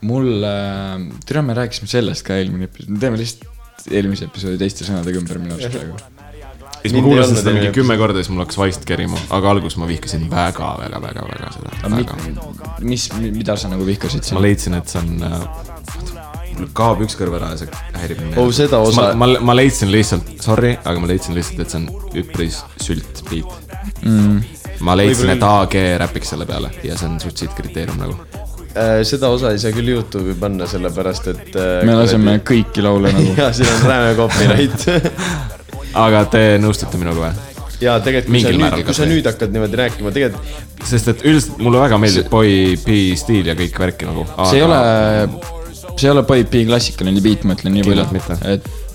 mul äh, , tere , me rääkisime sellest ka eelmine episood , me teeme lihtsalt eelmise episoodi teiste sõnadega ümber minu arust praegu . siis Mind ma ei kuulasin olnud seda enne mingi episoodi. kümme korda , siis mul hakkas vaist kerima , aga alguses ma vihkasin väga , väga , väga , väga seda . väga . mis , mida sa nagu vihkasid ma siin ? leidsin , et see on äh, mul kaob üks kõrv ära ja see häirib mind . Oh, seda osa- ma, ma , ma leidsin lihtsalt , sorry , aga ma leidsin lihtsalt , et see on üpris sült beat mm. . ma leidsin , et AG räpiks selle peale ja see on suht siit kriteerium nagu . Äh, seda osa ei saa küll Youtube'i panna , sellepärast et . me laseme . kõiki laule nagu . ja siin on rääme copyright aga te nõustute minuga või ? ja tegelikult , kui sa Mingil määral nüüd , kui kas sa või? nüüd hakkad niimoodi rääkima , tegelikult sest et üldiselt mulle väga meeldib Boy B stiil ja kõik värki nagu . see ei ole , see ei ole Boy B klassikaline beat , ma ütlen nii palju Kindlalt .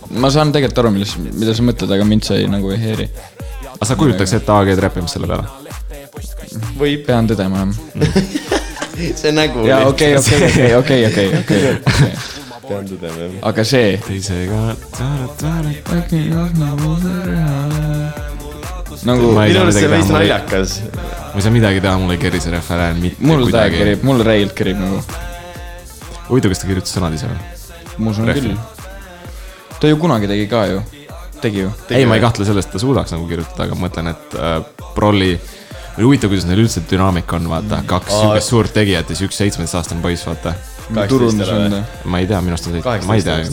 et ma saan tegelikult aru , millest , mida sa mõtled , aga mind see ei, nagu ei häiri . aga sa kujutaks ette AG-d räppimas selle peale ? võib pean tõdema jah . see nägu . jaa , okei , okei , okei , okei , okei , okei . pean tõdema jah . aga see teisega . nagu Ma ei minu saa midagi teha, arust see on veits mul ei- naljakas . ma ei saa midagi teha , mul ei keri see referään mitte mul täiega kuidagi . kerib , mul reilt kerib nagu , huvitav , kas ta kirjutas sõnad ise või ? ma usun Rehvi. küll . ta ju kunagi tegi ka ju , tegi ju . ei , ma ei kahtle selles , et ta suudaks nagu kirjutada , aga ma mõtlen , et äh, Prolli , või huvitav , kuidas neil üldse dünaamika on , vaata , kaks siukest suurt tegijat ja siis üks seitsmeteistaastane poiss , vaata . turundus on ta . ma ei tea , minu arust on see , ma ei tea ,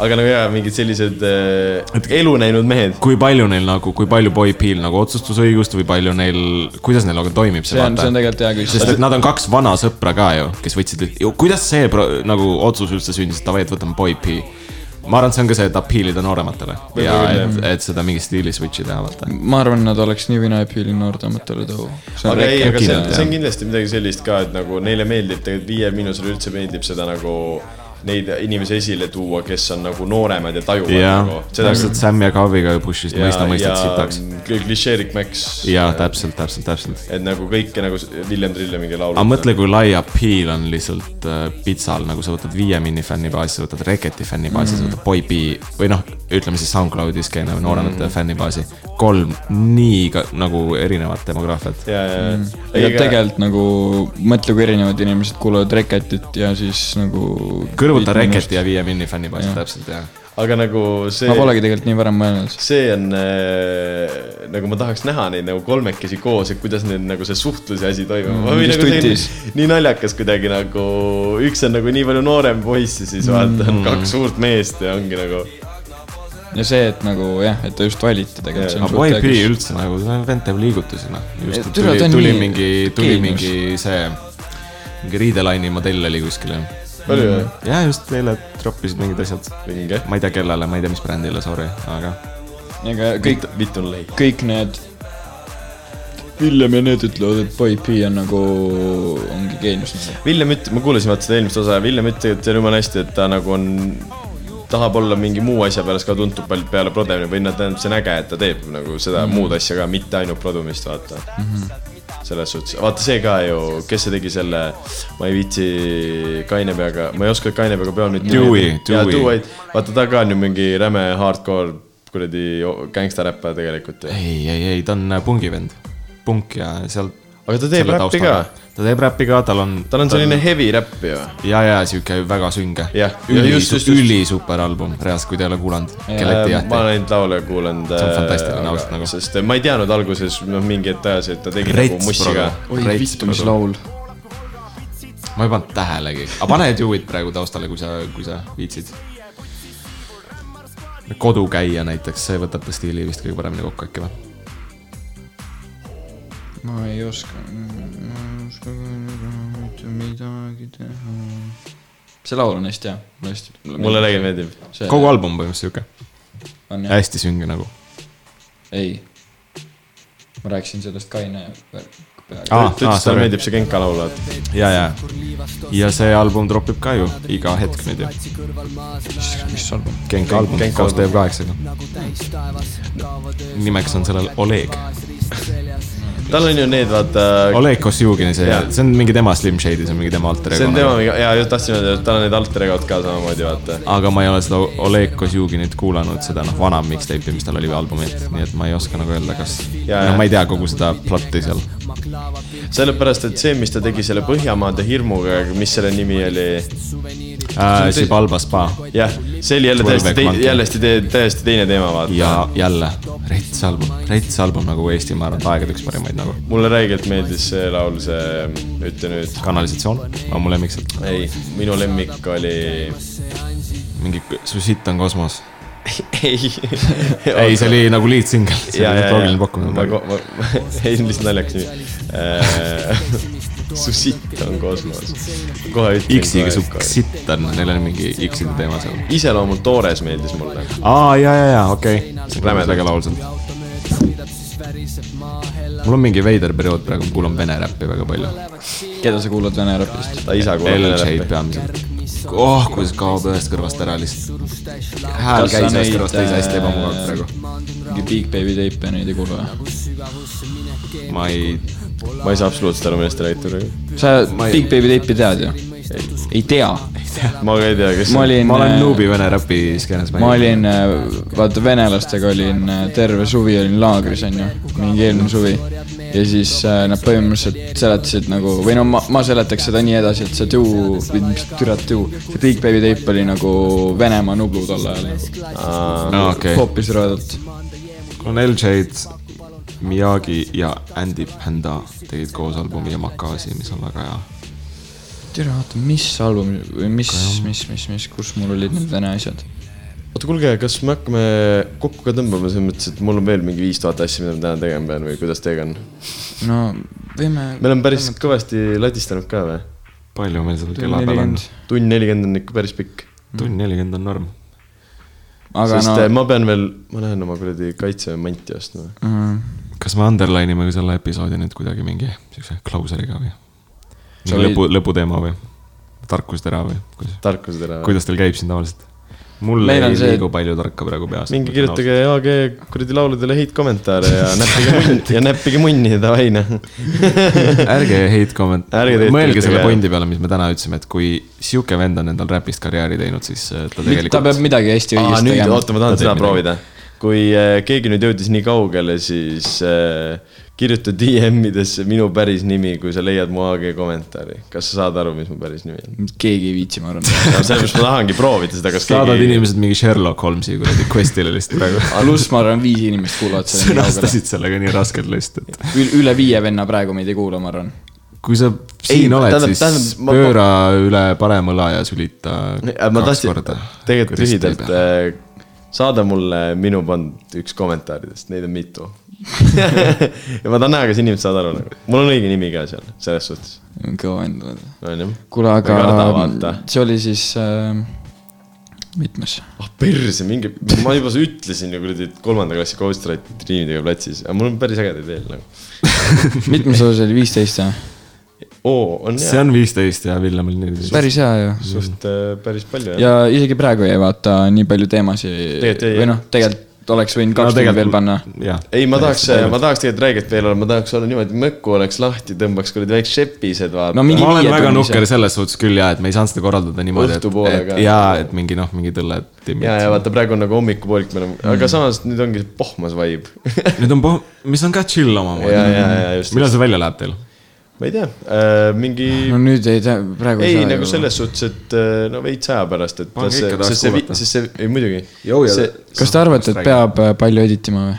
aga nagu jaa , mingid sellised äh, elu näinud mehed . kui palju neil nagu , kui palju Boy Peel nagu otsustusõigust või palju neil , kuidas neil nagu toimib see , see on , see on vaata . tegelikult hea sest et küsimus . nad on kaks vana sõpra ka ju , kes võtsid , kuidas see pro, nagu otsus üldse sündis , et davai , et võtame Boy P . ma arvan , et see on ka see , et appeal ida noorematele ja et , et seda mingi stiili switch'i teha , vaata . ma arvan , nad oleks nii või naa appeal'i noortematele too . aga ei , aga see on , kindlalt, see on kindlasti midagi sellist ka , et nagu neile meeldib , tegelikult Viie Miinusele üldse meeldib seda nagu neid inimesi esile tuua , kes on nagu nooremad ja tajuvad jah nagu ,. täpselt Sam ja Kaviga ju push'ist mõista mõistet sitaks . klišeerik Max . jaa ,. täpselt , täpselt , täpselt . et nagu kõike nagu s- William Trille mingi laul . aga mõtle , kui lai appeal on lihtsalt äh, pitsal , nagu sa võtad Viie Mini fännibaasi , sa võtad Reketi fännibaasi mm. , sa võtad Boy B või noh , ütleme siis SoundCloudi skeene või nooremate mm. fännibaasi . kolm nii ka, nagu erinevat demograafiat . ja , ja , Mm. ja ja . tegelikult nagu mõtle , kui erinevad inimesed kuulavad Reketit ja siis nagu . kõrvuta Reketi ja Viie Mini fännibaasi , täpselt jah . aga nagu see ma . polegi tegelikult nii varem mõelnud . see on äh, nagu ma tahaks näha neid nagu kolmekesi koos , et kuidas neil nagu see suhtluse asi toimub mm, . kes Nagu see on tutis. nii- nii naljakas kuidagi nagu üks on nagu nii palju noorem poiss ja siis vaata on kaks suurt meest ja ongi nagu . ja see , et nagu jah , et ta just valiti tegelikult , see aga on Boy suht B äge . üldse nagu , see on vend teeb liigutusi noh . just , et Türa, tuli ta , on tuli nii mingi , tuli geenius. mingi see , mingi riidelaini modell oli kuskil jah . oli või ? jaa , just eile troppisid mingid asjad . vinge . ma ei tea , kellele , ma ei tea , mis brändile , sorry , aga ega kõik , vitt on leid . kõik need . Villem ja need ütlevad , et Boy B on nagu , ongi geenius . nagu. Villem üt- , ma kuulasin vaata seda eelmist osa ja Villem ütleb , et see on jumala hästi , et ta nagu on , tahab olla mingi muu asja pärast ka tuntud palju peale prodemine või noh , tähendab , see on äge , et ta teeb nagu seda mm. muud asja ka , mitte ainult produmist , vaata mm . -hmm. selles suhtes , vaata see ka ju , kes see tegi selle , ma ei viitsi kaine peaga , ma ei oska kaine peaga peal nüüd . Dewey, jaa , Dewey. Dewey , vaata ta ka on ju mingi räme hardcore kuradi gängstaräppaja tegelikult ju . ei , ei , ei , ta on äh, pungivend , punk ja seal . Aga ta teeb räppi ta teeb räppi ka , tal on . tal on selline . heavy räpp ju . ja , ja sihuke väga sünge . Jah, ja üli just, just, , just. ülisuper album , reaalselt , kui te ei ole kuulanud . kelleti Äh, jah ma . olen neid laule kuulanud . see on fantastiline ausalt nagu. sest äh, ma ei teadnud alguses , noh , mingi hetk ajas , et ta tegi Rets, nagu Rets , mussi ka . oi , vittu , mis laul . ma ei pannud tähelegi , aga pane Dewey't praegu taustale , kui sa , kui sa viitsid . kodukäija näiteks , see võtab ta stiili vist kõige paremini kokku äkki või ? ma ei oska , ma ei oska mitte midagi teha . see laul on hästi hea , mulle hästi . mulle väga meeldib . kogu album põhimõtteliselt sihuke , on jah , hästi sünge nagu . ei . ma rääkisin sellest kaine peaga . aa , ta aa , ütles , talle Ah, sorry , meeldib see Genka laul , vaata . ja , ja . ja see album tropib ka ju iga hetk nüüd ju mis album ? Genk album Genk koos album. TF8-ga . nimeks on sellel Oleg . tal on ju need , vaata . Oleg Kosjugin , see Jaa. , see on mingi tema Slim Shady , see on mingi tema alter see on ego nagu. tema . mingi , jaa , just tahtsin öelda , et tal on need alter egod ka samamoodi , vaata . aga ma ei ole seda Oleg Kosjuginit kuulanud , seda noh , vana mixtape'i , mis tal oli või albumilt , nii et ma ei oska nagu öelda , kas , Jaa, no jaa. ma ei tea kogu seda plotti seal . Äh, sellepärast , et see , mis ta tegi selle Põhjamaade hirmuga , mis selle nimi oli Äh, Sibalba spa jah , see oli jälle Throwback täiesti Monkey. tei- , jällesti tei- , täiesti teine teema , vaata . ja jälle rets album , rets album nagu Eesti , ma arvan , et aegade üks parimaid nagu . mulle räigelt meeldis see laul , see , ütle nüüd . kanalisatsioon on mu lemmik sealt , ei , minu lemmik oli mingi k- Su sitt on kosmos . ei . ei , see oli nagu lead single , see ja , oli ja , ja loogiline , ma , pakkumine . Nagu ma , ei lihtsalt naljakas nimi . su sitt on kosmos . kohe ütlen . X-iga su . sitt on , neil on mingi X-ide teema seal . iseloomult Toores meeldis mulle . aa , ja , ja , ja , okei okay. . Rämedalt. väga laulsalt . mul on mingi veider periood praegu , ma kuulan vene räppi väga palju . keda sa kuulad vene räpist ? ta isa L-J-d kuulab . peamiselt . oh , kuidas kaob ühest kõrvast ära lihtsalt . hääl Kas sa käis ühest neid, kõrvast teise hästi äh, ebamugavalt praegu . mingi Big Baby teipe ja neid ei kuule või ? ma ei , ma ei saa absoluutselt aru , millest te räägite praegu . sa Big Baby teipi tead ju ? ei tea . ma ka ei tea , kes . ma olin . ma olen noobi vene räpi skeenes . ma . olin , vaata venelastega olin äh, terve suvi olin laagris onju , mingi eelmine suvi . ja siis äh, nad põhimõtteliselt seletasid nagu või no ma , ma seletaks seda nii edasi , et see tuu , või mis türat tuu , see Big Baby teip oli nagu Venemaa Nublu tol ajal nagu aa , okei . hoopis rõõdalt . on LJ-d , Miyagi ja Andy Panda tegid koos albumi Yamakasi , mis on väga hea . türa , oota , mis album või mis , mis , mis , mis , kus mul olid need vene asjad ? oota , kuulge , kas me hakkame kokku ka tõmbama selles mõttes , et mul on veel mingi viis tuhat asja , mida ma täna tegema pean või kuidas teiega on ? no võime . me oleme päris kõvasti ladistanud ka või ? palju meil seda kella peal on ? tund nelikümmend on ikka päris pikk . Mhm. tund nelikümmend on norm . aga sest no no. , ma pean veel , ma lähen oma kuradi kaitsemanti ostma . mm, kas me underline ime ka selle episoodi nüüd kuidagi mingi siukse klauser'iga või ? Sa võid- mingi lõpu , lõputeema või ? tarkustera või kuidas , tarkusetera . kuidas teil käib siin tavaliselt ? mul Meil Meil on ei see- liigu palju tarka praegu peas . minge kirjutage AG kuradi lauludele häid kommentaare ja näppige munni ja näppige munni davai noh . ärge hate comment Ärge tegelikult , mõelge selle kirjutage, pointi peale , mis me täna ütlesime , et kui sihuke vend on endal räpist karjääri teinud , siis äh, ta ta peab tegelikult . midagi hästi aa õigesti nüüd , tegema . oota , ma tahan Ta seda teeb proovida . kui äh, keegi nüüd jõudis nii kaugele , siis äh, kirjuta DM-idesse minu päris nimi , kui sa leiad mu AG kommentaari . kas sa saad aru , mis mu päris nimi on ? keegi ei viitsi , ma arvan . no sellepärast ma tahangi proovida seda , kas saadad keegi . inimesed mingi Sherlock Holmesi kuradi quest'ile lihtsalt praegu . pluss ma arvan , viis inimest kuulavad selle nii kaugele . sõnastasid sellega nii raskelt lihtsalt , et Ül- , üle viie venna praegu meid ei kuula , ma arvan . kui sa siin ei, Ei, oled , tähendab- siis tähendab, tähendab, ma- ma, pööra ma... üle parem õla ja sülita Äh, ma kaks tahtsin korda ., tegelikult kui risti ei lühidalt äh, pea. , saada mulle minu pandud üks kommentaaridest , neid on mitu . ja ma tahan näha , kas inimesed saavad aru nagu , mul on õige nimi ka seal , selles suhtes , kõva vend . onju . kuule , Ma ei karda aga vaata. see oli siis äh, mitmes ? ah perse , mingi , ma juba ütlesin ju kuradi et kolmanda klassi ghostwriter'i triinidega platsis , aga mul on päris ägedaid veel nagu . mitmes osa see oli , viisteist või ? oo , on see hea , on viisteist ja Villemil nii . päris hea ju . suht äh, päris palju jah . ja isegi praegu jäi vaata nii palju teemasid Tegelikult jäi, või noh jah. , tegelikult oleks võinud kaks tundi veel panna .. jah , ei , ma tahaks , ma tahaks tegelikult rääget veel olla , ma tahaks olla niimoodi , mökku oleks lahti , tõmbaks kuradi väiksed šepised vaata No mingi- ma olen viie väga tunni nukker sees. selles suhtes küll ja , et me ei saanud seda korraldada niimoodi , et Õhtupoole , et ka. ja , et mingi noh , mingid õlletimmid . ja , ja vaata , praegu on nagu hommikupoolik , me oleme , aga samas nüüd ongi see pohmas vibe . nüüd on poh- , mis on ka chill ja , ja , omamoodi . ja just . millal see välja läheb teil ? ma ei tea äh, , mingi Ah, no nüüd ei tea , praegu ei , nagu . selles suttes , et äh, no veits aja pärast , et Pange ikka tahaks sest see , kuulata. sest see , ei muidugi , Jõu ja- see kas te arvate , et peab äh, palju editima või ?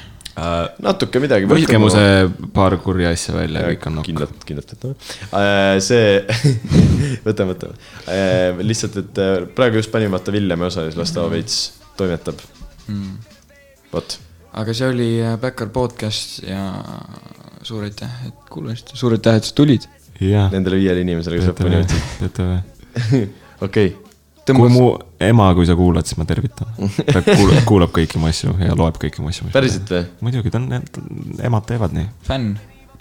natuke midagi . võtke mu see paar kurja asja välja ja kõik on nokk . kindlalt , kindlalt võtame . see , võtame , võtame . lihtsalt , et äh, praegu just panin vaata Villemi osa ja siis las ta veits toimetab . vot , aga see oli äh, Backyard podcast ja suur aitäh , et kuulasite , suur aitäh , et sa tulid . jah , nendele viiele inimesele , kes lõpuni teate võtsid . või ? okei , kui mu ema , kui sa kuulad , siis ma tervitan . ta kuulab, kuulab kõiki mu asju ja loeb kõiki mu asju . päriselt või ? muidugi , ta on , emad teevad nii . fänn .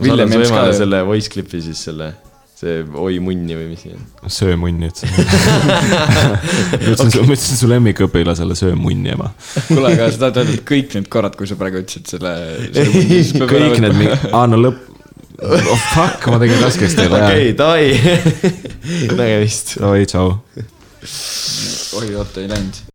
ma saadan su emale selle voice clip'i siis selle , see oi munni või mis see on . söö munni , ütlesin . ma ütlesin , ma ütlesin su lemmikõpilasele , söö munni , ema . kuule , aga sa tahad öelda , et kõik need korrad , kui sa praegu ütlesid selle, selle . kõik need mingi , aa no lõpp , oh fuck , ma tegin raskeks teile , okei , davai , nägemist . jah . oi , tšau . oi , oota , ei läinud